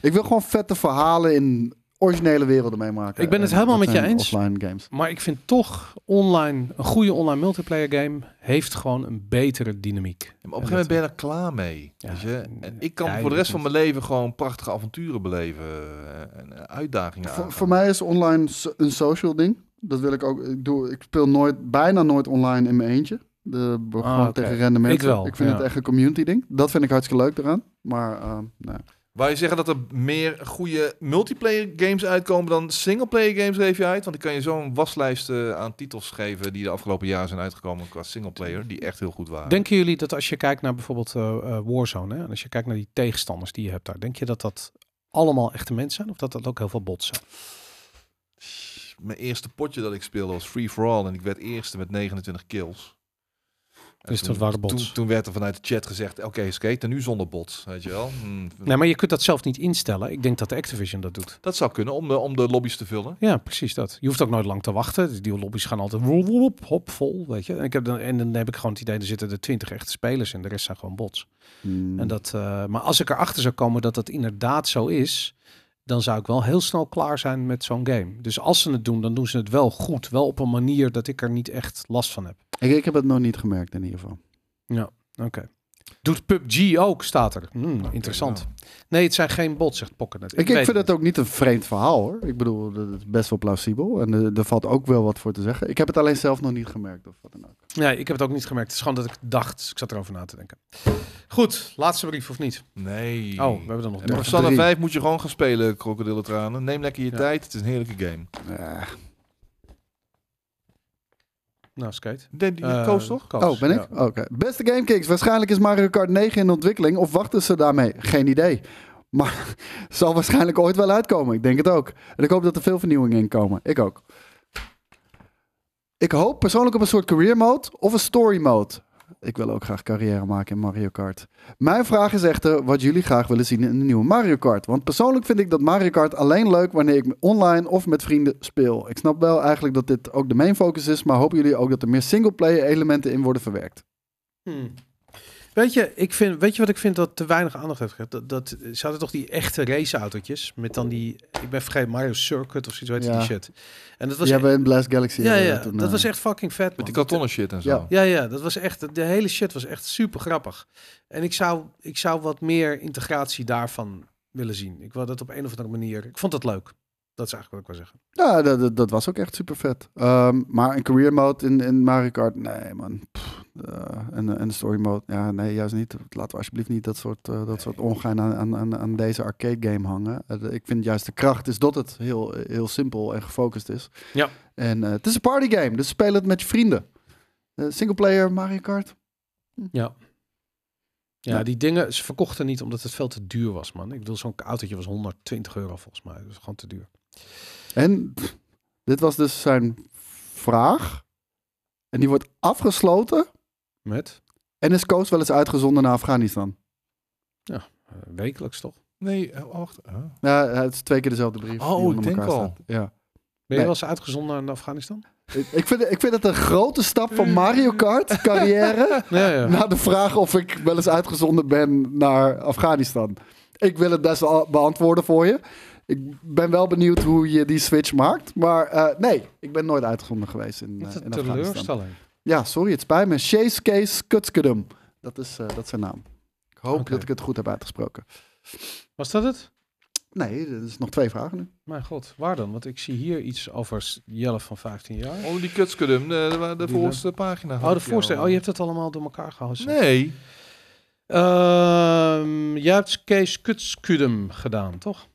Speaker 3: ik wil gewoon vette verhalen in originele werelden meemaken.
Speaker 1: Ik ben het
Speaker 3: En
Speaker 1: helemaal
Speaker 3: dat
Speaker 1: met je
Speaker 3: zijn
Speaker 1: eens.
Speaker 3: Offline games.
Speaker 1: Maar ik vind toch online, een goede online multiplayer game heeft gewoon een betere dynamiek.
Speaker 2: Ja, maar op een gegeven moment ben je er klaar mee.
Speaker 1: Ja,
Speaker 2: weet je? En ik
Speaker 1: ja,
Speaker 2: kan
Speaker 1: je
Speaker 2: voor de rest van
Speaker 1: moet-
Speaker 2: mijn leven gewoon prachtige avonturen beleven. eh, En eh, uitdagingen.
Speaker 3: Voor,
Speaker 2: aangaan.
Speaker 3: voor mij is online so- een social ding. Dat wil ik ook. Ik, doe, ik speel nooit, bijna nooit online in mijn eentje. De, gewoon
Speaker 1: Ah, oké.
Speaker 3: tegen random mensen.
Speaker 1: wel,
Speaker 3: ik vind
Speaker 1: ja.
Speaker 3: het echt een community ding. Dat vind ik hartstikke leuk eraan. Maar ehm, nee.
Speaker 2: Wou je zeggen dat er meer goede multiplayer games uitkomen dan singleplayer games, geef je uit? Want ik kan je zo'n waslijst eh, aan titels geven die de afgelopen jaren zijn uitgekomen qua singleplayer, die echt heel goed waren.
Speaker 1: Denken jullie dat als je kijkt naar bijvoorbeeld eh, eh, Warzone, hè, en als je kijkt naar die tegenstanders die je hebt daar, denk je dat dat allemaal echte mensen zijn of dat dat ook heel veel bots zijn?
Speaker 2: Mijn eerste potje dat ik speelde was Free For All en ik werd eerste met 29 kills. En
Speaker 1: Dus dat waren bots.
Speaker 2: Toen, toen werd er vanuit de chat gezegd, oké, skate skaten nu zonder bots, weet je wel. Hmm,
Speaker 1: Nee, maar je kunt dat zelf niet instellen. Ik denk dat Activision dat doet.
Speaker 2: Dat zou kunnen om de, om de lobby's te vullen.
Speaker 1: Ja, precies dat. Je hoeft ook nooit lang te wachten. Die lobby's gaan altijd woep, woep, hop, vol, weet je. En, ik heb dan, en dan heb ik gewoon het idee, er zitten er twintig echte spelers en de rest zijn gewoon bots.
Speaker 3: Hmm.
Speaker 1: En dat, eh, maar als ik erachter zou komen dat dat inderdaad zo is, dan zou ik wel heel snel klaar zijn met zo'n game. Dus als ze het doen, dan doen ze het wel goed. Wel op een manier dat ik er niet echt last van heb.
Speaker 3: ik, ik heb het nog niet gemerkt in ieder geval.
Speaker 1: Oké. Doet PUBG ook, staat er. Hmm, interessant.
Speaker 2: nou.
Speaker 1: Nee, het zijn geen bots, zegt Pokkenet.
Speaker 3: Ik, ik vind het ook niet een vreemd verhaal hoor. Ik bedoel, dat is best wel plausibel. En eh, er valt ook wel wat voor te zeggen. Ik heb het alleen zelf nog niet gemerkt of wat dan ook.
Speaker 1: Nee, ik heb het ook niet gemerkt. Het is gewoon dat ik dacht. Ik zat erover na te denken. Goed, laatste brief of niet?
Speaker 2: Nee.
Speaker 1: Oh, we hebben er nog
Speaker 3: En nog
Speaker 1: drie.
Speaker 3: een
Speaker 2: Persona
Speaker 3: drie.
Speaker 2: 5 moet je gewoon gaan spelen, krokodillentranen. Neem lekker je
Speaker 1: Ja.
Speaker 2: tijd, het is een heerlijke game.
Speaker 3: Eh,
Speaker 1: Nou, skate.
Speaker 2: De, die
Speaker 1: Eh,
Speaker 2: koos toch?
Speaker 1: Koos,
Speaker 3: Oh, ben ik?
Speaker 1: ja.
Speaker 3: Oké. Beste GameKings, waarschijnlijk is Mario Kart 9 in ontwikkeling. Of wachten ze daarmee? Geen idee. Maar zal waarschijnlijk ooit wel uitkomen. Ik denk het ook. En ik hoop dat er veel vernieuwingen in komen. Ik ook. Ik hoop persoonlijk op een soort career mode of een story mode. Ik wil ook graag carrière maken in Mario Kart. Mijn vraag is echter wat jullie graag willen zien in een nieuwe Mario Kart. Want persoonlijk vind ik dat Mario Kart alleen leuk wanneer ik online of met vrienden speel. Ik snap wel eigenlijk dat dit ook de main focus is, maar hopen jullie ook dat er meer singleplayer elementen in worden verwerkt.
Speaker 1: Hmm. Weet je, ik vind, weet je wat ik vind dat te weinig aandacht heeft gekregen? Dat, dat, ze hadden toch die echte raceautootjes met dan die, ik ben vergeten, Mario Circuit of zoiets, weet je
Speaker 3: Ja.
Speaker 1: die shit. En dat was, e-
Speaker 3: Die hebben in Blast Galaxy.
Speaker 1: ja,
Speaker 3: hebben
Speaker 1: ja,
Speaker 3: we toen,
Speaker 1: dat
Speaker 3: eh,
Speaker 1: was echt fucking vet.
Speaker 2: Met die
Speaker 1: man.
Speaker 2: kartonnen shit en zo.
Speaker 3: Ja.
Speaker 1: Ja, ja, dat was echt, de hele shit was echt super grappig. En ik zou, ik zou wat meer integratie daarvan willen zien. Ik wil dat op een of andere manier, ik vond dat leuk. Dat is eigenlijk wat ik wil zeggen.
Speaker 3: Ja, dat, dat, dat was ook echt super vet. Ehm, maar een career mode in, in Mario Kart, nee man. Pff, eh, en en een story mode, ja, nee, juist niet. Laten we alsjeblieft niet dat soort, eh, dat soort ongein aan, aan- aan, aan deze arcade game hangen. Eh, de- ik vind juist de kracht is dat het heel, heel simpel en gefocust is.
Speaker 1: Ja.
Speaker 3: En eh, het is een party game, dus speel het met je vrienden. Eh, single player Mario Kart.
Speaker 1: Ja,
Speaker 3: Ja.
Speaker 1: die dingen, ze verkochten niet omdat het veel te duur was, man. Ik bedoel, zo'n autootje was 120 euro volgens mij. Dat is gewoon te duur.
Speaker 3: En pff, dit was dus zijn vraag. En die wordt afgesloten.
Speaker 1: Met?
Speaker 3: En is Koos wel eens uitgezonden naar Afghanistan?
Speaker 1: eh, wekelijks toch?
Speaker 2: Nee, eh, wacht. Huh?
Speaker 3: Ja, het is twee keer dezelfde brief.
Speaker 2: Oh,
Speaker 3: die onder
Speaker 2: ik denk
Speaker 3: elkaar
Speaker 2: al.
Speaker 3: staat. Ja.
Speaker 1: Ben
Speaker 3: Nee.
Speaker 1: je wel eens uitgezonden naar Afghanistan?
Speaker 3: Ik, ik, vind, ik vind het een grote stap van Mario Kart carrière
Speaker 1: Ja, ja.
Speaker 3: naar de vraag of ik wel eens uitgezonden ben naar Afghanistan. Ik wil het best wel beantwoorden voor je. Ik ben wel benieuwd hoe je die switch maakt. Maar eh, nee, ik ben nooit uitgezonden geweest in, eh,
Speaker 1: Wat een
Speaker 3: in Afghanistan.
Speaker 1: teleurstelling.
Speaker 3: Ja, sorry, het spijt me. Chase Case Kutskedum. Dat is, eh, dat is zijn naam. Ik hoop
Speaker 1: Oké.
Speaker 3: dat ik het goed heb uitgesproken.
Speaker 1: Was dat het?
Speaker 3: Nee, er is nog twee vragen nu.
Speaker 1: Mijn god, waar dan? Want ik zie hier iets over s- Jelle van 15 jaar.
Speaker 2: Oh, die kutskudum, de, de, de
Speaker 1: Die
Speaker 2: voorste pagina.
Speaker 1: Oh,
Speaker 2: had
Speaker 1: de
Speaker 2: ik jou.
Speaker 1: voorstelling. Oh, je hebt het allemaal door elkaar gehouden.
Speaker 2: Nee,
Speaker 1: Ehm, jij hebt Kees Kutskudum gedaan, toch?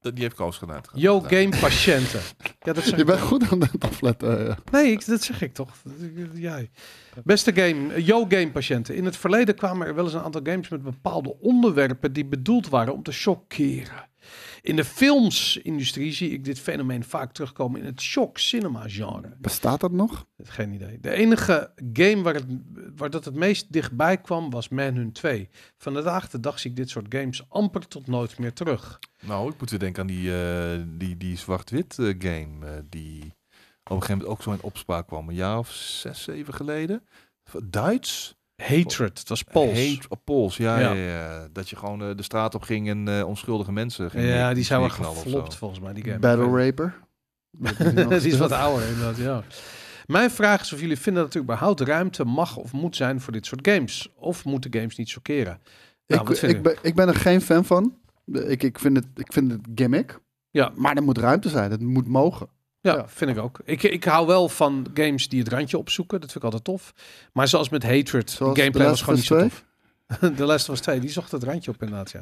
Speaker 2: dat, die heeft Koos gedaan. Nou,
Speaker 1: Yo
Speaker 2: Gedaan.
Speaker 1: Game Patiënten. ja, dat zeg
Speaker 3: Je
Speaker 1: ik.
Speaker 3: bent goed aan het afletten. eh.
Speaker 1: Nee, ik- dat zeg ik toch. Dat- ik- Jij. Beste game, eh, Yo Game Patiënten. In het verleden kwamen er wel eens een aantal games met bepaalde onderwerpen die bedoeld waren om te chockeren. In de filmsindustrie zie ik dit fenomeen vaak terugkomen in het shock cinema genre.
Speaker 3: Bestaat dat nog?
Speaker 1: Geen idee. De enige game waar, het, waar dat het meest dichtbij kwam was Manhunt 2. Vandaag de dag zie ik dit soort games amper tot nooit meer terug.
Speaker 2: Nou, ik moet weer denken aan die, eh, die, die zwart-wit eh, game eh, die op een gegeven moment ook zo in opspraak kwam. Een jaar of zes, zeven geleden. Duits?
Speaker 1: Hatred, het was Pools.
Speaker 2: Heet op Pools, ja,
Speaker 1: Ja.
Speaker 2: ja. ja, ja. Dat je gewoon eh, de straat op ging en eh, onschuldige mensen ging
Speaker 1: ja, die zijn wel
Speaker 2: neerknallen of zo.
Speaker 1: geflopt volgens mij, die game.
Speaker 3: Battle Raper.
Speaker 1: Dat is wat ouder inderdaad, ja. Mijn vraag is of jullie vinden dat er überhaupt ruimte mag of moet zijn voor dit soort games. Of moeten games niet shockeren? Nou,
Speaker 3: ik,
Speaker 1: wat vind
Speaker 3: ik, ben, ik ben er geen fan van. Ik, ik, vind het, ik vind het gimmick.
Speaker 1: Ja.
Speaker 3: Maar er moet ruimte zijn. Het moet mogen.
Speaker 1: Ja,
Speaker 3: Ja.
Speaker 1: vind ik ook. Ik, ik hou wel van games die het randje opzoeken. Dat vind ik altijd tof. Maar zoals met Hatred,
Speaker 3: Zoals
Speaker 1: de gameplay
Speaker 3: The
Speaker 1: was
Speaker 3: Last
Speaker 1: gewoon niet zo
Speaker 3: of Us
Speaker 1: tof. De Last was 2, die zocht het randje op inderdaad, ja.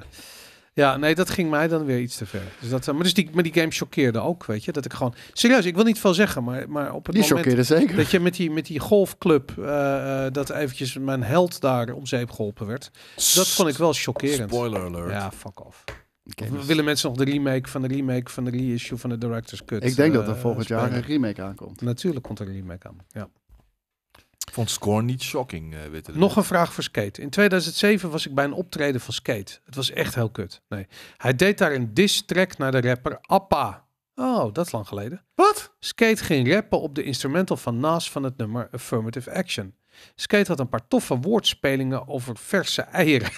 Speaker 1: Ja, nee, dat ging mij dan weer iets te ver. Dus dat, eh, maar, dus die, maar die game choqueerde ook, weet je. Dat ik gewoon... Serieus, ik wil niet veel zeggen, maar, maar op het
Speaker 3: Die
Speaker 1: moment...
Speaker 3: chockeren zeker.
Speaker 1: Dat je met die, met die golfclub, eh, eh, dat eventjes mijn held daar om zeep geholpen werd. Dat vond ik wel chockerend.
Speaker 2: Spoiler alert.
Speaker 1: Ja, fuck off.
Speaker 3: Games.
Speaker 1: Willen mensen nog de remake van de remake van de reissue van de director's cut?
Speaker 3: ik denk dat
Speaker 1: eh,
Speaker 3: er volgend jaar
Speaker 1: spelen?
Speaker 3: een remake aankomt.
Speaker 1: Natuurlijk komt er een remake aan. Ja.
Speaker 2: Ik vond score niet shocking, eh witte.
Speaker 1: Nog een vraag voor Skate. In 2007 was ik bij een optreden van Skate. Het was echt heel kut. Nee. Hij deed daar een diss-track naar de rapper Appa. Oh, dat is lang geleden.
Speaker 2: Wat?
Speaker 1: Skate ging rappen op de instrumental van Nas van het nummer Affirmative Action. Skate had een paar toffe woordspelingen over verse eieren.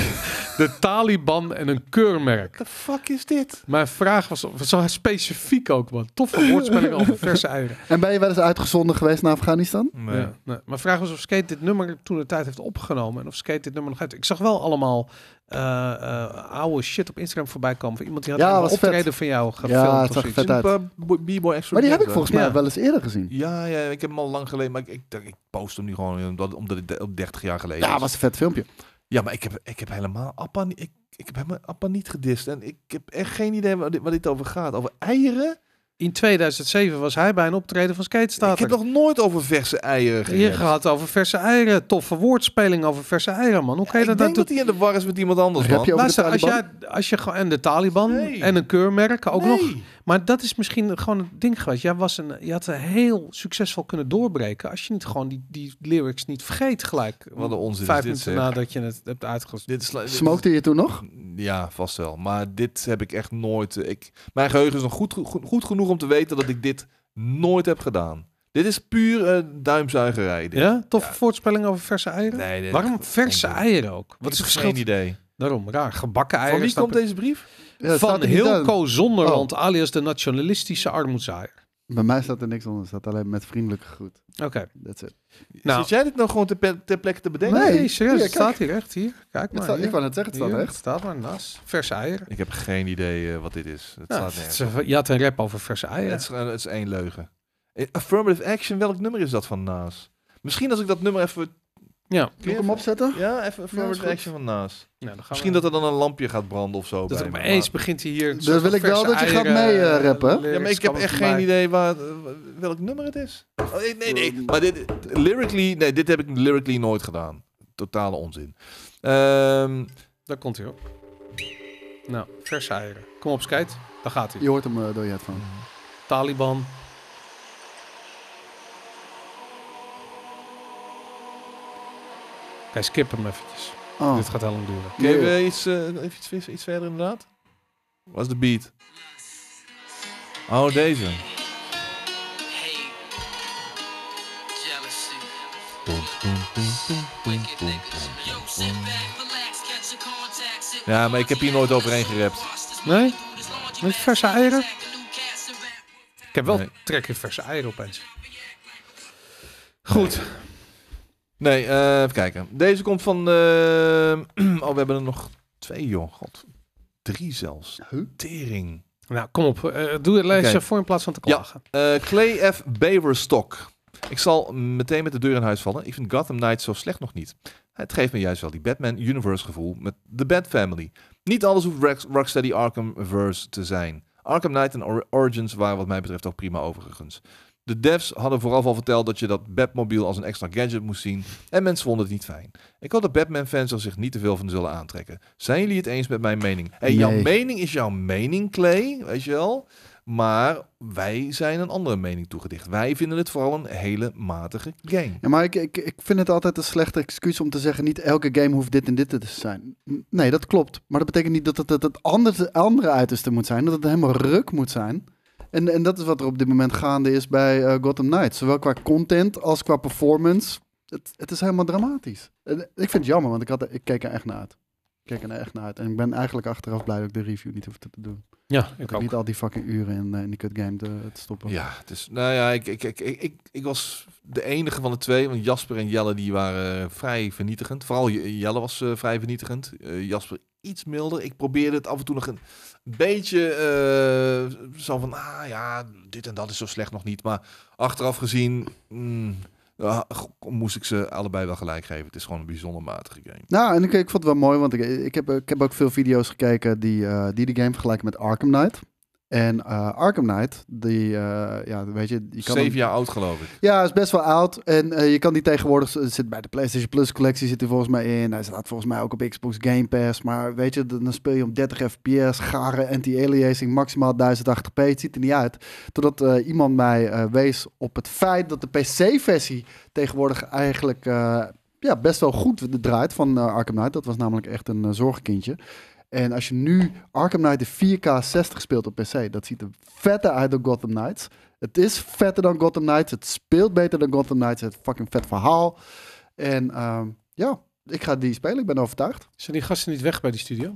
Speaker 1: de Taliban en een keurmerk.
Speaker 2: The fuck is dit?
Speaker 1: Mijn vraag was zo specifiek ook, man. Toffe woordspelingen over verse eieren.
Speaker 3: En ben je wel eens uitgezonden geweest naar Afghanistan?
Speaker 2: Nee.
Speaker 1: Ja, nee. Maar vraag was of Skate dit nummer toen de tijd heeft opgenomen en of Skate dit nummer nog heeft. Ik zag wel allemaal eh, eh, oude shit op Instagram voorbij komen. Van iemand die had
Speaker 3: Ja,
Speaker 1: een
Speaker 3: was
Speaker 1: optreden
Speaker 3: vet.
Speaker 1: van jou gefilmd.
Speaker 3: Ja,
Speaker 1: of
Speaker 3: het zag
Speaker 1: zoiets.
Speaker 3: vet uit.
Speaker 2: B-boy
Speaker 3: Maar die heb ik volgens mij
Speaker 1: Ja.
Speaker 3: wel eens eerder gezien.
Speaker 2: Ja, ja, ik heb hem al lang geleden, maar ik, ik, dacht, ik post hem nu gewoon omdat, omdat het de- 30 jaar geleden
Speaker 3: Ja,
Speaker 2: is.
Speaker 3: was een vet filmpje.
Speaker 2: Ja, maar ik heb, ik heb helemaal Appa niet, ik, ik heb helemaal Appa niet gedist. En ik heb echt geen idee waar dit, waar dit over gaat. Over eieren?
Speaker 1: In 2007 was hij bij een optreden van Skate
Speaker 2: ik
Speaker 1: staat
Speaker 2: heb
Speaker 1: er.
Speaker 2: nog nooit over verse eieren
Speaker 1: Hier
Speaker 2: gerept.
Speaker 1: gehad over verse eieren. Toffe woordspeling over verse eieren, man. Hoe kan je
Speaker 2: ik
Speaker 1: dat nou
Speaker 2: denk
Speaker 1: doen?
Speaker 2: dat hij in de war is met iemand anders,
Speaker 3: Rap
Speaker 2: man.
Speaker 3: je over
Speaker 1: Luister,
Speaker 3: de
Speaker 1: als
Speaker 3: Taliban?
Speaker 1: jij, als je gewoon en de Taliban
Speaker 2: Nee.
Speaker 1: en een keurmerk ook nog.
Speaker 2: Nee.
Speaker 1: Maar dat is misschien gewoon het ding geweest. Jij was een, je had een heel succesvol kunnen doorbreken als je niet gewoon die, die lyrics niet vergeet gelijk.
Speaker 2: Wat een onzin
Speaker 1: Vijf
Speaker 2: is dit,
Speaker 1: minuten
Speaker 2: zeg.
Speaker 1: nadat je het hebt uitgestuurd.
Speaker 2: Dit sla- dit-
Speaker 3: Smokte je toen nog?
Speaker 2: Ja, vast wel. Maar dit heb ik echt nooit... eh, Ik, mijn geheugen is nog goed, goed, goed genoeg om te weten dat ik dit nooit heb gedaan. Dit is puur eh duimzuigerij. dit.
Speaker 1: Ja? Toffe
Speaker 2: Ja.
Speaker 1: voortspelling over verse eieren?
Speaker 2: Nee, dit-
Speaker 1: Waarom verse
Speaker 2: onzin.
Speaker 1: eieren ook? Wat
Speaker 2: Wat
Speaker 1: is
Speaker 2: is
Speaker 1: het verschil?
Speaker 2: geen idee.
Speaker 1: Daarom, raar. Gebakken eieren.
Speaker 2: Van wie
Speaker 1: snap
Speaker 2: komt
Speaker 1: ik.
Speaker 2: deze brief?
Speaker 3: Ja, het staat
Speaker 1: Van
Speaker 3: er niet Oh. aan.
Speaker 1: Hilco Zonderland, alias de nationalistische armoedzaaier.
Speaker 3: Bij mij staat er niks onder. Het staat alleen met vriendelijke groet.
Speaker 1: Oké.
Speaker 3: That's it.
Speaker 1: Nou.
Speaker 2: Zit jij dit nou gewoon ter, pe- ter plekke te bedenken?
Speaker 1: Nee,
Speaker 3: Nee,
Speaker 1: serieus.
Speaker 3: hier,
Speaker 1: het staat hier echt. Hier. Kijk
Speaker 3: Het
Speaker 1: maar.
Speaker 3: staat,
Speaker 1: hier.
Speaker 3: ik wou net zeggen, het
Speaker 1: Hier,
Speaker 3: staat er
Speaker 1: het
Speaker 3: echt.
Speaker 1: staat maar naast. Verse eieren.
Speaker 2: Ik heb geen idee eh, wat dit is. Het
Speaker 1: Nou,
Speaker 2: staat
Speaker 1: het
Speaker 2: nergens.
Speaker 1: is- je had een rap over verse eieren.
Speaker 2: Het, is, eh, het is één leugen. Eh, Affirmative action, welk nummer is dat van Naas? Misschien als ik dat nummer even...
Speaker 1: Ja.
Speaker 3: Moet ik hem opzetten?
Speaker 2: Ja, even affirmative
Speaker 3: goed.
Speaker 2: action van Naas.
Speaker 1: Nou, dan gaan
Speaker 2: Misschien
Speaker 1: we-
Speaker 2: dat er dan een lampje gaat branden of zo.
Speaker 1: Dat
Speaker 2: bij me,
Speaker 1: opeens
Speaker 2: maar-
Speaker 1: begint hij hier... een
Speaker 3: Dat
Speaker 1: soort
Speaker 3: wil ik wel
Speaker 1: verse
Speaker 3: dat je gaat
Speaker 1: eieren,
Speaker 3: mee, eh,
Speaker 1: eh,
Speaker 3: rappen.
Speaker 1: lyrics
Speaker 2: Ja, maar ik heb
Speaker 1: komen
Speaker 2: echt
Speaker 1: voorbij.
Speaker 2: geen idee waar, eh, welk nummer het is. Oh, nee,
Speaker 5: Ehm.
Speaker 2: nee, nee. Maar dit, lyrically, nee, dit heb ik lyrically nooit gedaan. Totale onzin. Ehm,
Speaker 1: Daar komt hij op. Nou, verse eieren. Kom op, skate. Daar gaat hij.
Speaker 3: Je hoort hem eh, door je headphone.
Speaker 1: Taliban. Oké, skip hem eventjes.
Speaker 3: Oh.
Speaker 1: Dit gaat heel lang duren.
Speaker 2: Kun je
Speaker 3: Nee.
Speaker 2: weer iets, eh, even iets, iets, iets verder inderdaad? Wat is de beat? Oh, deze.
Speaker 5: hate, jealousy. Yo, sit back, relax, catch your contact, sit
Speaker 2: Ja, maar ik heb hier nooit overheen gerapt.
Speaker 1: Nee? Met verse eieren?
Speaker 5: eieren?
Speaker 1: Ik heb wel
Speaker 2: Nee.
Speaker 1: trek in verse eieren opeens. Goed.
Speaker 2: Nee, eh, even kijken. Deze komt van... eh, oh, we hebben er nog twee, joh. God. Drie zelfs.
Speaker 3: Huh?
Speaker 2: Tering.
Speaker 1: Nou, kom op. Eh, doe het lezen
Speaker 2: Oké.
Speaker 1: voor in plaats van te
Speaker 2: Ja.
Speaker 1: klagen.
Speaker 2: Eh, Clay F. Beaverstock. Ik zal meteen met de deur in huis vallen. Ik vind Gotham Knights zo slecht nog niet. Het geeft me juist wel die Batman Universe gevoel met de Bat Family. Niet alles hoeft Rock- Rocksteady Arkhamverse te zijn. Arkham Knight en Or- Origins waren wat mij betreft ook prima overigens. De devs hadden vooraf al verteld dat je dat Batmobile als een extra gadget moest zien en mensen vonden het niet fijn. Ik hoop dat Batman-fans er zich niet te veel van zullen aantrekken. Zijn jullie het eens met mijn mening? En jouw
Speaker 3: Nee.
Speaker 2: mening is jouw mening, Clay, weet je wel? Maar wij zijn een andere mening toegedicht. Wij vinden het vooral een hele matige game.
Speaker 3: Ja, maar ik, ik, ik vind het altijd een slechte excuus om te zeggen... niet elke game hoeft dit en dit te zijn. N- Nee, dat klopt. Maar dat betekent niet dat het het, het andere, andere uiterste moet zijn. Dat het helemaal ruk moet zijn. En, en dat is wat er op dit moment gaande is bij eh, Gotham Knights. Zowel qua content als qua performance. het, het is helemaal dramatisch. En eh, ik vind het jammer, want ik, had, ik keek er echt naar uit. Ik keek er echt naar uit. En ik ben eigenlijk achteraf blij dat ik de review niet hoef te doen.
Speaker 1: Ja,
Speaker 3: Ik heb niet al die fucking uren in, eh, in die kut game te, te stoppen.
Speaker 2: Ja, het is, nou ja, ik, ik, ik, ik, ik, ik was de enige van de twee, want Jasper en Jelle die waren eh, vrij vernietigend. Vooral Je- Jelle was eh, vrij vernietigend. Eh, Jasper iets milder. Ik probeerde het af en toe nog een beetje eh, zo van, ah ja, dit en dat is zo slecht nog niet. Maar achteraf gezien mm, ah, go- moest ik ze allebei wel gelijk geven. Het is gewoon een bijzonder matige game.
Speaker 3: Nou, en ik, ik vond het wel mooi, want ik, ik, heb, ik heb ook veel video's gekeken die, eh, die de game vergelijken met Arkham Knight. En eh, Arkham Knight, die, eh, ja, weet je, je kan
Speaker 2: Zeven
Speaker 3: hem-
Speaker 2: jaar oud geloof ik.
Speaker 3: Ja, is best wel oud. En eh, je kan die tegenwoordig... het Zit bij de PlayStation Plus collectie zit hij volgens mij in. Hij staat volgens mij ook op Xbox Game Pass. Maar weet je, dan dan speel je om 30 fps, gare anti-aliasing, maximaal 1080p. Het ziet er niet uit. Totdat eh, iemand mij eh, wees op het feit dat de PC-versie tegenwoordig eigenlijk... eh, ja, best wel goed draait van eh, Arkham Knight. Dat was namelijk echt een eh, zorgkindje. En als je nu Arkham Knight de 4K 60 speelt op PC, dat ziet er vetter uit dan Gotham Knights. Het is vetter dan Gotham Knights. Het speelt beter dan Gotham Knights. Het is een fucking vet verhaal. En ehm, ja, ik ga die spelen. Ik ben overtuigd.
Speaker 1: Zijn die gasten niet weg bij die studio?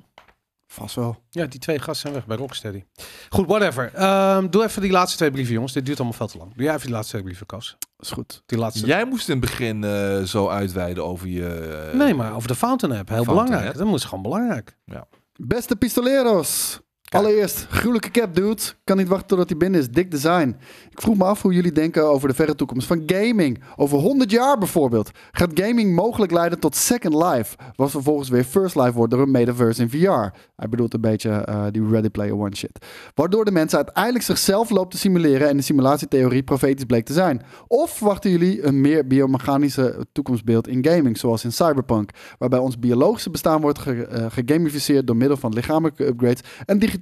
Speaker 3: Vast wel.
Speaker 1: Ja, die twee gasten zijn weg bij Rocksteady. Goed, whatever. Ehm, doe even die laatste twee brieven, jongens. Dit duurt allemaal veel te lang. Doe jij even die laatste twee brieven, Koos.
Speaker 3: Is goed.
Speaker 1: Die laatste.
Speaker 2: Jij moest in het begin eh, zo uitweiden over je... eh,
Speaker 1: Nee, maar over de Fountain App. Heel
Speaker 2: Fountain
Speaker 1: belangrijk.
Speaker 2: App.
Speaker 1: Dat is gewoon belangrijk.
Speaker 3: Beste pistoleros. Allereerst, gruwelijke cap, dude. Kan niet wachten totdat hij binnen is. Dik design. Ik vroeg me af hoe jullie denken over de verre toekomst van gaming. Over 100 jaar bijvoorbeeld. Gaat gaming mogelijk leiden tot Second Life? Wat vervolgens weer First Life wordt door een metaverse in VR. Hij bedoelt een beetje eh, die Ready Player One shit. Waardoor de mensen uiteindelijk zichzelf loopt te simuleren en de simulatietheorie profetisch bleek te zijn. Of verwachten jullie een meer biomechanische toekomstbeeld in gaming, zoals in Cyberpunk, waarbij ons biologische bestaan wordt ge- eh, gegamificeerd door middel van lichamelijke upgrades en digitalisatie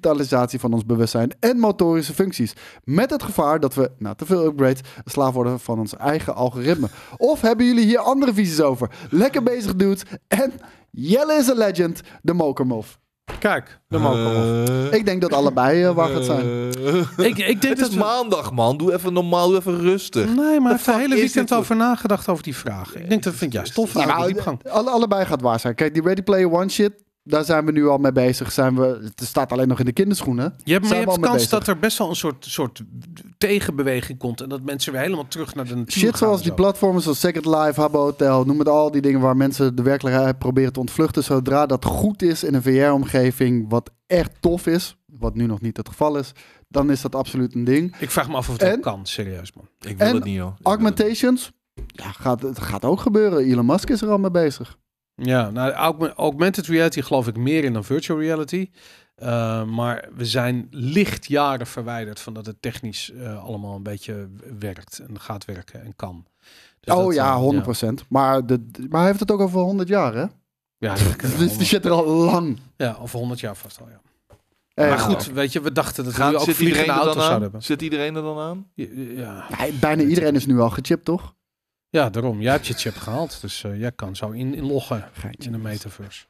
Speaker 3: van ons bewustzijn en motorische functies. Met het gevaar dat we na te veel upgrades een slaaf worden van ons eigen algoritme. Of hebben jullie hier andere visies over? Lekker bezig, dudes. En Jelle is a legend, de Mokermof.
Speaker 1: Kijk, de moker.
Speaker 2: Eh,
Speaker 3: Ik denk dat allebei eh, waar gaat zijn.
Speaker 2: eh.
Speaker 1: ik, ik denk
Speaker 2: Het
Speaker 1: dat
Speaker 2: is
Speaker 1: we-
Speaker 2: maandag, man. Doe even normaal, doe even rustig.
Speaker 1: Nee, maar
Speaker 2: The
Speaker 1: ik heb
Speaker 2: fuck
Speaker 1: het hele
Speaker 2: is
Speaker 1: weekend
Speaker 2: dit
Speaker 1: over nagedacht over die vraag. Ik denk dat vind ik juist tof
Speaker 3: Nou,
Speaker 1: aan de
Speaker 3: nou,
Speaker 1: diepgang.
Speaker 3: alle, allebei gaat waar zijn. Kijk, die Ready Player One shit, daar zijn we nu al mee bezig. Zijn we, het staat alleen nog in de kinderschoenen.
Speaker 1: Je hebt, maar je
Speaker 3: zijn we
Speaker 1: hebt
Speaker 3: al mee
Speaker 1: kans
Speaker 3: bezig.
Speaker 1: dat er best wel een soort, soort tegenbeweging komt. En dat mensen weer helemaal terug naar de natuur
Speaker 3: Shit
Speaker 1: gaan
Speaker 3: zoals
Speaker 1: en
Speaker 3: die
Speaker 1: zo.
Speaker 3: platformen zoals Second Life, Habbo Hotel, noem het al die dingen waar mensen de werkelijkheid proberen te ontvluchten. Zodra dat goed is in een VR-omgeving, wat echt tof is, wat nu nog niet het geval is, dan is dat absoluut een ding.
Speaker 1: Ik vraag me af of dat
Speaker 3: En?
Speaker 1: kan, serieus man.
Speaker 2: Ik wil
Speaker 3: En
Speaker 2: het niet, joh. Ik wil het niet.
Speaker 3: Augmentations, ja, gaat, het gaat ook gebeuren. Elon Musk is er al mee bezig.
Speaker 1: Ja, nou, augme- augmented reality geloof ik meer in dan virtual reality. Eh, maar we zijn lichtjaren verwijderd van dat het technisch eh, allemaal een beetje werkt en gaat werken en kan. Dus
Speaker 3: oh
Speaker 1: dat, eh,
Speaker 3: ja, 100%. Maar, de, maar hij heeft het ook over 100 jaar, hè?
Speaker 1: Ja, ja, dat-
Speaker 3: Dus die shit er al lang.
Speaker 1: ja, of 100 jaar vast al, ja.
Speaker 3: Eh,
Speaker 1: Maar goed, weet je, we dachten dat
Speaker 2: Gaan,
Speaker 1: we ook
Speaker 2: zit, iedereen
Speaker 1: vliegende
Speaker 2: er
Speaker 1: auto's
Speaker 2: dan
Speaker 1: zouden
Speaker 2: aan?
Speaker 1: hebben.
Speaker 2: zit iedereen er dan aan?
Speaker 1: Ja,
Speaker 3: Ja, bijna iedereen is nu al gechipt, toch?
Speaker 1: ja, daarom. Jij hebt je chip gehaald, dus eh, jij kan zo in, inloggen in
Speaker 3: Geintje.
Speaker 1: de metaverse.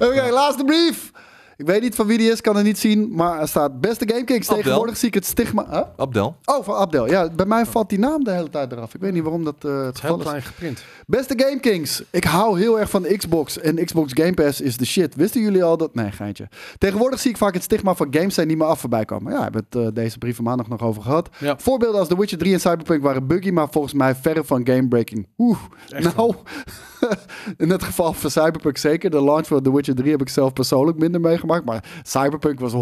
Speaker 3: Oké, laatste brief. Ik weet niet van wie die is, kan het niet zien, maar er staat beste GameKings.
Speaker 2: Abdel.
Speaker 3: Tegenwoordig zie ik het stigma... Huh?
Speaker 2: Abdel?
Speaker 3: Oh, van Abdel. Ja, bij mij valt die naam de hele tijd eraf. Ik weet niet waarom dat eh, het
Speaker 1: Heel
Speaker 3: geval is.
Speaker 1: klein geprint.
Speaker 3: Beste GameKings, ik hou heel erg van Xbox en Xbox Game Pass is de shit. Wisten jullie al dat... Nee, geintje. Tegenwoordig zie ik vaak het stigma van games zijn niet meer af voorbij komen. Ja, we hebben het eh, deze brieven maandag nog over gehad.
Speaker 1: Ja.
Speaker 3: Voorbeelden als The Witcher 3 en Cyberpunk waren buggy, maar volgens mij verre van gamebreaking. Oeh, nou, in het geval van Cyberpunk zeker. De launch van The Witcher 3 heb ik zelf persoonlijk minder meegemaakt, maar Cyberpunk was 100%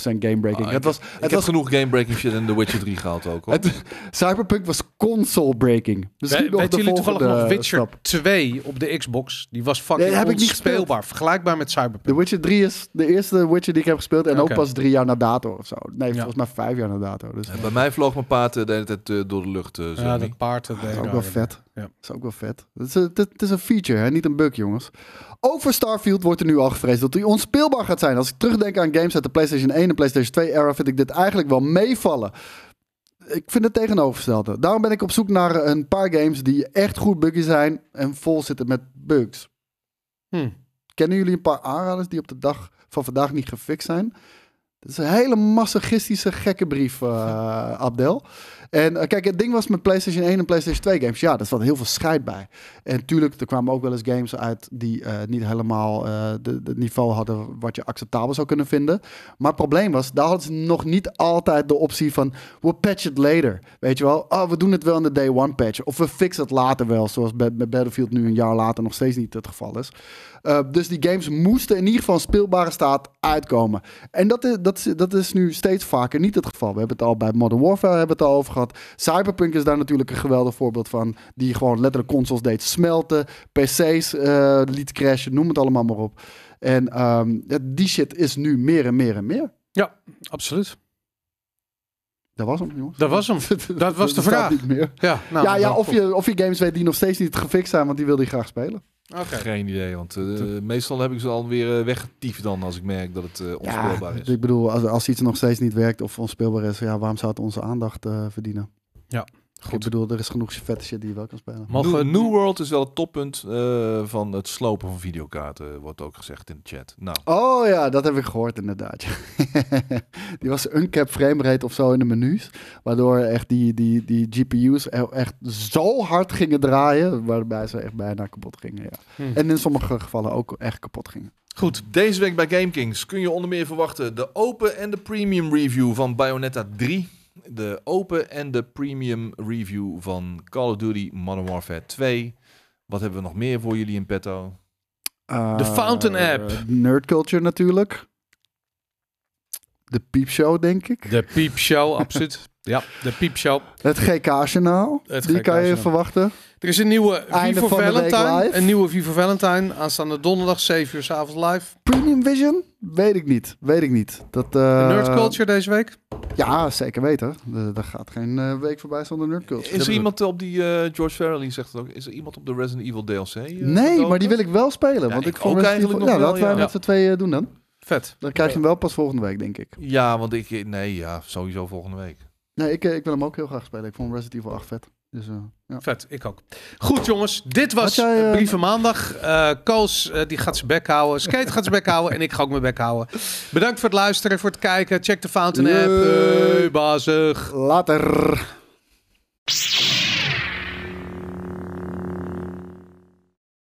Speaker 3: gamebreaking.
Speaker 2: Ah,
Speaker 3: het was,
Speaker 2: Ik
Speaker 3: het
Speaker 2: heb
Speaker 3: was
Speaker 2: genoeg game-breaking shit in The Witcher 3 gehaald ook, hoor.
Speaker 3: het, Cyberpunk was console breaking. Misschien
Speaker 1: We-
Speaker 3: nog de
Speaker 1: weten jullie toevallig
Speaker 3: volgende
Speaker 1: nog Witcher
Speaker 3: stap.
Speaker 1: 2 op de Xbox? Die was fucking
Speaker 3: Nee, heb ik niet
Speaker 1: onspeelbaar. Vergelijkbaar met
Speaker 3: The
Speaker 1: Cyberpunk.
Speaker 3: Witcher 3 is de eerste Witcher die ik heb gespeeld. En
Speaker 1: Oké.
Speaker 3: ook pas drie jaar na dato of zo. Nee,
Speaker 1: Ja.
Speaker 3: volgens mij vijf jaar na dato. Dus dat
Speaker 2: En Bij mij vloog mijn paard eh, de hele tijd eh, door de lucht. eh, zo
Speaker 1: ja,
Speaker 2: niet.
Speaker 1: dat paard. Dat
Speaker 3: is
Speaker 1: deed
Speaker 3: Ah, ook
Speaker 1: daar
Speaker 3: wel
Speaker 1: in.
Speaker 3: vet.
Speaker 1: Ja.
Speaker 3: Dat is ook wel vet. Het is, een- het is een feature, hè? niet een bug, jongens. Ook voor Starfield wordt er nu al gevreesd dat hij onspeelbaar gaat zijn. Als ik terugdenk aan games uit de PlayStation 1 en PlayStation 2 era, vind ik dit eigenlijk wel meevallen. Ik vind het tegenovergestelde. Daarom ben ik op zoek naar een paar games die echt goed buggy zijn en vol zitten met bugs.
Speaker 1: Hm.
Speaker 3: Kennen jullie een paar aanraders die op de dag van vandaag niet gefixt zijn? Dat is een hele masochistische gekke brief, eh, Abdel. En eh, kijk, het ding was met PlayStation 1 en PlayStation 2 games. Ja, daar zat heel veel scheid bij. En tuurlijk, er kwamen ook wel eens games uit die eh, niet helemaal eh, de- het niveau hadden wat je acceptabel zou kunnen vinden. Maar het probleem was, daar hadden ze nog niet altijd de optie van, we patch it later. Weet je wel, oh, we doen het wel in de day one patch. Of we fixen het later wel, zoals bij, bij Battlefield nu een jaar later nog steeds niet het geval is. Eh, dus die games moesten in ieder geval in speelbare staat uitkomen. En dat is, dat, is, dat is nu steeds vaker niet het geval. We hebben het al bij Modern Warfare hebben we het al over gehad. Cyberpunk is daar natuurlijk een geweldig voorbeeld van. Die gewoon letterlijk consoles deed smelten. PC's eh, liet crashen, noem het allemaal maar op. En ehm, ja, die shit is nu meer en meer en meer.
Speaker 1: Ja, absoluut.
Speaker 3: Dat was hem, jongens.
Speaker 1: Dat was hem. Dat was de
Speaker 3: staat
Speaker 1: vraag.
Speaker 3: Niet meer.
Speaker 1: Ja, nou,
Speaker 3: ja, ja
Speaker 1: dan-
Speaker 3: of, je, of je games weet die nog steeds niet gefixt zijn, want die wilde je graag spelen.
Speaker 1: Oké.
Speaker 2: Geen idee, want eh, meestal heb ik ze alweer eh, weggetiefd dan als ik merk dat het eh, onspeelbaar is.
Speaker 3: ik bedoel, als, als iets nog steeds niet werkt of onspeelbaar is, ja, waarom zou het onze aandacht eh, verdienen?
Speaker 1: Ja,
Speaker 3: Goed. Ik bedoel, er is genoeg vette shit die je wel kan spelen.
Speaker 1: Mogen we
Speaker 2: New, New World is wel het toppunt eh, van het slopen van videokaarten, wordt ook gezegd in de chat. Nou,
Speaker 3: Oh ja, dat heb ik gehoord inderdaad. die was uncap framerate of zo in de menus. Waardoor echt die, die, die GPU's e- echt zo hard gingen draaien. Waarbij ze echt bijna kapot gingen. Ja.
Speaker 1: Hmm.
Speaker 3: Hm. En in sommige gevallen ook echt kapot gingen.
Speaker 2: Goed, deze week bij GameKings kun je onder meer verwachten de open en de premium review van Bayonetta 3. De open en de premium review van Call of Duty Modern Warfare 2. Wat hebben we nog meer voor jullie in petto?
Speaker 1: De Fountain
Speaker 3: Eh,
Speaker 1: App.
Speaker 3: Nerd Culture natuurlijk. De Piepshow, denk ik.
Speaker 1: De piepshow, absoluut. Ja, de piepshow.
Speaker 3: Het GK-journaal.
Speaker 1: Het
Speaker 3: Die kan je
Speaker 1: GK-journaal.
Speaker 3: verwachten.
Speaker 1: Er is een nieuwe
Speaker 3: Einde
Speaker 1: Vivo
Speaker 3: van de week
Speaker 1: Valentine.
Speaker 3: live.
Speaker 1: Een nieuwe Vivo Valentine. Aanstaande donderdag, 7 uur 's avonds live.
Speaker 3: Premium Vision? Weet ik niet. Weet ik niet. Dat, eh,
Speaker 1: Nerd Culture deze week.
Speaker 3: Ja, zeker weten. Er er gaat geen eh, week voorbij zonder Nerd Culture.
Speaker 2: Is er iemand op die, eh, George Farrelly zegt het ook, is er iemand op de Resident Evil DLC? eh,
Speaker 3: Nee,
Speaker 2: gedoken?
Speaker 3: maar die wil ik wel spelen.
Speaker 2: Ja,
Speaker 3: want ik
Speaker 2: ik
Speaker 3: vond
Speaker 2: ook
Speaker 3: Resident Evil-
Speaker 2: eigenlijk nog
Speaker 3: Ja,
Speaker 2: wel,
Speaker 3: laten wij
Speaker 2: ja.
Speaker 3: met z'n tweeën eh, doen dan.
Speaker 1: Vet.
Speaker 3: Dan krijg je hem wel pas volgende week, denk ik.
Speaker 2: Ja, want ik... Nee, ja, sowieso volgende week.
Speaker 3: Nee, ik, eh, ik wil hem ook heel graag spelen. Ik vond Resident Evil 8 vet. Dus, eh, ja.
Speaker 1: Vet, ik ook. Goed jongens, dit was
Speaker 3: Had jij,
Speaker 1: eh,
Speaker 3: eh,
Speaker 1: Brieven Maandag. Eh, Koos eh, die gaat zijn bek houden. Skate gaat zijn bek houden en ik ga ook mijn bek houden. Bedankt voor het luisteren, voor het Eh, kijken. Check de Fountain app.
Speaker 3: Leuk.
Speaker 1: Hey, bazig.
Speaker 3: Later.